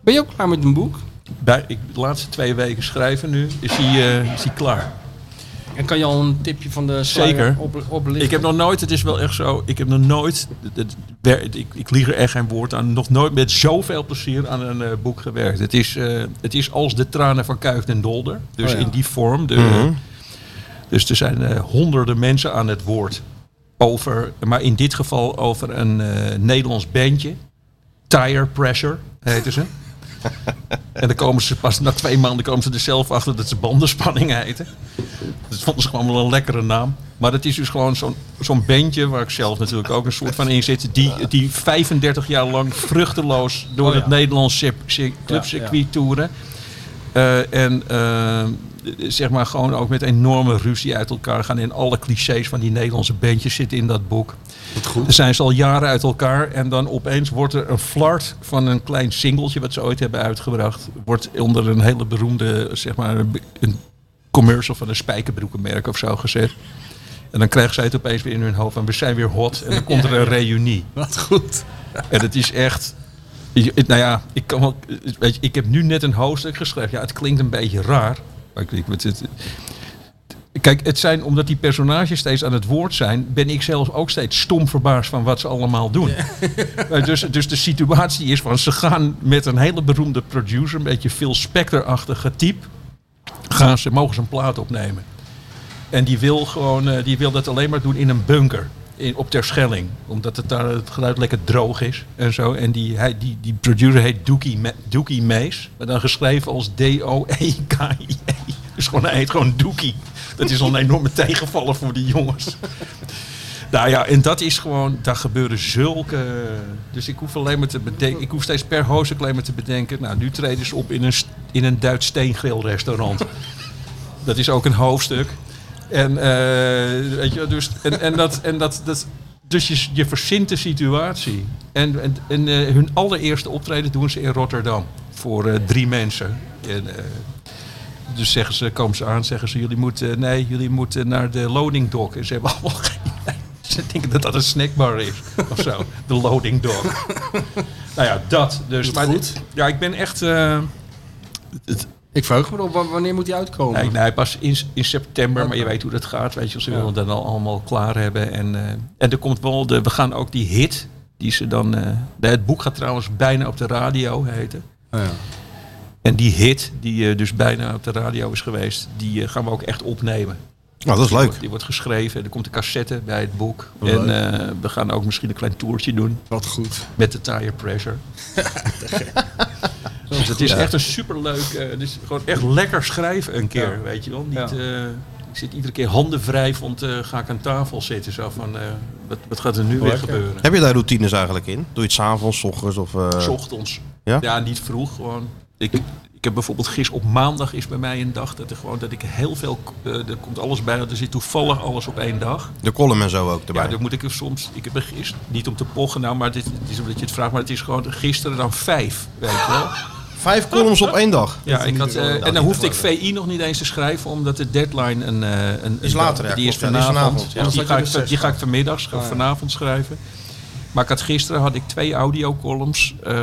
Ben je ook klaar met een boek? Bij, ik, de laatste twee weken schrijven nu, is hij, eh, is hij klaar. En kan je al een tipje van de sluier Zeker. Op, oplichten? Ik heb nog nooit, het is wel echt zo, ik heb nog nooit, het- het wer- ik, ik lieg er echt geen woord aan, nog nooit met zoveel plezier aan een eh, boek gewerkt. Het is, eh, het is als de tranen van Kuift en Dolder, dus Oh ja. in die vorm. De, Dus er zijn eh, honderden mensen aan het woord over, maar in dit geval over een eh, Nederlands bandje, Tire Pressure heten ze. En dan komen ze pas na twee maanden komen ze er zelf achter dat ze bandenspanning heten. Dat vonden ze gewoon wel een lekkere naam. Maar dat is dus gewoon zo'n zo'n bandje, waar ik zelf natuurlijk ook een soort van in zit, die, die 35 jaar lang vruchteloos door Oh ja. het Nederlands cir- cir- clubcircuit toeren. Eh, en eh, zeg maar gewoon ook met enorme ruzie uit elkaar gaan. En alle clichés van die Nederlandse bandjes zitten in dat boek. Dan zijn ze al jaren uit elkaar. En dan opeens wordt er een flart van een klein singeltje wat ze ooit hebben uitgebracht. Wordt onder een hele beroemde, zeg maar, een be- een commercial van een spijkerbroekenmerk of zo gezet. En dan krijgen zij het opeens weer in hun hoofd. En we zijn weer hot. En dan komt er een reunie. Wat goed. (laughs) En het is echt. ik- ik- Nou ja, ik, kan wel, weet je, ik heb nu net een hoofdstuk geschreven. Ja, het klinkt een beetje raar. Maar ik, ik, het, het- kijk, het zijn omdat die personages steeds aan het woord zijn. ben ik zelf ook steeds stom verbaasd van wat ze allemaal doen. Eh, Dus, dus de situatie is van ze gaan met een hele beroemde producer. een beetje Phil Spector-achtige type. Gaan ze, mogen ze een plaat opnemen. En die wil, gewoon, eh, die wil dat alleen maar doen in een bunker. In, op Terschelling. Omdat het daar het geluid lekker droog is en zo. En die, hij, die, die producer heet Dookie, Ma- Dookie Mays. Maar dan geschreven als E D-O-E-K-I-E. Dus gewoon, hij heet gewoon Dookie. Dat is al een enorme tegenvaller voor die jongens. Nou ja, en dat is gewoon, daar gebeuren zulke. Dus ik hoef alleen maar te bedenken, ik hoef steeds per hoofdstuk alleen maar te bedenken. Nou, nu treden ze op in een, st- in een Duits steengrillrestaurant. Dat is ook een hoofdstuk. En, eh, weet je, dus, en, en, dat, en dat, dat. Dus je, je verzint de situatie. En, en, en eh, hun allereerste optreden doen ze in Rotterdam. Voor eh, drie mensen. En, eh, dus zeggen ze, komen ze aan, zeggen ze: jullie moeten, eh, nee, jullie moeten naar de loading dock. En ze hebben allemaal (laughs) geen. idee. Ze denken dat dat een snackbar is of zo. De loading dock. nou ja, dat. Dus, maar dit- Ja, ik ben echt. eh, Ik verheug me erop, wa- wanneer moet die uitkomen? Nee, nee, pas in, in september, maar je weet hoe dat gaat. Weet je, ze willen het dan al allemaal klaar hebben. En, eh, en er komt wel de, we gaan ook die hit, die ze dan. eh, nee, het boek gaat trouwens bijna op de radio heten. ja. En die hit, die eh, dus bijna op de radio is geweest, die eh, gaan we ook echt opnemen. Nou, dat is leuk. Die wordt geschreven, er komt een cassette bij het boek. en eh, we gaan ook misschien een klein toertje doen Wat goed. met de tire (laughs) pressure. dus het is echt een superleuk, eh dus gewoon echt lekker schrijven een keer, weet je wel. Niet, Ja. eh, ik zit iedere keer handen vrij, want eh, ga ik aan tafel zitten. Zo van, eh, wat, wat gaat er nu weer gebeuren? Heb je daar routines eigenlijk in? Doe je het s'avonds, ochtends of... eh, S Ochtends. Ja? niet vroeg gewoon. Ik, ik heb bijvoorbeeld gisteren op maandag is bij mij een dag dat, er gewoon, dat ik heel veel, eh, er komt alles bij, er zit toevallig alles op één dag. De column en zo ook Ja, erbij. dan moet ik er soms. Ik heb er gisteren, niet om te pochen, nou, maar dit, het is omdat je het vraagt, maar het is gewoon gisteren dan vijf. Weet je wel? Vijf columns op één dag. Ja, ik had, eh, Nou, en niet dan hoefde ik te VI nog niet eens te schrijven, omdat de deadline een. eh, een Is een- later, ja, Die is klopt, ja, die is vanavond. vanavond. Ja, Dus dan die, zat ga je ik, dus van- zes die ga ik vanmiddag, Oh, ga ik vanavond schrijven. Maar ik had gisteren had ik twee audiocolumns. eh,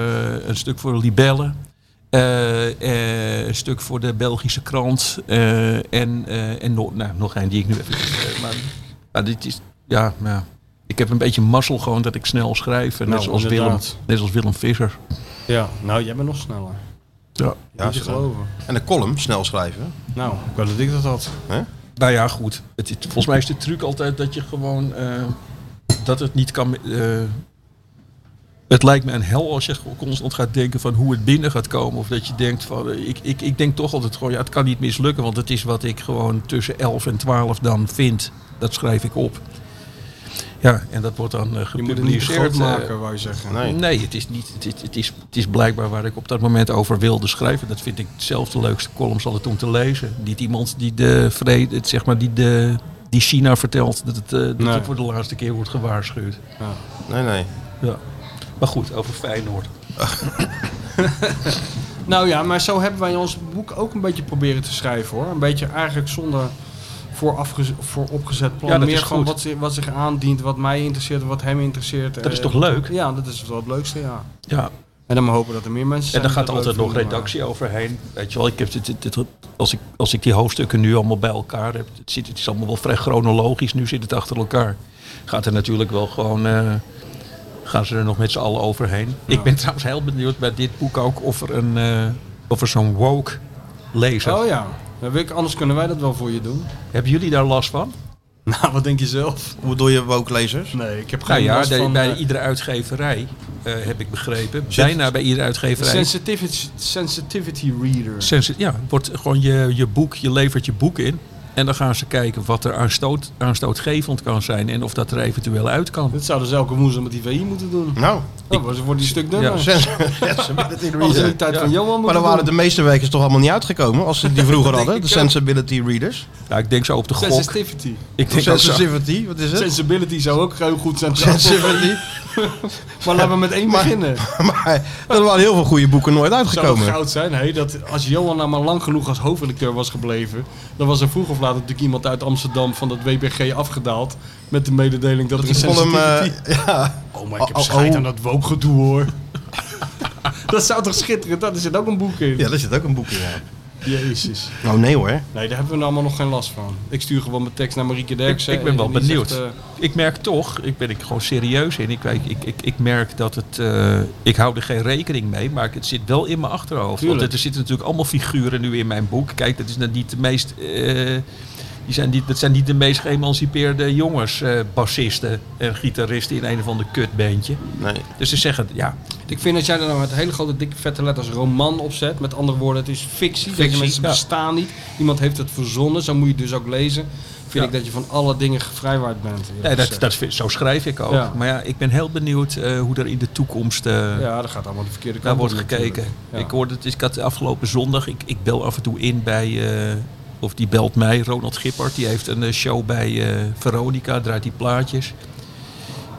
een stuk voor Libelle. eh, eh, een stuk voor de Belgische krant. eh, en eh, en nog, nou, nog een die ik nu even. eh, maar, maar dit is. Ja, ja. Ik heb een beetje mazzel gewoon dat ik snel schrijf. en net, Nou, zoals Willem, inderdaad. net zoals Willem Visser. Eh, Ja, nou jij bent nog sneller. Ja. Ja, Niet te zo. geloven. En de column, snel schrijven. Nou, ik wou dat ik dat had. Nou ja, goed. Het, is- volgens mij is de truc altijd dat je gewoon... eh, dat het niet kan... eh, het lijkt me een hel als je gewoon constant gaat denken van hoe het binnen gaat komen. Of dat je denkt van... eh, ik, ik, ik denk toch altijd gewoon, ja, het kan niet mislukken. Want het is wat ik gewoon tussen 11 en 12 dan vind. Dat schrijf ik op. Ja, en dat wordt dan eh, Je moet het niet te groot gepubliceerd. eh, maken, wou je zeggen. Nee. Mm. Nee, het is, niet, het, is, het, is, het is blijkbaar waar ik op dat moment over wilde schrijven. Dat vind ik zelf de leukste columns altijd om te lezen. Niet iemand die, de vrede, het, zeg maar, die, de, die China vertelt dat het, eh, dat Nee. het voor de laatste keer wordt gewaarschuwd. Nee, nee. Ja. Maar goed, over Feyenoord. Nou ja, maar zo hebben wij ons boek ook een beetje proberen te schrijven hoor. Een beetje eigenlijk zonder voor, afge- voor opgezet plan. Ja, dat Meer is gewoon goed. wat, zich- wat zich aandient, wat mij interesseert en wat hem interesseert. Eh, Dat is toch leuk? Ja, dat is wel het leukste, ja. Ja, En dan maar hopen dat er eh? meer mensen en zijn. daar die gaat dat altijd leuk nog vinden, redactie overheen. Weet je wel, ik heb dit, dit- dit- als, ik, als ik die hoofdstukken nu allemaal bij elkaar heb, het, zit, het is allemaal wel vrij chronologisch. Nu zit het achter elkaar. Gaat er natuurlijk wel gewoon. eh, gaan ze er nog met z'n allen overheen. Ik ben trouwens heel benieuwd bij dit boek ook of er, een, eh, of er zo'n woke lezer. maar- Oh ja, Dan wil ik- anders kunnen wij dat wel voor je (laughs) doen. Hebben jullie daar last van? Nou, wat denk je zelf? Hoe bedoel je woke-lezers? Nee, ik heb geen Nou ja, last de- van... bij eh, iedere uitgeverij eh, heb ik begrepen. Bijna bij iedere uitgeverij. sensitivity, sensitivity reader. Sensi- ja, wordt gewoon je, je boek, je levert je boek in. En dan gaan ze kijken wat er aanstoot, aanstootgevend kan zijn en of dat er eventueel uit kan. dat zouden ze dus elke woensdag met die VI moeten doen. Nou, Dan wordt wordt die stuk dunner. Ja. zes- zes- Als ze in de tijd van Johan moeten Maar dan waren de meeste weken toch allemaal niet uitgekomen als (laughs) ze die vroeger hadden, de sensibility readers. Nou, ik denk zo op de doen. gok. Sensitivity. Ik denk ook zo. Sensitivity, wat is het? Sensibility zou ook heel goed zijn. Sensibility. Maar laten we met één Maar- beginnen. (laughs) Maar er waren heel veel goede boeken nooit Zou het uitgekomen. goud zijn, hè, dat als Johan nou maar lang genoeg als hoofdredacteur was gebleven, dan was er vroeg of laat natuurlijk iemand uit Amsterdam van dat WBG afgedaald met de mededeling dat, er een Ik vond hem, sensitivity... eh, ja, oh, maar ik heb oh, oh, scheid oh. aan dat woopgedoe, hoor. (laughs) dat zou toch schitterend, daar zit ook een boek in. ja, daar zit ook een boek in. ja. Jezus. Nou nee hoor. Nee, daar hebben we nou allemaal nog geen last van. Ik stuur gewoon mijn tekst naar Marieke Derksen. ik ben wel en die benieuwd. zegt, eh, Ik merk toch, ik ben ik gewoon serieus in. Ik, ik, ik, ik, ik merk dat het, eh, ik hou er geen rekening mee, maar het zit wel in mijn achterhoofd. Tuurlijk. Want er zitten natuurlijk allemaal figuren nu in mijn boek. Kijk, dat is dan niet de meest, eh, die zijn niet, dat zijn niet de meest geëmancipeerde jongens, eh, bassisten en gitaristen in een of ander kutbandje. Nee. Dus ze zeggen, ja, ik vind dat jij er nou met hele grote, dikke, vette letters roman opzet. Met andere woorden, het is fictie. Deze Fictie, mensen ja. bestaan niet. Iemand heeft het verzonnen. Zo moet je het dus ook lezen. Vind Ja. ik dat je van alle dingen gevrijwaard bent. nee, eerlijk eh, dat, gezegd. dat, vind- zo schrijf ik ook. eh, Ja. Maar ja, ik ben heel benieuwd eh, hoe er in de toekomst eh, ja, dat gaat allemaal de verkeerde kant Daar wordt op gekeken. natuurlijk. Ja. Ik hoorde het, ik had de afgelopen zondag, ik, ik bel af en toe in bij, eh, of die belt mij, Ronald Gippert. Die heeft een eh, show bij eh, Veronica, draait die plaatjes.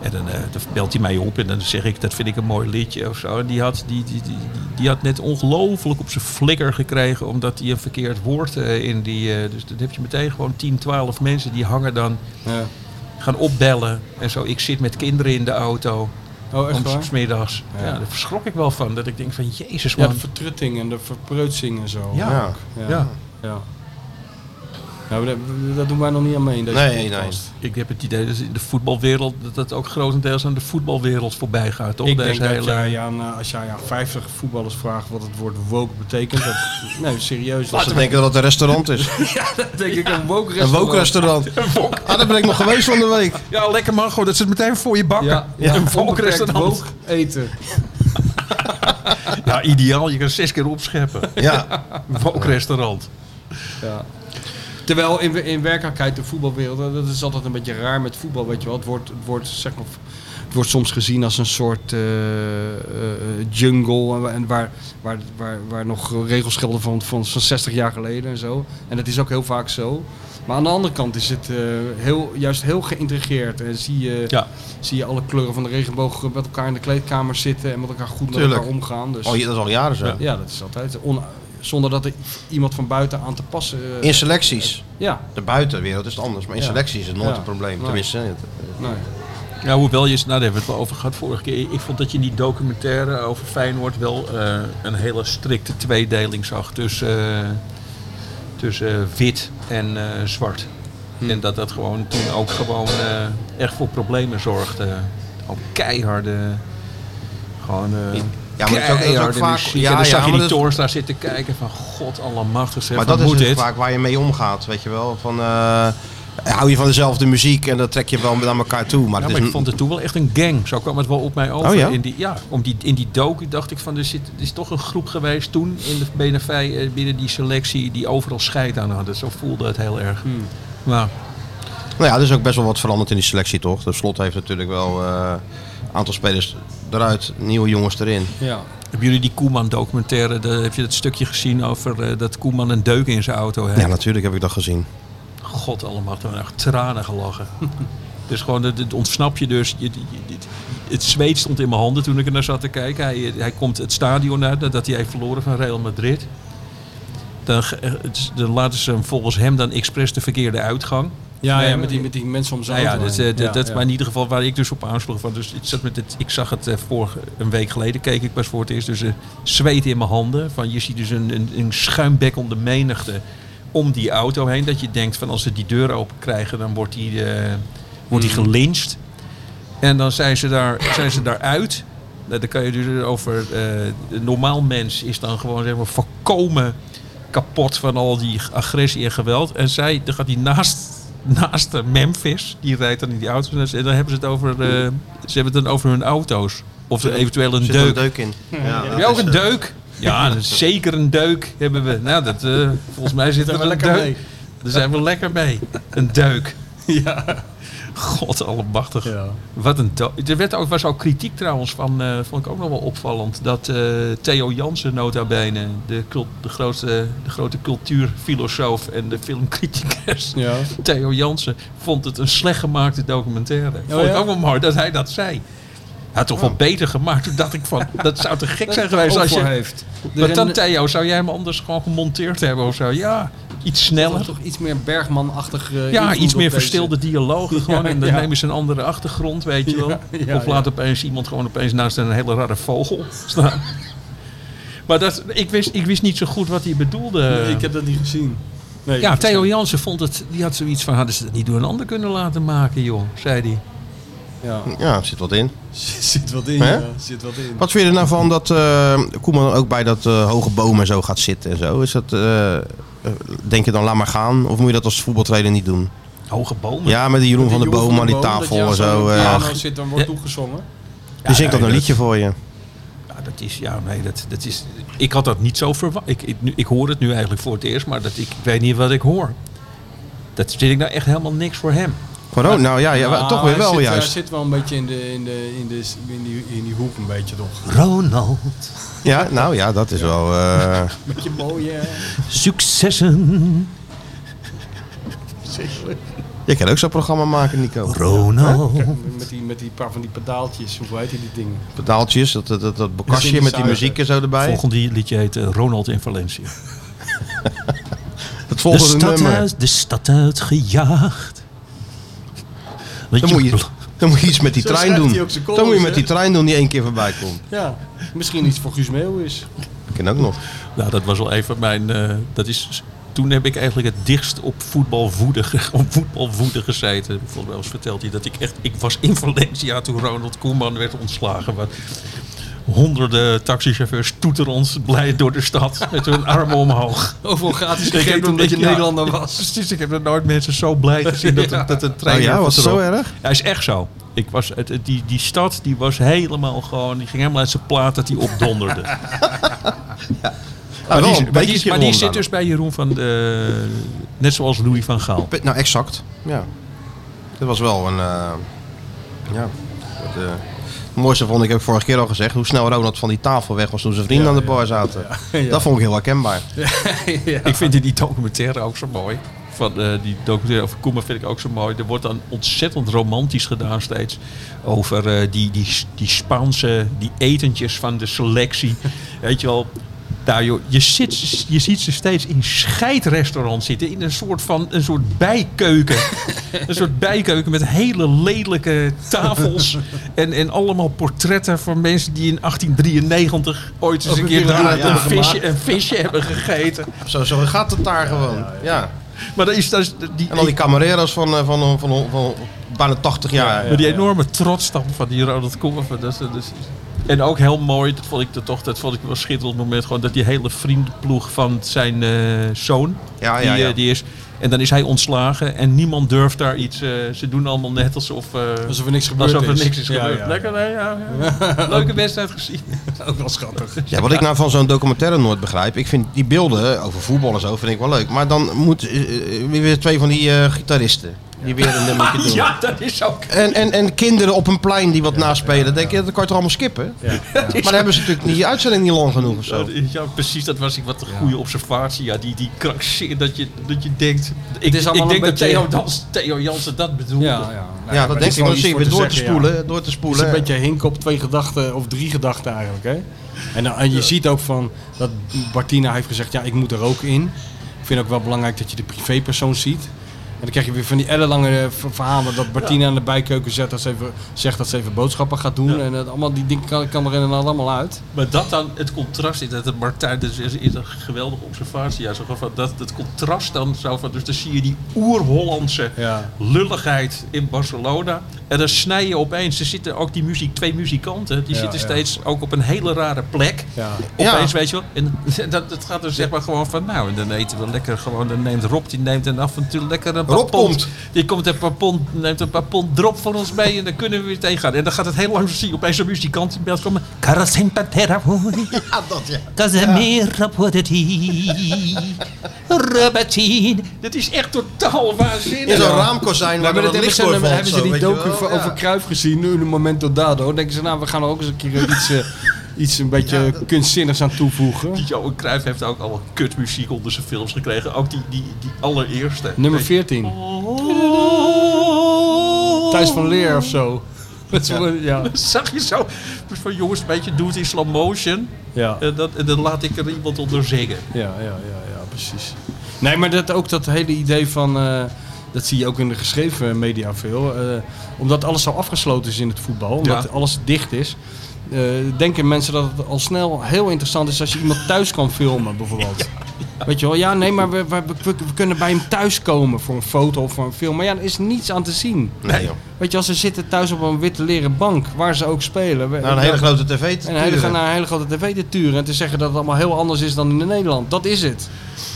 En dan, eh, dan belt hij mij op en dan zeg ik, dat vind ik een mooi liedje of zo. En die had, die, die, die, die- die had net ongelooflijk op zijn flikker gekregen omdat hij een verkeerd woord eh, in die... eh, dus dan heb je meteen gewoon 10, 12 mensen die hangen dan, Ja. gaan opbellen en zo. Ik zit met kinderen in de auto. Oh, echt Om waar? 's middags. Ja. Ja. daar verschrok ik wel van. Dat ik denk van, jezus Ja, man. de vertrutting en de verpreutsing en zo. Ja. Ja. Ja. Ja. Ja. Nou, dat, dat doen wij nog niet aan mee in deze Nee, podcast. Ik heb het idee dat in de voetbalwereld, dat dat ook grotendeels aan de voetbalwereld voorbij gaat. Toch? Ik Deze denk dat hele- jij aan, eh, als jij aan 50 voetballers vraagt wat het woord woke betekent, dat, nee, Dat serieus, dat ze denken dat het een restaurant is. denk ik een woke Een restaurant. woke restaurant. Ah, daar ben ik nog geweest van de week. Ja, lekker man. Goh, dat zit meteen voor je bakken. Ja, Ja. Een onbeperkt volkrestaurant. woke eten. Ja, ideaal. Je kan zes keer (laughs) opscheppen. Ja. Een volkrestaurant. Ja. Terwijl in, in werkelijkheid de voetbalwereld, eh, dat is altijd een beetje raar met voetbal, weet je wel. Het wordt, het wordt, zeg maar, het wordt soms gezien als een soort eh, eh, jungle eh, en, wa- en waar, waar, waar, waar nog regels gelden van, van, van 60 jaar geleden en zo. En dat is ook heel vaak zo. Maar aan de andere kant is het eh, heel, juist heel geïntegreerd. En zie je, Ja. zie je alle kleuren van de regenboog met elkaar in de kleedkamer zitten en met elkaar goed met Tuurlijk. elkaar omgaan. Dus, Oh, dat is al jaren zo. ja, dat is altijd. on- zonder dat er iemand van buiten aan te passen. eh, In selecties. ja, De buitenwereld is het anders, maar in Ja. selecties is het nooit Ja. een probleem. Nee. Tenminste, het- nee. Ja, hoewel je, nou, daar hebben we het wel over gehad vorige keer. Ik vond dat je in die documentaire over Feyenoord wel eh, een hele strikte tweedeling zag tussen, eh, tussen eh, wit en eh, zwart. Hm. En dat dat gewoon toen ook gewoon eh, echt voor problemen zorgde. Ook keiharde. Gewoon. eh Ja, maar dat is ook- dat is ook keiharde vaak- muziek. ja, en dan ja, zag je maar die dat is- Torres daar zitten kijken van god allemachtig zeg, maar wat dat is moet dus dit? vaak waar je mee omgaat, weet je wel. Van, eh, hou je van dezelfde muziek en dat trek je wel naar elkaar toe. Maar, Ja, het maar is ik vond het toen wel echt een gang. Zo kwam het wel op mij over. Oh ja? In die, ja, om die, in die docu dacht ik van, er, zit, er is toch een groep geweest toen in de BNV, Hmm. eh, binnen die selectie die overal scheid aan hadden. Zo voelde het heel erg. Maar Nou ja, er is ook best wel wat veranderd in die selectie, toch? De slot heeft natuurlijk wel eh, een aantal spelers eruit, nieuwe jongens erin. Ja. Hebben jullie die Koeman-documentaire, de- heb je dat stukje gezien over eh, dat Koeman een deuk in zijn auto heeft? Ja, natuurlijk heb ik dat gezien. God allemaal, toen echt tranen gelachen. dus gewoon, het, het ontsnap je dus. Je- je- het- het zweet stond in mijn handen toen ik er naar zat te kijken. Hij, hij komt het stadion uit nadat hij heeft verloren van Real Madrid. Dan, ge- eh, het- dan laten ze hem volgens hem dan expres de verkeerde uitgang. Ja, ja, met, die, met die mensen om zijn Nou ja, auto dat, heen. eh, dat, Ja, dat is ja. maar in ieder geval waar ik dus op aansloeg. Van. Dus ik, zat met het, ik zag het eh, vorige, een week geleden, keek ik pas voor het eerst. Dus eh, zweet in mijn handen. Van, je ziet dus een, een, een schuimbek om de menigte om die auto heen. Dat je denkt van als ze die deur open krijgen, dan wordt die, eh, wordt Hmm. die gelyncht. En dan zijn ze daar, zijn ze daar uit. Nou, dan kan je dus over. eh, een normaal mens is dan gewoon zeg maar volkomen kapot van al die agressie en geweld. En zij, dan gaat die naast, naast de Memphis, die rijdt dan in die auto's. En dan- En dan hebben ze het over, eh, ze hebben het dan over hun auto's. Of er eventueel een Er zit een deuk. deuk in. Ja, Heb dat je ook dus, is, een eh, deuk? (laughs) Ja, dat is zeker een deuk hebben we. Nou, dat, eh, volgens mij zit er we een lekker deuk. mee. Daar zijn we lekker mee. Een (laughs) deuk. Ja. God allemachtig. Ja. Wat een do- er werd ook, was ook kritiek trouwens van, eh, vond ik ook nog wel opvallend, dat eh, Theo Jansen nota bene, de, cult- de, grootste, de grote cultuurfilosoof en de filmcriticus, Ja. Theo Jansen, vond het een slecht gemaakte documentaire. vond Oh ja? Oh. ik ook wel mooi dat hij dat zei. Hij had toch wel beter gemaakt. Toen dacht ik van, (laughs) dat zou te gek zijn geweest als je... heeft. Want dan Theo, zou jij hem anders gewoon gemonteerd hebben of zo? Ja, iets sneller. toch iets meer Bergman-achtig. eh, Ja, invloed iets op meer deze- verstilde (laughs) dialogen gewoon. en dan ja. nemen ze een andere achtergrond, weet je wel. ja, of laat opeens iemand gewoon opeens naast een hele rare vogel (laughs) staan. maar dat, ik, wist, ik wist niet zo goed wat hij bedoelde. Nee, ik heb dat niet gezien. Nee, ja, (laughs) Theo Jansen vond het, die had zoiets van, hadden ze dat niet door een ander kunnen laten maken, joh, zei hij. Ja. Ja, er zit wat in. zit wat in, Hè? ja. Zit wat in. Wat vind je er nou van dat eh, Koeman ook bij dat eh, hoge boom en zo gaat zitten en zo? Is dat, eh, eh, denk je dan laat maar gaan? Of moet je dat als voetbaltrainer niet doen? Hoge bomen. Ja, met die Jeroen van Die der jongen Boom aan die dat je tafel aan en zo. zo'n eh, piano ach, zit, dan wordt Ja. toegezongen. die zingt nee, dan een dat- liedje voor je. Ja, dat is, ja, nee, dat, dat is, ik had dat niet zo verwacht. Ik, ik, nu- ik hoor het nu eigenlijk voor het eerst, maar dat, ik, ik weet niet wat ik hoor. Dat vind ik nou echt helemaal niks voor hem. Waarom? Nou ja, ja, Nou, toch Ah, weer hij wel zit, Hij juist. zit wel een beetje in, de, in, de, in, de, in, die, in die hoek een beetje toch. Ronald. Ja, nou ja, dat is wel... eh, Beetje mooi, hè? Successen. je kan ook zo'n programma maken, Nico. Ronald. Met die, met die paar van die pedaaltjes, hoe heet die, die dingen? Pedaaltjes, dat, dat, dat, dat bokkastje met die synthesizer. muziek en zo erbij. Volgende liedje heet eh, Ronald in Valencia. het volgende nummer. de stad uit gejaagd. Weet Dan moet, je, dan moet je iets met die Zo trein schrijft doen. hij ook zijn columns, Dan moet je met hè? die trein doen die één keer voorbij komt. Ja, misschien iets voor Guus Meeuw is. Ik ken ook nog. Nou, dat was wel even mijn. eh, dat is, toen heb ik eigenlijk het dichtst op voetbalwoede, ge- (laughs) op voetbalwoede gezeten. Volgens mij was verteld hij dat ik echt. Ik was in Valencia toen Ronald Koeman werd ontslagen. Wat, honderden taxichauffeurs toeteren ons blij door de stad (laughs) met hun armen omhoog. Overal gratis Ik heb gegeten hem omdat je ja, Nederlander was. Precies, ik heb nog nooit mensen zo (laughs) blij gezien dat, een- dat een trein. Oh ja, was het erop- zo erg? Hij is echt zo. Ik was, het, het- die, die stad die was helemaal gewoon, die ging helemaal uit zijn plaat dat die (laughs) opdonderde. Ah, wel maar die, een is- maar die, is- beetje maar die rond zit dan. dus bij Jeroen van de, net zoals Louis van Gaal. Pe- Nou, exact. Ja. Dat was wel een. eh, ja. Het, eh, het mooiste vond ik ook vorige keer al gezegd. Hoe snel Ronald van die tafel weg was toen zijn vrienden aan de bar zaten. Dat vond ik heel herkenbaar. Ik vind in die documentaire ook zo mooi. Van, eh, die documentaire over Koeman vind ik ook zo mooi. Er wordt dan ontzettend romantisch gedaan steeds. Over eh, die, die, die Spaanse, die etentjes van de (laughs) selectie. Weet je wel. Daar, joh, je, zit, je ziet ze steeds in scheidrestaurants zitten. In een soort van een soort bijkeuken. (laughs) een soort bijkeuken met hele lelijke (laughs) tafels. en, en allemaal portretten van mensen die in 1893 ooit eens een keer daar ja, een, gemaakt. visje, een visje hebben gegeten. Zo, zo gaat het daar gewoon. Ja, Maar dat is, dat is die, En al die camareros van, eh, van, van, van, van bijna 80 jaar. maar die enorme trots dan van die Ronald Koeman. van dat is- dat is- en ook heel mooi, dat vond ik er toch, dat vond ik wel een schitterend moment. Gewoon dat die hele vriendenploeg van zijn eh, zoon, Ja, die, ja, ja. eh, die is. En dan is hij ontslagen en niemand durft daar iets. eh, ze doen allemaal net alsof, eh, Alsof er niks gebeurd alsof er is. niks is Ja, gebeurd. ja. Lekker, nee, ja, ja. (laughs) Leuke wedstrijd gezien. Ook wel schattig. Ja, wat ik nou van zo'n documentaire nooit begrijp. Ik vind die beelden over voetbal en zo vind ik wel leuk. Maar dan moet eh, eh, weer twee van die eh, gitaristen. die weer een nummertje doen. (laughs) Ja, dat is ook. En, en, en kinderen op een plein die wat naspelen, denk je, dat kan je toch allemaal skippen? (laughs) Maar dan hebben ze natuurlijk niet, die uitzending niet lang genoeg of zo. Eh, Ja, precies. Dat was ik wat een goede observatie. Ja, die, die krankzin dat je, dat je denkt. Ik, is allemaal ik denk een dat beetje- Theo, Dans, Theo Jansen dat bedoelde. Ja, ja. Ja, dat denk ik. Dan zie je weer door te spoelen. Door te Het is een spoelen. beetje hink op twee gedachten of drie gedachten eigenlijk. Hè? En, dan- en je ziet ook van dat Martina heeft gezegd: ja, ik moet er ook in. Ik vind ook wel belangrijk dat je de privépersoon ziet. En dan krijg je weer van die ellenlange eh, ver- verhalen dat Martina aan de bijkeuken zegt dat ze even, zegt dat ze even boodschappen gaat doen. En dat allemaal die dingen kan, kan er inderdaad allemaal uit. Maar dat dan, het contrast is dat het Martijn, dus is, is een geweldige observatie. Ja, zo van dat het contrast dan zo van, dus dan zie je die oer-Hollandse Ja. lulligheid in Barcelona. En dan snij je opeens, er zitten ook die muziek, twee muzikanten, die Ja, zitten ja. steeds ook op een hele rare plek. Ja. Opeens, weet je wel. En (laughs) dat, dat gaat dus zeg maar gewoon van, nou, en dan eten we lekker gewoon, dan neemt Rob, die neemt en af en toe lekker een paar Rob pond. komt. Die komt een paar pond, neemt een paar pond drop voor ons mee en dan kunnen we weer tegengaan. En dan gaat het heel lang zien, opeens een muzikant in beeld komen. Karasin Pantera, (laughs) Casemira Podati, Rabatin. Dat is echt totaal waanzinnig. In zo'n raamkozijn waar maar dan dat een hebben licht ze, door valt. hebben zo, ze die weet je docu wel. voor- Ja. over Kruif gezien, nu in een momento dado. Denken ze, nou, we gaan er ook eens een keer eh, iets, eh, iets een beetje kunstzinnigs aan toevoegen. Johan Cruijff heeft ook al kutmuziek onder zijn films gekregen. Ook die, die, die allereerste. Nummer 14. Thijs van Leer of (laughs) zo. Dat is wel- Ja. Zag je zo? Dus van jongens, weet je, doe het in slow motion. Ja. En, dat, en dan laat ik er iemand onder zingen. Ja, ja, ja, ja, precies. Nee, maar dat, ook dat hele idee van. eh, dat zie je ook in de geschreven media veel. eh, omdat alles zo afgesloten is in het voetbal, omdat Ja. alles dicht is. eh, denken mensen dat het al snel heel interessant is als je iemand thuis kan filmen, bijvoorbeeld. Weet je wel, ja, nee, maar we, we, we- we kunnen bij hem thuis komen voor een foto of voor een film. Maar ja, er is niets aan te zien. Nee, joh. Weet je, als ze zitten thuis op een witte leren bank, waar ze ook spelen. we- Nou, een hele grote tv. en een hele, naar een hele grote tv te turen en te zeggen dat het allemaal heel anders is dan in Nederland. Dat is het.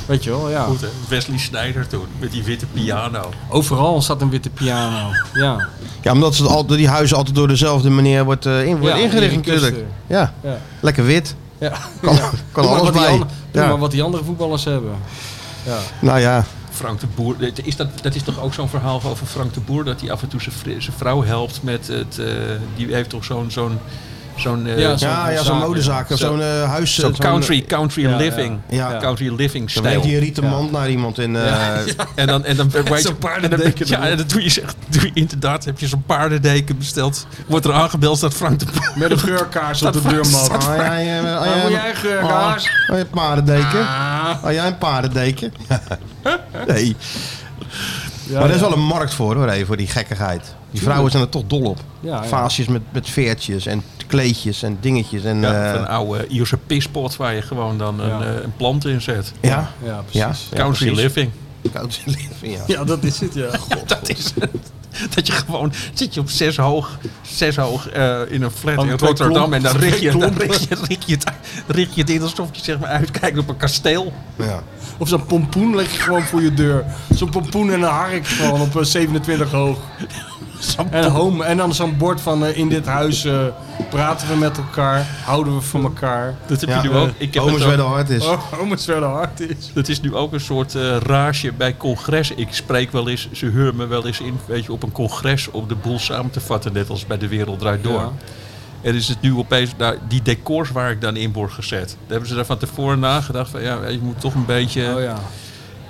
Weet je wel, ja. Goed, hè? Wesley Snyder toen, met die witte piano. Overal staat een witte piano. Ja. Ja, omdat ze al, die huizen altijd door dezelfde manier wordt, eh, in, wordt Ja, ingericht in de natuurlijk. kust, eh. Ja. Ja. lekker wit. ja. Kan, kan Doe maar alles wat die bij. ander- doe Ja. maar wat die andere voetballers hebben. Nou ja, Frank de Boer, dat is, dat, dat is toch ook zo'n verhaal over Frank de Boer... dat hij af en toe zijn vri- zijn vrouw helpt met het... eh, die heeft toch zo'n... zo'n zo'n eh, Ja, zo'n- ja, ja zo'n zaak, modezaak of Zo- zo'n eh, huis. zo'n eh, country, country ja, living. ja. Ja. Country living Dan wijkt stijl. die rieten mand naar iemand in. eh, (laughs) En dan, en dan, weet je, zo'n en dan, paardendeken ja, erin. en dan doe je zegt, doe je, inderdaad, heb je zo'n paardendeken besteld. Wordt er aangebeld, staat Frank de Boer. Met een geurkaars op de deurmat. Ah, jij, eh, ah, jij- Wil jij een ah, geurkaars? ah, jij een paardendeken? Ah, jij een paardendeken? nee. maar er is wel een markt voor hoor, even, voor die gekkigheid. Die vrouwen zijn er toch dol op. Ja, ja. Vaasjes met, met veertjes en kleedjes en dingetjes. En, Ja, eh, een oude Ierse pispot waar je gewoon dan een, Ja. eh, een plant in zet. ja, Ja, precies. precies. Country living. Country living, ja. Ja, dat is het, ja. Dat is (laughs) Dat je gewoon zit je op zes hoog, zes hoog eh, in een flat Aan in twee Rotterdam klompen. en dan richt je, (laughs) Twee dan klompen. richt je, richt je, het, richt je het in alsof je zeg maar uitkijkt op een kasteel. ja. Of zo'n pompoen leg je gewoon voor je deur. Zo'n pompoen en een hark gewoon op eh, 27 hoog. En home. En dan zo'n bord van eh, in dit huis eh, praten we met elkaar, houden we van elkaar. Dat heb Ja, je nu eh, ook. Ik heb Homers het ook- werden hard is. Oh, om het verder hard is. Dat is nu ook een soort eh rage bij congres. Ik spreek wel eens, ze huren me wel eens in, weet je, op een congres om de boel samen te vatten, net als bij de Wereld Draait Door. Ja. En is het nu opeens, nou, die decors waar ik dan in word gezet, daar hebben ze daar van tevoren nagedacht van, ja, je moet toch een beetje... Oh ja.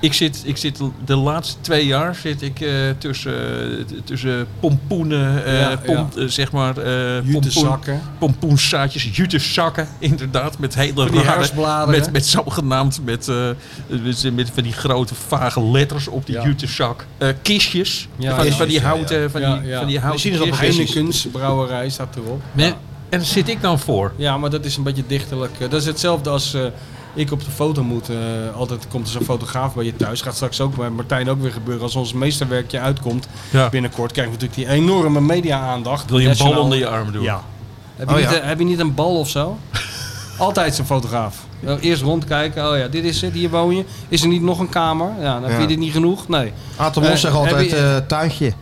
Ik zit, ik zit de laatste twee jaar zit ik eh, tussen, eh, tussen pompoenen, eh, Ja, pom- ja. eh, zeg maar, eh pompoen, Jutezakken. pompoenzaadjes, jutezakken, inderdaad, met hele die rare, herfstbladeren. met, met zogenaamd, met, eh, met, met van die grote vage letters op die Ja. jutezak, eh, kistjes, Ja, van, ja. van die houten, van, Ja, die, ja. van die houten kistjes. Heineken's brouwerij staat erop. Nee, En daar zit ik dan voor. Ja, maar dat is een beetje dichterlijk. eh, Dat is hetzelfde als eh, ik op de foto moet. eh, altijd komt er zo'n fotograaf bij je thuis. Gaat straks ook bij Martijn ook weer gebeuren. Als ons meesterwerkje uitkomt Ja. binnenkort, krijgen we natuurlijk die enorme media-aandacht. Wil je een bal Nationaal- onder je arm doen? Ja. Heb je, Oh, niet, ja. eh, heb je niet een bal of (laughs) zo? Altijd zo'n fotograaf. Eh, Eerst rondkijken. Oh ja, dit is het. Hier woon je. Is er niet nog een kamer? Ja, dan heb Ja. je dit niet genoeg. Nee. Aad de Mos Eh, zegt heb altijd je- eh, tuintje.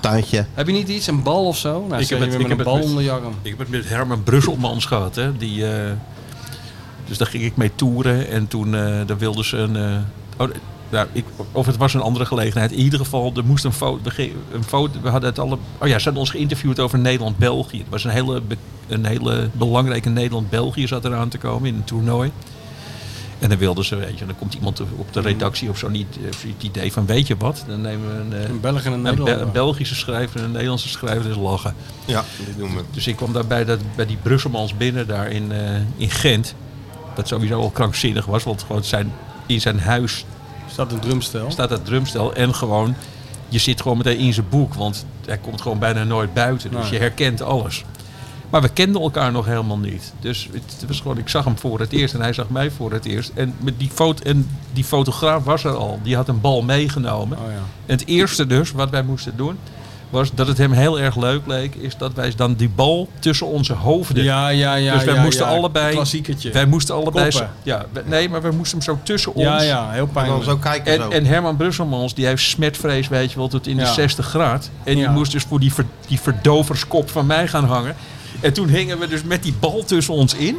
Tuintje. Heb je niet iets? Een bal of zo? Nou, ik heb het- het, weer ik met een heb bal het met- onder je arm. Ik heb het met Herman Brusselmans gehad. Hè? Die, eh, dus daar ging ik mee toeren. En toen eh, daar wilden ze een... eh, oh, nou, ik, of het was een andere gelegenheid. In ieder geval, er moest een foto. er ge- Een foto we hadden het alle. Oh ja, ze hadden ons geïnterviewd over Nederland-België. Het was een hele, be- een hele belangrijke Nederland-België zat eraan te komen in een toernooi. En dan wilden ze, weet je, dan komt iemand op Mhm. de redactie of zo niet eh, voor het idee van weet je wat, dan nemen we een, eh, Een Belg en een een, Be- Nederlander. een Belgische schrijver en een Nederlandse schrijver, dus lachen. Ja, dit doen we. Dus ik kwam daar bij, dat, bij die Brusselmans binnen daar in, eh, in Gent. Wat sowieso al krankzinnig was, want gewoon zijn, in zijn huis Staat een drumstel. staat dat drumstel. En gewoon, je zit gewoon meteen in zijn boek, want hij komt gewoon bijna nooit buiten. Dus Nee. je herkent alles. Maar we kenden elkaar nog helemaal niet. Dus het was gewoon, ik zag hem voor het eerst en hij zag mij voor het eerst. En, met die, foto, en die fotograaf was er al. Die had een bal meegenomen. Oh ja. En het eerste dus wat wij moesten doen, was dat het hem heel erg leuk leek, is dat wij dan die bal tussen onze hoofden. Ja, ja, ja. dus wij ja, moesten ja. allebei. Klassiekertje. Wij moesten allebei. Koppen. zo- ja, we- nee, maar we moesten hem zo tussen ons. ja, ja, heel En dan pijnlijk. zo kijken zo. En, en Herman Brusselmans, die heeft smetvrees, weet je wel, tot in de Ja. 60 graden. En die Ja. moest dus voor die, ver- die verdoverskop van mij gaan hangen. En toen hingen we dus met die bal tussen ons in.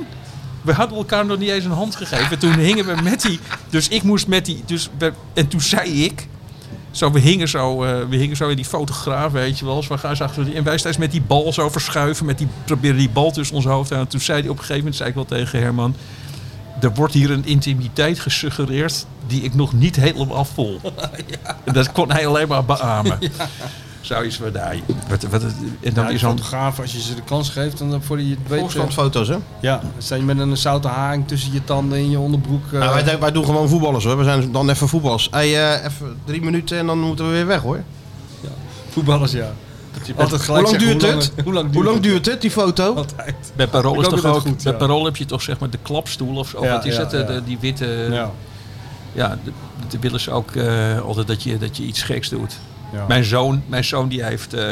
We hadden elkaar nog niet eens een hand gegeven. Toen hingen we met die... Dus ik moest met die... Dus we- en toen zei ik... Zo, we, hingen zo, eh, we hingen zo in die fotograaf, weet je wel. Dus we gaan zo achter die- en wij steeds met die bal zo verschuiven. Met die, proberen die bal tussen ons hoofd te houden. Toen zei hij op een gegeven moment, zei ik wel tegen Herman... Er wordt hier een intimiteit gesuggereerd die ik nog niet helemaal vol. En dat kon hij alleen maar beamen. Zoiets van, nee, wat, wat, en dan Ja, is die zo'n... fotograaf, als je ze de kans geeft, dan voor je het weet... eh, Volksstandfoto's, hè? Ja, dan sta je met een zouten haring tussen je tanden in je onderbroek. eh, Nou, wij, doen- wij doen gewoon voetballers, hoor. We zijn dan even voetballers. Hey, eh, even drie minuten en dan moeten we weer weg, hoor. voetballers, ja. Altijd gelijk Hoe lang zeggen, duurt hoe het? Hoe lang duurt, Hoe lang het? duurt het, die foto? Altijd. Bij Ik Parool, is hoop toch dat ook, het goed, bij ja. Parool heb je toch zeg maar de klapstoel of zo. Ja, wat is ja, het? eh, de- ja. die witte... Ja, Ja, de- de willen ze ook eh, altijd dat je, dat je iets geks doet. ja. Mijn zoon, mijn zoon die heeft... eh,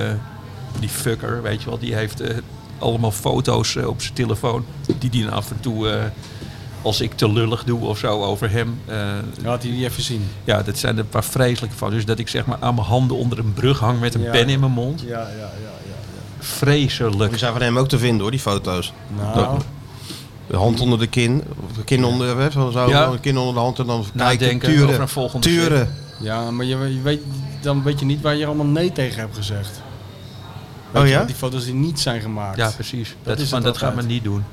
die fucker, weet je wel. Die heeft eh, allemaal foto's eh, op zijn telefoon. Die die af en toe... eh, als ik te lullig doe of zo over hem... eh, Laat hij die even zien. Ja, dat zijn er een paar vreselijke van. Dus dat ik zeg maar aan mijn handen onder een brug hang met een Ja. pen in mijn mond. Ja, ja, ja. ja, Die Vreselijk. zijn van hem ook te vinden, hoor, die foto's. Nou, De hand onder de kin. Of de kin onder, hè, zo, zo, Ja. de kin onder de hand en dan kijken, Nadenken turen. over een volgende turen. ja maar je, je weet, dan weet je niet waar je allemaal nee tegen hebt gezegd. Weet Oh je ja? wel, Die foto's die niet zijn gemaakt. Ja, precies. Dat, is is van, het dat gaat me altijd. niet doen.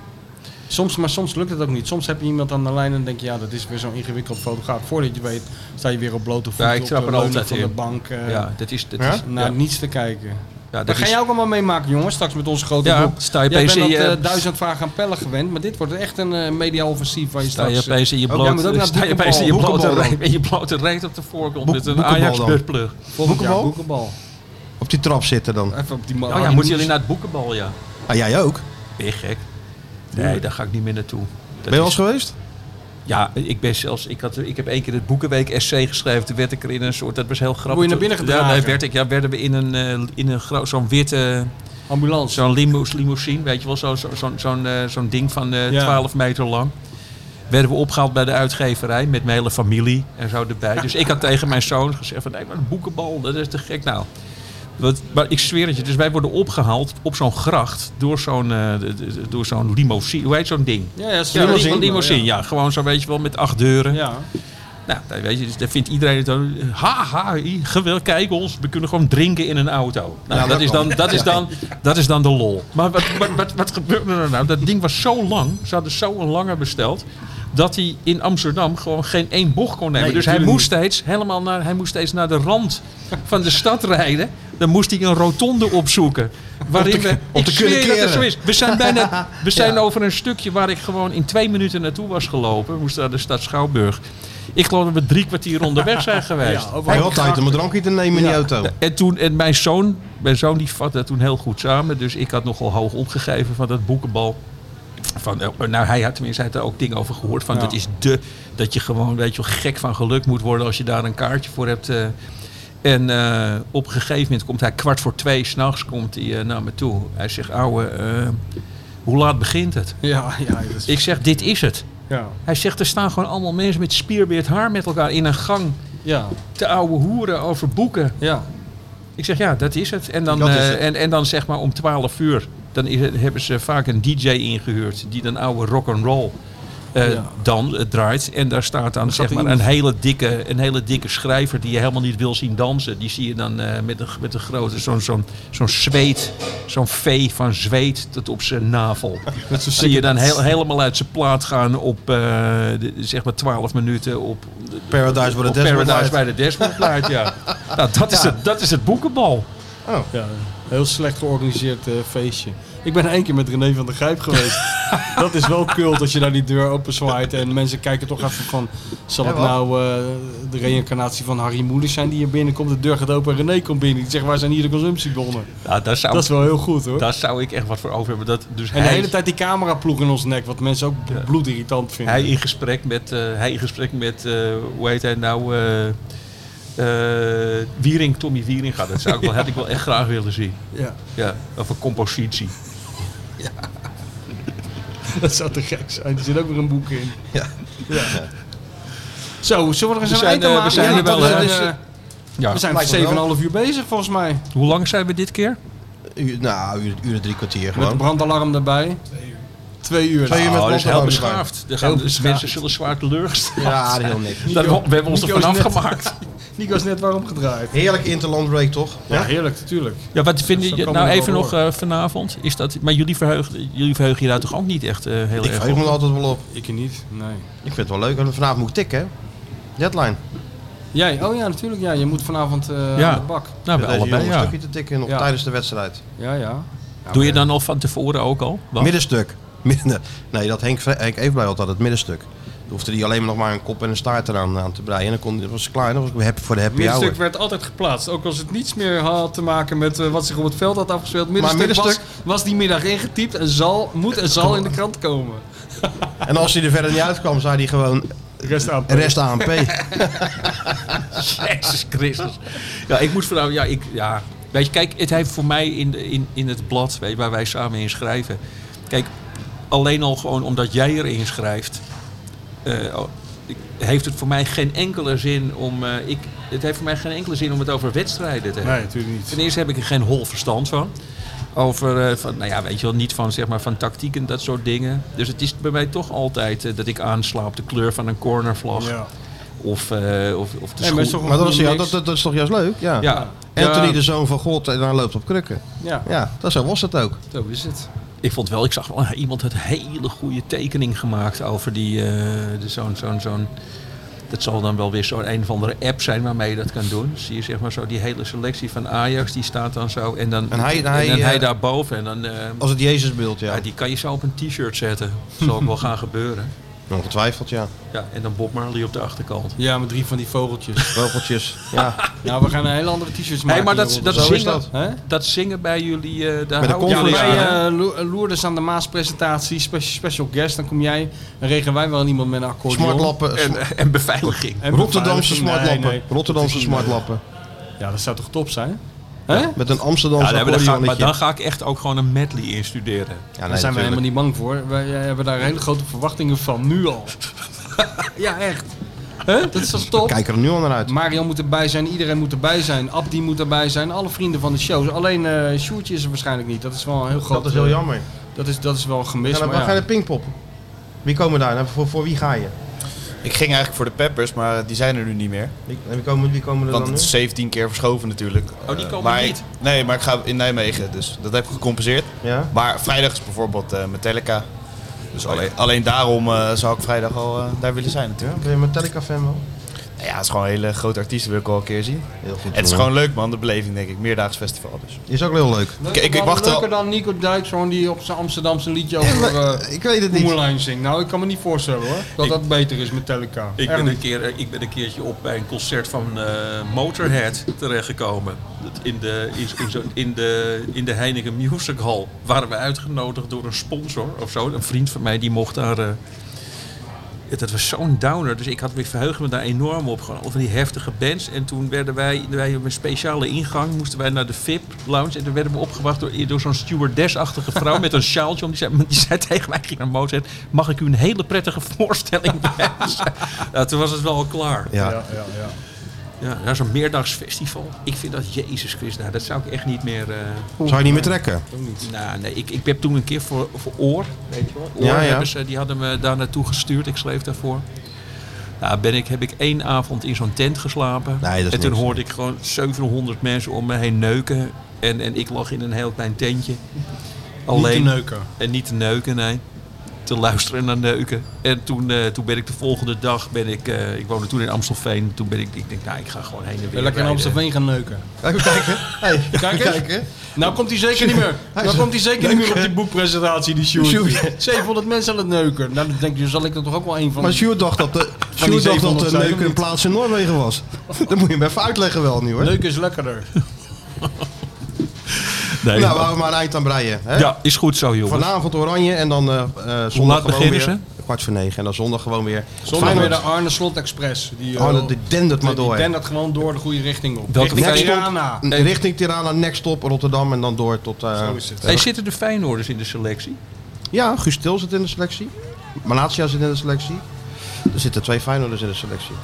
Soms, maar soms lukt het ook niet. Soms heb je iemand aan de lijn en denk je, ja, dat is weer zo'n ingewikkeld fotograaf. Voordat je weet, sta je weer op blote voeten ik trap op er de leuning altijd van in. de bank eh, ja, dat is... Dat Ja? is naar ja, niets te kijken. ja, dat Daar Nou, ga is- jij ook allemaal mee maken, jongens, straks met onze grote Ja, boek. sta je Jij opeens bent in dat je... eh, duizend vragen aan pellen gewend, maar dit wordt echt een eh, media-offensief waar je Sta je straks... opeens in je Oh, jij moet ook blote, naar sta je boekenbal. opeens in je blote, Boekenbal dan. reet- in je blote reet op de voorgrond Boek- met een boekenbal ajax dan. beurtplug. eh, volgend jaar boekenbal? boekenbal. Op die trap zitten dan. Even op die man. Oh ja, moeten jullie naar het boekenbal, ja. Ah, jij ook? Ben Ben je gek? Nee, daar ga ik niet meer naartoe. Dat je wel is- eens geweest? Ja, ik ben zelfs. Ik, had, ik heb één keer het Boekenweek essay geschreven. Toen werd ik er in een soort. Dat was heel grappig. Word je naar binnen Toen- gedragen? Ja, nee, werd ik, ja, werden we in een, eh, in een groot. Zo'n witte. Ambulance. Zo'n limous, limousine, weet je wel. Zo'n zo, zo'n zo'n, eh, zo'n ding van eh, Ja. 12 meter lang. Werden we opgehaald bij de uitgeverij. Met mijn hele familie en zo erbij. Dus ik had tegen mijn zoon gezegd: van, Nee, maar een boekenbal, dat is te gek. Nou. Wat, maar ik zweer het je, dus wij worden opgehaald op zo'n gracht door zo'n eh, d- d- door zo'n limousine. Hoe heet zo'n ding? Ja, ja, zo'n Ja, limousine. een limousine. Ja, gewoon zo, weet je wel, met acht deuren. Ja. Nou, daar weet je, dus daar vindt iedereen het dan. Haha, geweldig, kijk ons, we kunnen gewoon drinken in een auto. Nou, dat, is dan, dat, is dan, dat is dan de lol. Maar wat, wat, wat, wat gebeurde er nou? Dat ding was zo lang, ze hadden zo'n lange besteld, dat hij in Amsterdam gewoon geen één bocht kon nemen. Nee, dus hij natuurlijk moest, steeds helemaal naar, hij moest steeds naar de rand van de stad rijden. Dan moest hij een rotonde opzoeken. Waarin we, om te kunnen keren. is. We zijn, bijna, we zijn over een stukje waar ik gewoon in twee minuten naartoe was gelopen. We moesten naar de stad Schouwburg. Ik geloof dat we drie kwartier onderweg (laughs) zijn geweest. Ja, ook Hij wel. wel tijd om een drankje te nemen in die auto. En, toen, en mijn zoon, mijn zoon die vatte dat toen heel goed samen. Dus ik had nogal hoog opgegeven van dat boekenbal. Van, eh, nou, hij had tenminste hij had er ook dingen over gehoord. Van, Ja. dat, is de, dat je gewoon weet je, wel, gek van geluk moet worden als je daar een kaartje voor hebt. eh. En eh, op een gegeven moment komt hij kwart voor twee s'nachts komt hij, eh, naar me toe. Hij zegt, ouwe, eh, hoe laat begint het? Ja, ja. dat is- Ik zeg, dit is het. Ja. Hij zegt, er staan gewoon allemaal mensen met spierbeerd haar met elkaar in een gang Ja. te ouwe hoeren over boeken. Ja. Ik zeg ja, dat is het. En dan, Dat is eh, het. En, en dan zeg maar om 12 uur. Dan is het- hebben ze vaak een DJ ingehuurd. Die dan oude rock and roll. eh, dan het draait. En daar staat dan zeg maar, een, hele dikke, een hele dikke schrijver die je helemaal niet wil zien dansen. Die zie je dan eh, met, een, met een grote, zo'n zo'n zo'n zweet, zo'n vee van zweet tot op (laughs) zijn navel. Dat zie je dan heel, helemaal uit zijn plaat gaan op eh, de- zeg maar 12 minuten op, Paradise by the op Dashboard Light. Paradise bij de Dashboard Light, (laughs) ja. Nou, dat is, het, dat is het boekenbal. Ja, heel slecht georganiseerd eh, feestje. Ik ben één keer met René van der Grijp (laughs) geweest. dat is wel cult als je daar die deur open zwaait en mensen kijken toch even van... Zal het nou eh, de reïncarnatie van Harry Moelis zijn die hier binnenkomt? De deur gaat open en René komt binnen. Die zegt, waar zijn hier de consumptiebronnen? Nou, daar, zou, Dat is wel heel goed hoor. daar zou ik echt wat voor over hebben. Dat, dus En de hij- hele tijd die cameraploeg in ons nek, wat mensen ook bloedirritant vinden. Hij in gesprek met, eh, hij in gesprek met eh, hoe heet hij nou? eh, eh, Wiering, Tommy Wiering gaat. Dat zou ik (laughs) wel, had ik wel echt graag willen zien. Ja, (laughs) Ja, of een compositie. dat zou te gek zijn. Er zit ook weer een boek in. Ja. Dus Zo, zullen we er eens een zijn, eind aan eh, we maken? zijn Ja, er wel, want we hè? zijn, eh, Ja. We zijn 7,5 uur bezig volgens mij. Hoe lang zijn we dit keer? Uur- nou, uur, uur en drie kwartier Met een gewoon. brandalarm erbij. Twee uur. Twee uur met Oh, dat is heel brand erbij. beschaafd. Er gaan, dus mensen zullen zwaar teleurgesteld. Ja, heel niks. Daar- we hebben ons er Nico is vanaf net- gemaakt. Nico is net warm gedraaid. Heerlijk interlandbreak toch? Ja, heerlijk, natuurlijk. Ja, wat vinden Zo je kan nou het wel even nog door. eh, vanavond? Is dat, maar jullie verheugen, jullie verheugen je daar toch ook niet echt eh, heel Ik erg verheug op? me er altijd wel op. Ik niet, nee. Ik vind het wel leuk. En vanavond moet ik tikken, hè? Deadline. Jij, oh ja, natuurlijk. Ja, je moet vanavond eh, Ja. aan de bak. Nou, bij Deze allebei, jongen een ja. stukje te tikken nog Ja. tijdens de wedstrijd. Ja, ja. Doe je dan al van tevoren ook al? Wat? Middenstuk. (laughs) Midden. Nee, dat Henk, Vre- Henk Evenblij had dat, het middenstuk. Dan hoefde hij alleen maar nog maar een kop en een staart eraan aan te breien. En dan kon, dat was klaar. En dan was ik weer happy voor de happy hour. Middenstuk werd altijd geplaatst. Ook als het niets meer had te maken met eh, wat zich op het veld had afgespeeld. Middenstuk, middenstuk- Was, was die middag ingetypt en zal, moet en zal in de krant komen. En als hij er verder niet uitkwam, zei hij gewoon Rest aan. rest aan P. Jezus Christus. Ja, ik moest vanavond... Ja, ik, ja. Weet je, kijk, het heeft voor mij in, de- in, in het blad weet je, waar wij samen in schrijven... Kijk, alleen al gewoon omdat jij erin schrijft... eh, oh, ik- heeft het voor mij geen enkele zin om... eh, ik, het heeft voor mij geen enkele zin om het over wedstrijden te hebben. Nee, natuurlijk niet. Ten eerste heb ik er geen hol verstand van. Over, eh, van, nou ja, weet je wel, niet van, zeg maar, van tactiek en dat soort dingen. Dus het is bij mij toch altijd eh, dat ik aansla op de kleur van een cornervlag. Ja. Of, eh, of, of de Nee, maar schoen. is toch een Maar dat, was, goede ja, mix. dat, dat, dat is toch juist leuk? Ja. Ja. Anthony, de zoon van God, en hij loopt op krukken. Ja, Ja, dat zo was het ook. zo is het. Ik vond wel, ik zag wel, iemand had een hele goede tekening gemaakt over die, eh, de zo'n, zo'n, zo'n... Dat zal dan wel weer zo'n een of andere app zijn waarmee je dat kan doen. Zie je zeg maar zo die hele selectie van Ajax, die staat dan zo. En dan En hij- hij, dan eh, hij daarboven. En dan, eh, Als het Jezusbeeld, ja. ja, die kan je zo op een t-shirt zetten. Dat zal ook wel gaan (laughs) gebeuren. Ongetwijfeld, ja. Ja, en dan Bob Marley op de achterkant. Ja, met drie van die vogeltjes. Vogeltjes. Ja. nou, we gaan een hele andere t-shirts maken. Hé, maar dat, hieronder. dat, Zo is zingen, dat. Hè? dat zingen bij jullie, eh, daar Bij de houden Ja, Voor jullie conference, aan, hè? bij eh, Lo- Loerders aan de Maas presentatie, spe- special guest, dan kom jij en regelen wij wel iemand met een accordeon. Smartlappen. en, en beveiliging. En Rotterdamse beveiliging. smartlappen. Nee, nee. Rotterdamse smartlappen. Ja, dat zou toch top zijn? Hè? Daar Met een Amsterdamse Ja, nee, maar, dan ga ik, maar accordeonnetje. dan ga ik echt ook gewoon een medley instuderen. Ja, zijn we natuurlijk. helemaal niet bang voor. Wij eh, hebben daar hele grote verwachtingen van, nu al. (laughs) ja, echt. Hè? Dat is toch top? Kijk er nu al naar uit. Mario moet erbij zijn, iedereen moet erbij zijn, Abdi moet erbij zijn, alle vrienden van de show. Alleen eh Sjoertje is er waarschijnlijk niet. Dat is wel een heel groot... Dat is heel eh, jammer. Dat is, dat is wel gemist, Ja, dan maar ga je ja. naar Pinkpop. Wie komen daar? Nou, voor, voor wie ga je? Ik ging eigenlijk voor de Peppers, maar die zijn er nu niet meer. Wie, en wie, komen, wie komen er Want dan het nu? is 17 keer verschoven natuurlijk. Oh, die Eh, komen maar niet. ik- nee, maar ik ga in Nijmegen, dus dat heb ik gecompenseerd. Ja? Maar vrijdag is bijvoorbeeld eh, Metallica. Oh, Dus alleen, alleen daarom eh, zou ik vrijdag al eh, daar willen zijn natuurlijk. ja? Ben je Metallica fan wel? Nou ja, het is gewoon een hele grote artiest, wil ik al een keer zien. Heel goed. En het is gewoon leuk man, de beleving denk ik. Meerdaags festival dus. Is ook heel leuk. Ik- ik- ik wacht leuker al- dan Nico Dijkshoorn die op zijn Amsterdamse liedje over eh ik weet het niet. Moulijn zingt. Nou, ik kan me niet voorstellen hoor, dat dat beter is met Teleka. Ik ben, een keer, eh, ik ben een keertje op bij een concert van eh, Motorhead terechtgekomen. Dat In de, in, in, zo, in, de, in de Heineken Music Hall waren we uitgenodigd door een sponsor of zo. Een vriend van mij die mocht daar... eh, ja, dat was zo'n downer, dus ik had weer verheugd me daar enorm op. Gewoon over die heftige bands. En toen werden wij, wij op een speciale ingang, moesten wij naar de VIP-lounge. En toen werden we opgewacht door, door zo'n stewardess-achtige vrouw met een sjaaltje om. Die zei, die zei tegen mij, ik ging naar Mozart, mag ik u een Nou, hele prettige voorstelling wijzen? Ja, toen was het wel al klaar. Ja. ja, ja. Ja, Ja, nou, zo'n meerdagsfestival. Ik vind dat, Jezus Christus, nou, dat zou ik echt niet meer... eh, Zou je niet meer trekken? Nou, nee, ik, ik heb toen een keer voor, voor Oor, weet je wel. Oor Ja, ja. hebben ze, die hadden me daar naartoe gestuurd. Ik schreef daarvoor. Nou, ben ik, heb ik één avond in zo'n tent geslapen. Nee, dat is en toen niks. hoorde ik gewoon 700 mensen om me heen neuken. En, en ik lag in een heel klein tentje. Alleen. Niet te neuken. En niet te neuken, nee. Te luisteren naar neuken. En toen, eh, toen ben ik de volgende dag, ben ik, eh, ik woonde toen in Amstelveen. Toen ben ik, ik denk, nou, ik ga gewoon heen en weer Lekker in rijden. Amstelveen gaan neuken. Even kijken. Hey, Kijk eens. Nou komt hij zeker niet meer. Nou komt hij zeker niet meer op die boekpresentatie, die Sjoerd. 700 mensen aan het neuken. Nou, dan denk je, zal ik er toch ook wel een van... Maar Sjoerd dacht dat de, Sjoerd dacht dat 700 de zijn er leuke niet. plaats in Noorwegen was. (laughs) Dan moet je hem even uitleggen wel nu hoor. Neuken is lekkerder. Nee, Nou, waar we maar een eind aan breien. Hè? ja, is goed zo, jongen. Vanavond Oranje en dan eh, eh, zondag laat dus, gewoon beginnen weer. ze? Kwart voor negen. En dan zondag gewoon weer. Zondag weer Feyenoord. de Arne Slot Express. Die, eh, Oh, dat- die dendert maar door. Die dendert gewoon door de goede richting op. Dat- richting Next stop. Tirana. Nee, richting Tirana, next stop Rotterdam en dan door tot... eh, Zo is het. Hey, zitten de Feyenoorders in de selectie? Ja, Guus Til zit in de selectie. Malatia zit in de selectie. Er zitten twee Feyenoorders in de selectie.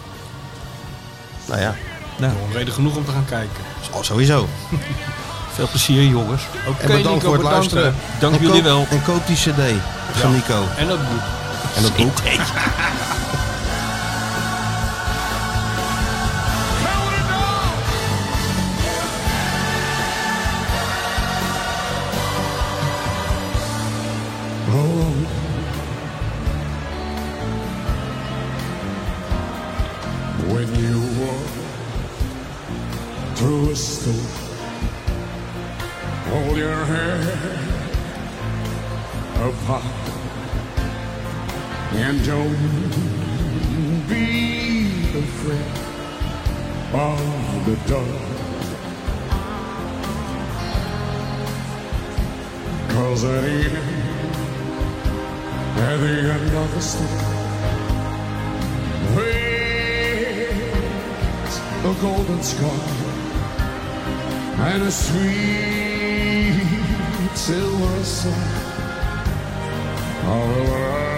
Nou ja, Reden genoeg om te gaan kijken. oh, sowieso. Veel plezier, jongens. Oké, eh, En bedankt voor het luisteren. Dank En jullie koop- wel. En koop die cd van Nico. En dat boek. En dat boek. When you walk through a storm, hold your head up high and don't be afraid of the dark. Cause at the end, at the end of the storm, waits a golden sky and a sweet silver song. I will rise